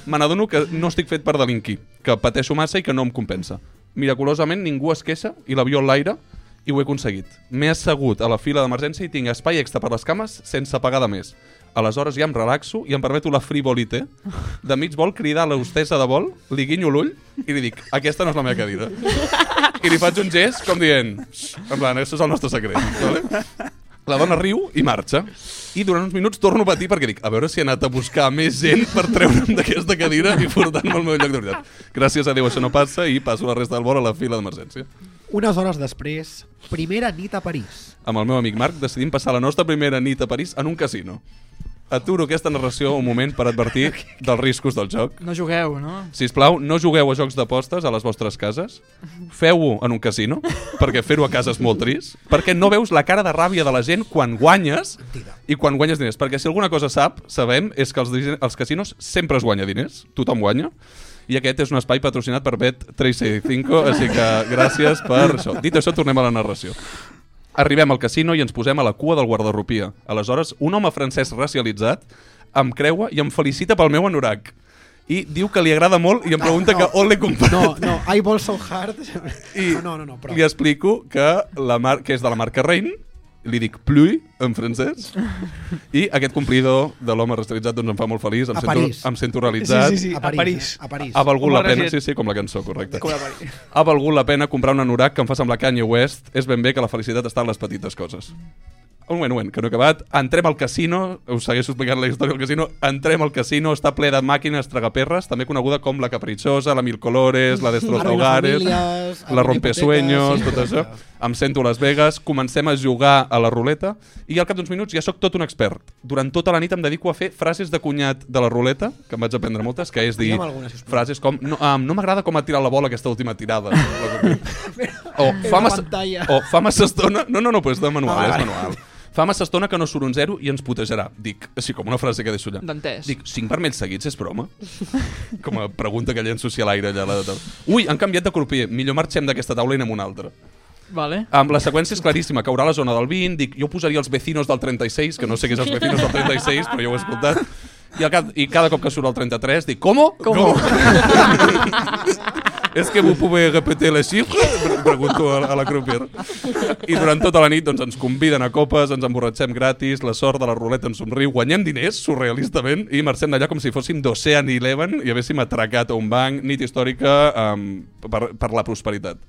[SPEAKER 10] me n'adono que no estic fet per delinquir, que pateixo massa i que no em compensa. Miraculosament ningú es queixa i l'avió en l'aire i ho he aconseguit. M'he assegut a la fila d'emergència i tinc espai extra per les cames sense pagar de més. Aleshores ja em relaxo i em permeto la frivolité. De mig vol cridar a l'hostessa de vol, li guinyo l'ull i li dic aquesta no és la meva cadira. I li faig un gest com dient "Xx", en plan, això és el nostre secret. Vale? La dona riu i marxa. I durant uns minuts torno a patir perquè dic a veure si he anat a buscar més gent per treure'm d'aquesta cadira i portar-me al meu lloc de veritat. Gràcies a Déu això no passa i passo la resta del vol a la fila d'emergència.
[SPEAKER 5] Unes hores després, primera nit a París.
[SPEAKER 10] amb el meu amic Marc decidim passar la nostra primera nit a París en un casino. Aturo aquesta narració un moment per advertir dels riscos del joc.
[SPEAKER 6] No jugueu, no?
[SPEAKER 10] Si us plau, no jugueu a jocs d'apostes a les vostres cases. Feu-ho en un casino, perquè fer-ho a casa és molt trist, perquè no veus la cara de ràbia de la gent quan guanyes i quan guanyes diners. Perquè si alguna cosa sap, sabem, és que els, digi- els casinos sempre es guanya diners, tothom guanya, i aquest és un espai patrocinat per Bet365, així que gràcies per això. Dit això, tornem a la narració. Arribem al casino i ens posem a la cua del guardarropia. Aleshores, un home francès racialitzat em creua i em felicita pel meu anorac. I diu que li agrada molt i em pregunta que on l'he comprat.
[SPEAKER 5] No, no, I Ball So Hard...
[SPEAKER 10] I
[SPEAKER 5] No, no, no, però...
[SPEAKER 10] li explico que, la mar que és de la marca Rein, li dic plui en francès, i aquest complidor de l'home racialitzat doncs em fa molt feliç, em,
[SPEAKER 5] A París.
[SPEAKER 10] sento, em sento realitzat.
[SPEAKER 7] Sí, sí, sí.
[SPEAKER 5] A
[SPEAKER 7] A
[SPEAKER 5] París. eh?
[SPEAKER 7] París.
[SPEAKER 5] A París.
[SPEAKER 10] Ha valgut
[SPEAKER 7] Com
[SPEAKER 10] la
[SPEAKER 7] a
[SPEAKER 10] pena,
[SPEAKER 7] resident.
[SPEAKER 10] sí, sí, com la cançó, correcte.
[SPEAKER 7] Com a París.
[SPEAKER 10] Ha valgut la pena comprar un anorac que em fa semblar Kanye West. És ben bé que la felicitat està en les petites coses. Un moment, un moment, que no he acabat. Entrem al casino, us segueixo explicant la història del casino. Entrem al casino, està ple de màquines tragaperres, també coneguda com la Capritxosa, la Mil Colores, la Destroza Hogares,
[SPEAKER 5] Arruinafamilies,
[SPEAKER 10] la Rompesueños,
[SPEAKER 5] hipoteques,
[SPEAKER 10] tot
[SPEAKER 5] sí.
[SPEAKER 10] això. Em sento a Las Vegas, comencem a jugar a la ruleta i al cap d'uns minuts ja sóc tot un expert. Durant tota la nit em dedico a fer frases de cunyat de la ruleta, que em vaig aprendre moltes, que és dir
[SPEAKER 5] Digue'm alguna, sisplau.
[SPEAKER 10] frases com no, um, no m'agrada com ha tirat la bola aquesta última tirada. o,
[SPEAKER 5] Era una
[SPEAKER 10] fa massa,
[SPEAKER 5] pantalla. Ah,
[SPEAKER 10] o fa massa estona... No, no, no, però és de manual, és manual. Fa massa estona que no surt un zero i ens putejarà. Dic, així com una frase que deixo allà.
[SPEAKER 6] D'entès.
[SPEAKER 10] Dic, cinc vermells seguits és broma? Com a pregunta que llenço així a l'aire allà. a La... taula. Ui, han canviat de crupier. Millor marxem d'aquesta taula i anem a una altra.
[SPEAKER 6] Vale.
[SPEAKER 10] Amb la seqüència és claríssima, caurà a la zona del 20, dic, jo posaria els vecinos del 36, que no sé què és els vecinos del 36, però jo ho he escoltat, i, al cap, i cada cop que surt el 33 dic, ¿Cómo? ¿Cómo? És que m'ho puc repetir les xifres? Pre- Pregunto a, a la crupier. I durant tota la nit doncs, ens conviden a copes, ens emborratxem gratis, la sort de la ruleta ens somriu, guanyem diners, surrealistament, i marxem d'allà com si fóssim d'Ocean Eleven i haguéssim atracat a un banc, nit històrica um, per, per la prosperitat.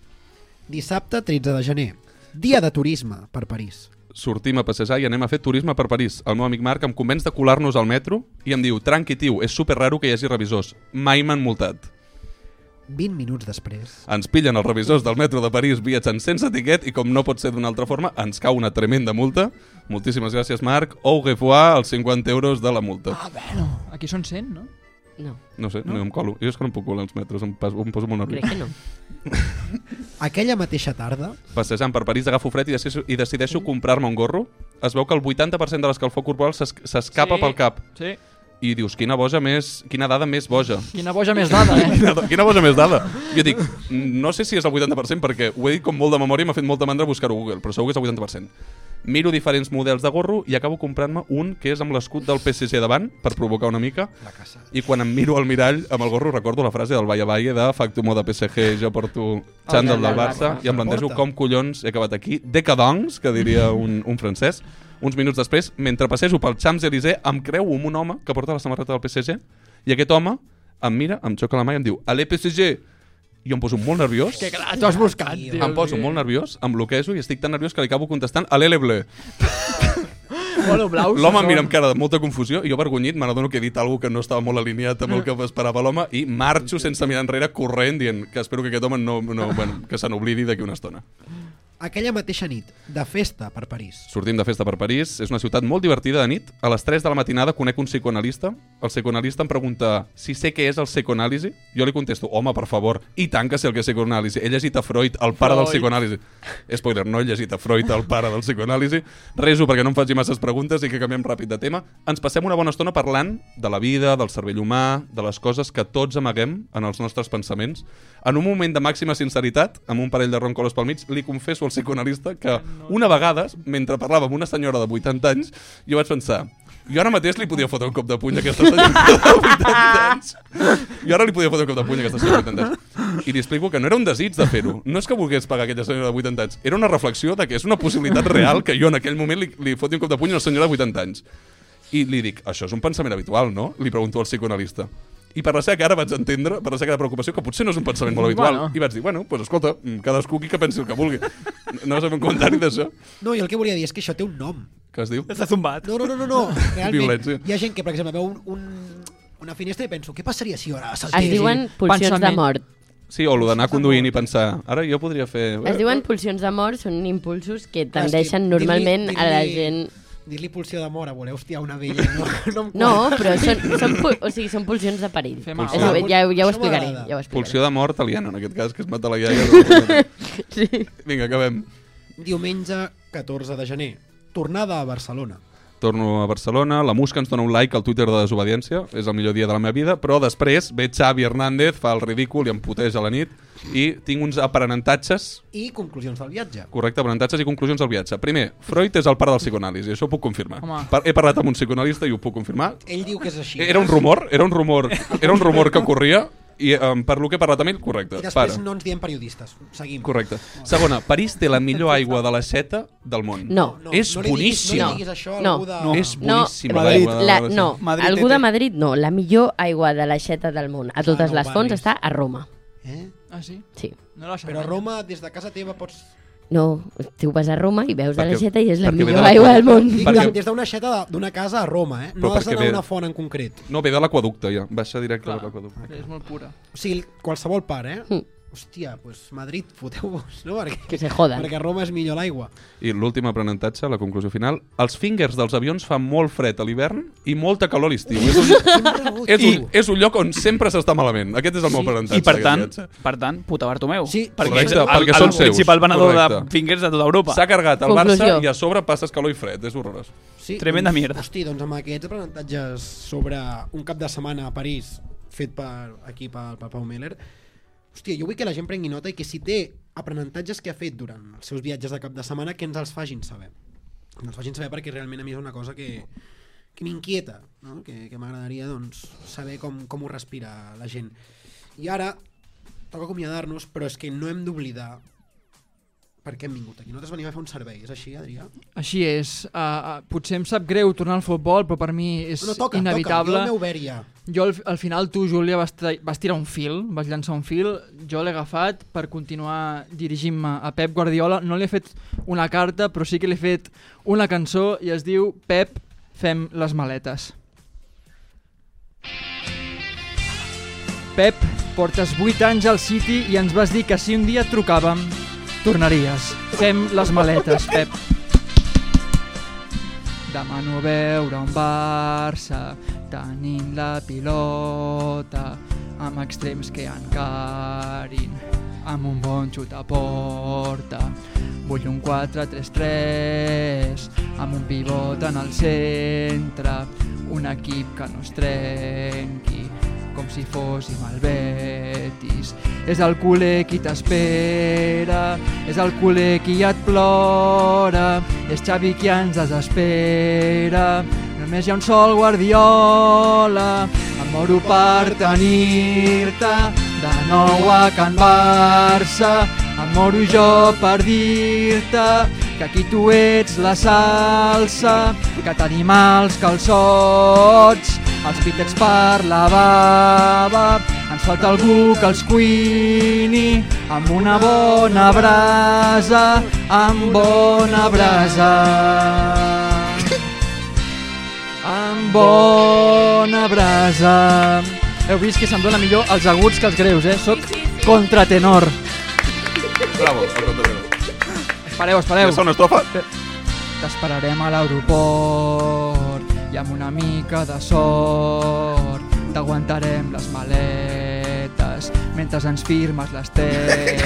[SPEAKER 5] Dissabte 13 de gener. Dia de turisme per París.
[SPEAKER 10] sortim a passejar i anem a fer turisme per París. El meu amic Marc em convenç de colar-nos al metro i em diu, tranqui, tio, és super raro que hi hagi revisors. Mai m'han multat.
[SPEAKER 5] 20 minuts després.
[SPEAKER 10] Ens pillen els revisors del metro de París viatjant sense etiquet i com no pot ser d'una altra forma, ens cau una tremenda multa. Moltíssimes gràcies, Marc. Au revoir als 50 euros de la multa.
[SPEAKER 6] Ah, bueno. Aquí són 100, no?
[SPEAKER 8] No,
[SPEAKER 10] No sé, no, no em colo. Jo és que no em puc colar als metros, em, pas, em poso molt nerviós.
[SPEAKER 8] crec que no.
[SPEAKER 5] Aquella mateixa tarda,
[SPEAKER 10] Passejant per París agafo fred i decideixo, i decideixo comprar-me un gorro. Es veu que el 80% de l'escalfor corporal s'es- s'escapa
[SPEAKER 6] Sí.
[SPEAKER 10] pel cap.
[SPEAKER 6] Sí.
[SPEAKER 10] I dius, quina boja més... Quina dada més boja.
[SPEAKER 6] Quina boja més dada, eh?
[SPEAKER 10] Quina, quina boja més dada. Jo dic, no sé si és el 80% perquè ho he dit com molt de memòria i m'ha fet molta mandra buscar-ho a Google, però segur que és el 80%. Miro diferents models de gorro i acabo comprant-me un que és amb l'escut del PSG davant, per provocar una mica, i quan em miro al mirall amb el gorro recordo la frase del Valle Valle de Factumo de PSG, jo porto xandall del Barça, i em plantejo com collons he acabat aquí, decadons, que diria un, un francès, uns minuts després, mentre passejo pel Champs-Élysées, em creu amb un home que porta la samarreta del PSG i aquest home em mira, em xoca la mà i em diu «Allez, PSG!» Jo em poso molt nerviós,
[SPEAKER 6] Que clar, t'ho has buscat, tio.
[SPEAKER 10] em poso molt nerviós, em bloquejo i estic tan nerviós que li acabo contestant «Allez, les bleus!»
[SPEAKER 6] Polo blau.
[SPEAKER 10] L'home em mira
[SPEAKER 6] segon.
[SPEAKER 10] amb cara de molta confusió i jo avergonyit me n'adono que he dit alguna que no estava molt alineat amb el que esperava l'home i marxo sense mirar enrere corrent dient que espero que aquest home no, no bueno, que se n'oblidi d'aquí una estona.
[SPEAKER 5] aquella mateixa nit de festa per París.
[SPEAKER 10] Sortim de festa per París, és una ciutat molt divertida de nit. A les 3 de la matinada conec un psicoanalista. El psicoanalista em pregunta si sé què és el psicoanàlisi. Jo li contesto, home, per favor, i tant que sé el que és psicoanàlisi. He llegit a Freud, el pare del
[SPEAKER 7] Freud.
[SPEAKER 10] psicoanàlisi. Spoiler, no he llegit a Freud, el pare del psicoanàlisi. Reso perquè no em faci masses preguntes i que canviem ràpid de tema. Ens passem una bona estona parlant de la vida, del cervell humà, de les coses que tots amaguem en els nostres pensaments. En un moment de màxima sinceritat, amb un parell de roncoles pel mig, li confesso al psicoanalista que una vegada, mentre parlava amb una senyora de 80 anys, jo vaig pensar jo ara mateix li podia fotre un cop de puny a aquesta senyora de 80 anys. Jo ara li podia fotre un cop de puny a aquesta senyora de 80 anys. I li explico que no era un desig de fer-ho. No és que volgués pagar aquella senyora de 80 anys. Era una reflexió de que és una possibilitat real que jo en aquell moment li, li foti un cop de puny a una senyora de 80 anys. I li dic, això és un pensament habitual, no? Li pregunto al psicoanalista. I per la seva cara vaig entendre, per la seva cara de preocupació, que potser no és un pensament molt habitual.
[SPEAKER 6] Bueno.
[SPEAKER 10] Bueno. I vaig dir, bueno, doncs escolta, mm, cadascú aquí que pensi el que vulgui. No vas a fer un comentari d'això?
[SPEAKER 5] No, i el que volia dir és que això té un nom.
[SPEAKER 10] Què es diu?
[SPEAKER 7] Està zumbat.
[SPEAKER 5] No, no, no, no, no. realment.
[SPEAKER 10] Violència.
[SPEAKER 5] Hi ha gent que, per exemple, veu un, un, una finestra i penso, què passaria si ara saltés?
[SPEAKER 8] Es diuen pulsions de
[SPEAKER 6] Pensament.
[SPEAKER 8] mort.
[SPEAKER 10] Sí, o el d'anar conduint i pensar, ara jo podria fer... eh,
[SPEAKER 8] Es diuen pulsions de mort, són impulsos que
[SPEAKER 5] Clar, és que
[SPEAKER 8] tendeixen
[SPEAKER 5] dir-li-
[SPEAKER 8] normalment a la
[SPEAKER 5] dir-li-
[SPEAKER 8] gent...
[SPEAKER 5] Dir-li pulsió d'amor a voler hostiar una vella. No, no, em
[SPEAKER 8] No,
[SPEAKER 5] quadra.
[SPEAKER 8] però són, són, pu- o sigui, són pulsions de perill.
[SPEAKER 6] Fer mal.
[SPEAKER 8] Això, ja, ja ho
[SPEAKER 5] Això
[SPEAKER 8] explicaré.
[SPEAKER 5] m'agrada.
[SPEAKER 8] Ja ho explicaré.
[SPEAKER 10] Pulsió de mort italiana, en aquest cas, que es mata la iaia.
[SPEAKER 8] Sí.
[SPEAKER 10] Vinga, acabem.
[SPEAKER 5] Diumenge 14 de gener. Tornada a Barcelona.
[SPEAKER 10] Torno a Barcelona, la Musca ens dona un like al Twitter de Desobediència, és el millor dia de la meva vida, però després ve Xavi Hernández, fa el ridícul i em puteix a la nit, i tinc uns aprenentatges
[SPEAKER 5] I conclusions del viatge.
[SPEAKER 10] Correcte, aprenentatges i conclusions del viatge. Primer, Freud és el pare del psicoanàlisi, això ho puc confirmar.
[SPEAKER 6] Home.
[SPEAKER 10] Par- He parlat amb un psicoanalista i ho puc confirmar.
[SPEAKER 5] Ell diu que és així.
[SPEAKER 10] Era un rumor, era un rumor, era un rumor que corria i um, per lo que he parlat amb ell, correcte.
[SPEAKER 5] I després
[SPEAKER 10] Pare.
[SPEAKER 5] no ens diem periodistes. Seguim.
[SPEAKER 10] Correcte. Segona, París té la millor aigua de la seta del món.
[SPEAKER 8] No.
[SPEAKER 5] No,
[SPEAKER 10] És
[SPEAKER 5] no li Diguis,
[SPEAKER 10] boníssima.
[SPEAKER 5] no li diguis això a
[SPEAKER 8] No.
[SPEAKER 5] algú de...
[SPEAKER 7] No.
[SPEAKER 10] És
[SPEAKER 8] No,
[SPEAKER 10] boníssima
[SPEAKER 7] Madrid.
[SPEAKER 10] l'aigua de
[SPEAKER 8] La,
[SPEAKER 10] seta.
[SPEAKER 8] no,
[SPEAKER 7] Madrid,
[SPEAKER 8] Madrid, algú de
[SPEAKER 7] tete.
[SPEAKER 8] Madrid no. La millor aigua de l'aixeta del món. A totes
[SPEAKER 5] no
[SPEAKER 8] les
[SPEAKER 5] ho
[SPEAKER 8] fonts
[SPEAKER 5] barris.
[SPEAKER 8] està a Roma.
[SPEAKER 5] Eh?
[SPEAKER 6] Ah, sí?
[SPEAKER 8] Sí.
[SPEAKER 6] No la sabia.
[SPEAKER 5] Però a Roma, des de casa teva, pots...
[SPEAKER 8] No, tu vas a Roma i veus
[SPEAKER 10] Perquè-
[SPEAKER 8] a l'aixeta i és la
[SPEAKER 10] perquè ve de
[SPEAKER 8] millor
[SPEAKER 10] la
[SPEAKER 8] aigua
[SPEAKER 10] font.
[SPEAKER 8] del món.
[SPEAKER 5] Dic,
[SPEAKER 10] Perquè-
[SPEAKER 5] de- Des d'una xeta de- d'una casa a Roma, eh?
[SPEAKER 10] Però
[SPEAKER 5] No has
[SPEAKER 10] perquè
[SPEAKER 5] d'anar a
[SPEAKER 10] ve-
[SPEAKER 5] una font en concret.
[SPEAKER 10] No, ve de l'aquaducte ja, baixa directe
[SPEAKER 6] Clar,
[SPEAKER 10] de l'aquaducte.
[SPEAKER 6] és molt pura.
[SPEAKER 5] O sigui, qualsevol part, eh?
[SPEAKER 8] Mm.
[SPEAKER 5] Hòstia, doncs pues Madrid, foteu-vos, no? Perquè,
[SPEAKER 8] Que se joden.
[SPEAKER 5] perquè a Roma és millor l'aigua.
[SPEAKER 10] I l'últim aprenentatge, la conclusió final. Els fingers dels avions fan molt fred a l'hivern i molta calor a l'estiu. És, un, és, un, és un lloc on sempre s'està malament. Aquest és el meu
[SPEAKER 7] I
[SPEAKER 10] aprenentatge.
[SPEAKER 7] per
[SPEAKER 10] d'aquest
[SPEAKER 7] tant,
[SPEAKER 10] viatge.
[SPEAKER 7] per tant, puta Bartomeu.
[SPEAKER 5] Sí,
[SPEAKER 7] perquè
[SPEAKER 10] correcte,
[SPEAKER 7] és el,
[SPEAKER 10] perquè
[SPEAKER 7] el, el
[SPEAKER 10] són seus.
[SPEAKER 7] principal venedor
[SPEAKER 10] Correcte.
[SPEAKER 7] de fingers de tota Europa.
[SPEAKER 10] S'ha carregat el
[SPEAKER 8] Conclusió.
[SPEAKER 10] Barça i a sobre passes calor i fred. És horrorós.
[SPEAKER 5] Sí,
[SPEAKER 7] Tremenda
[SPEAKER 5] doncs,
[SPEAKER 7] mierda.
[SPEAKER 5] Hosti, doncs amb aquests aprenentatges sobre un cap de setmana a París fet per aquí pel per Pau Miller, hòstia, jo vull que la gent prengui nota i que si té aprenentatges que ha fet durant els seus viatges de cap de setmana, que ens els fagin saber. Ens els fagin saber perquè realment a mi és una cosa que, que m'inquieta, no? que, que m'agradaria doncs, saber com, com ho respira la gent. I ara toca acomiadar-nos, però és que no hem d'oblidar per què hem vingut aquí. Nosaltres venim a fer un servei, és així, Adrià?
[SPEAKER 6] Així és. Uh, uh, potser em sap greu tornar al futbol, però per mi és
[SPEAKER 5] No, toca,
[SPEAKER 6] inevitable.
[SPEAKER 5] toca, jo m'he obert ja.
[SPEAKER 6] Jo al, al final, tu, Júlia, vas, tra- vas tirar un fil, vas llançar un fil, jo l'he agafat per continuar dirigint-me a Pep Guardiola. No li he fet una carta, però sí que li he fet una cançó i es diu Pep, fem les maletes. Pep, portes 8 anys al City i ens vas dir que si un dia et trucàvem, tornaries. Fem les maletes, Pep. Demano veure un Barça tenint la pilota amb extrems que encarin amb un bon xut a porta vull un 4-3-3 amb un pivot en el centre un equip que no es trenqui com si fóssim el Betis. És el culer qui t'espera, és el culer qui et plora, és Xavi qui ens desespera. Només hi ha un sol guardiola, em moro per tenir-te de nou a Can Barça. Em moro jo per dir-te que aquí tu ets la salsa, que tenim els calçots, els pítets per la bava. Ens falta algú que els cuini amb una bona brasa, amb bona brasa. Amb bona brasa. Heu vist que se'm dona millor els aguts que els greus, eh? Soc contratenor.
[SPEAKER 10] Bravo. el contratenor.
[SPEAKER 6] Pareu,
[SPEAKER 10] Ja
[SPEAKER 6] espereu.
[SPEAKER 10] està una estrofa?
[SPEAKER 6] T'esperarem a l'aeroport i amb una mica de sort t'aguantarem les maletes mentre ens firmes les teves.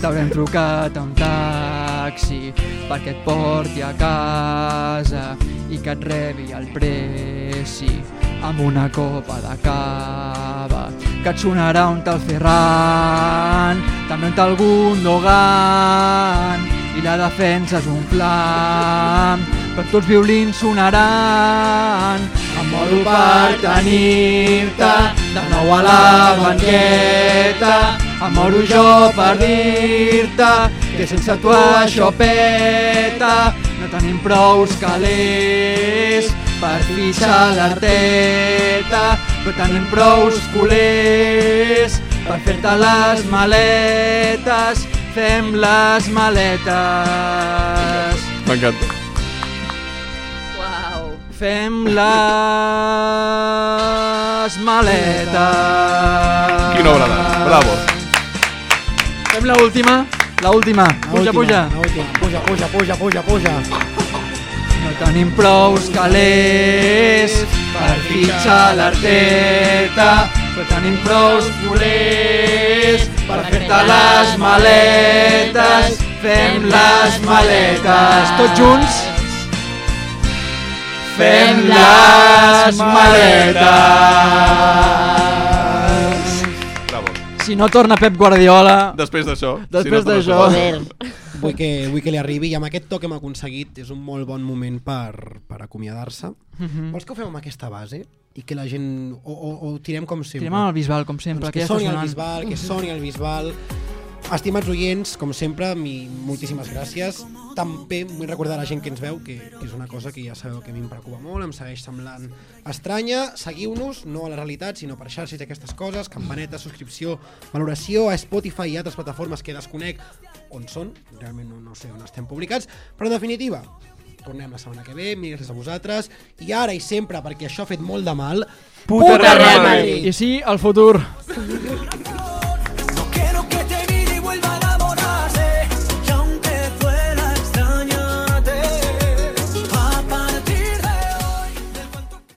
[SPEAKER 6] T'haurem trucat amb taxi perquè et porti a casa i que et rebi el pressi amb una copa de cava que et sonarà un tal Ferran també un tal Gundogan i la defensa és un flam però tots els violins sonaran em moro per tenir-te de nou a la banqueta em moro jo per dir-te que sense tu això peta no tenim prous calés per fixar l'arteta però tenim prous culers per fer-te les maletes fem les maletes
[SPEAKER 10] M'encanta.
[SPEAKER 8] Uau.
[SPEAKER 6] fem les maletes
[SPEAKER 10] Quina obra d'art. Bravo.
[SPEAKER 6] fem l'última l'última puja puja
[SPEAKER 5] Puja, puja, puja, puja, puja.
[SPEAKER 6] No tenim prous calés per fitxar l'arteta, però tenim prous culers per fer-te les maletes, fem les maletes. Tots junts? Fem les maletes.
[SPEAKER 10] Bravo.
[SPEAKER 6] Si no torna Pep Guardiola...
[SPEAKER 10] Després d'això...
[SPEAKER 6] Després
[SPEAKER 10] tornes
[SPEAKER 6] d'això.
[SPEAKER 10] a parlar.
[SPEAKER 8] Joder.
[SPEAKER 5] Vull que, vull que li arribi i amb aquest to que hem aconseguit és un molt bon moment per, per acomiadar-se. Vols que ho fem amb aquesta base? I que la gent... O, o, o ho tirem com sempre?
[SPEAKER 6] Tirem al Bisbal, com sempre,
[SPEAKER 5] Doncs
[SPEAKER 6] que
[SPEAKER 5] que
[SPEAKER 6] ja està
[SPEAKER 5] soni el
[SPEAKER 6] sonant.
[SPEAKER 5] Bisbal, que soni el Bisbal. Estimats oients, com sempre, mi, moltíssimes gràcies. També vull recordar a la gent que ens veu, que, que és una cosa que ja sabeu que a mi em preocupa molt, em segueix semblant estranya. Seguiu-nos, no a la realitat, sinó per xarxes i aquestes coses, campaneta, subscripció, valoració a Spotify i altres plataformes que desconec on són, realment no, no sé on estem publicats, però en definitiva, tornem la setmana que ve, mil gràcies a vosaltres, i ara i sempre, perquè això ha fet molt de mal,
[SPEAKER 8] Puta Real Madrid.
[SPEAKER 6] I sí, el futur.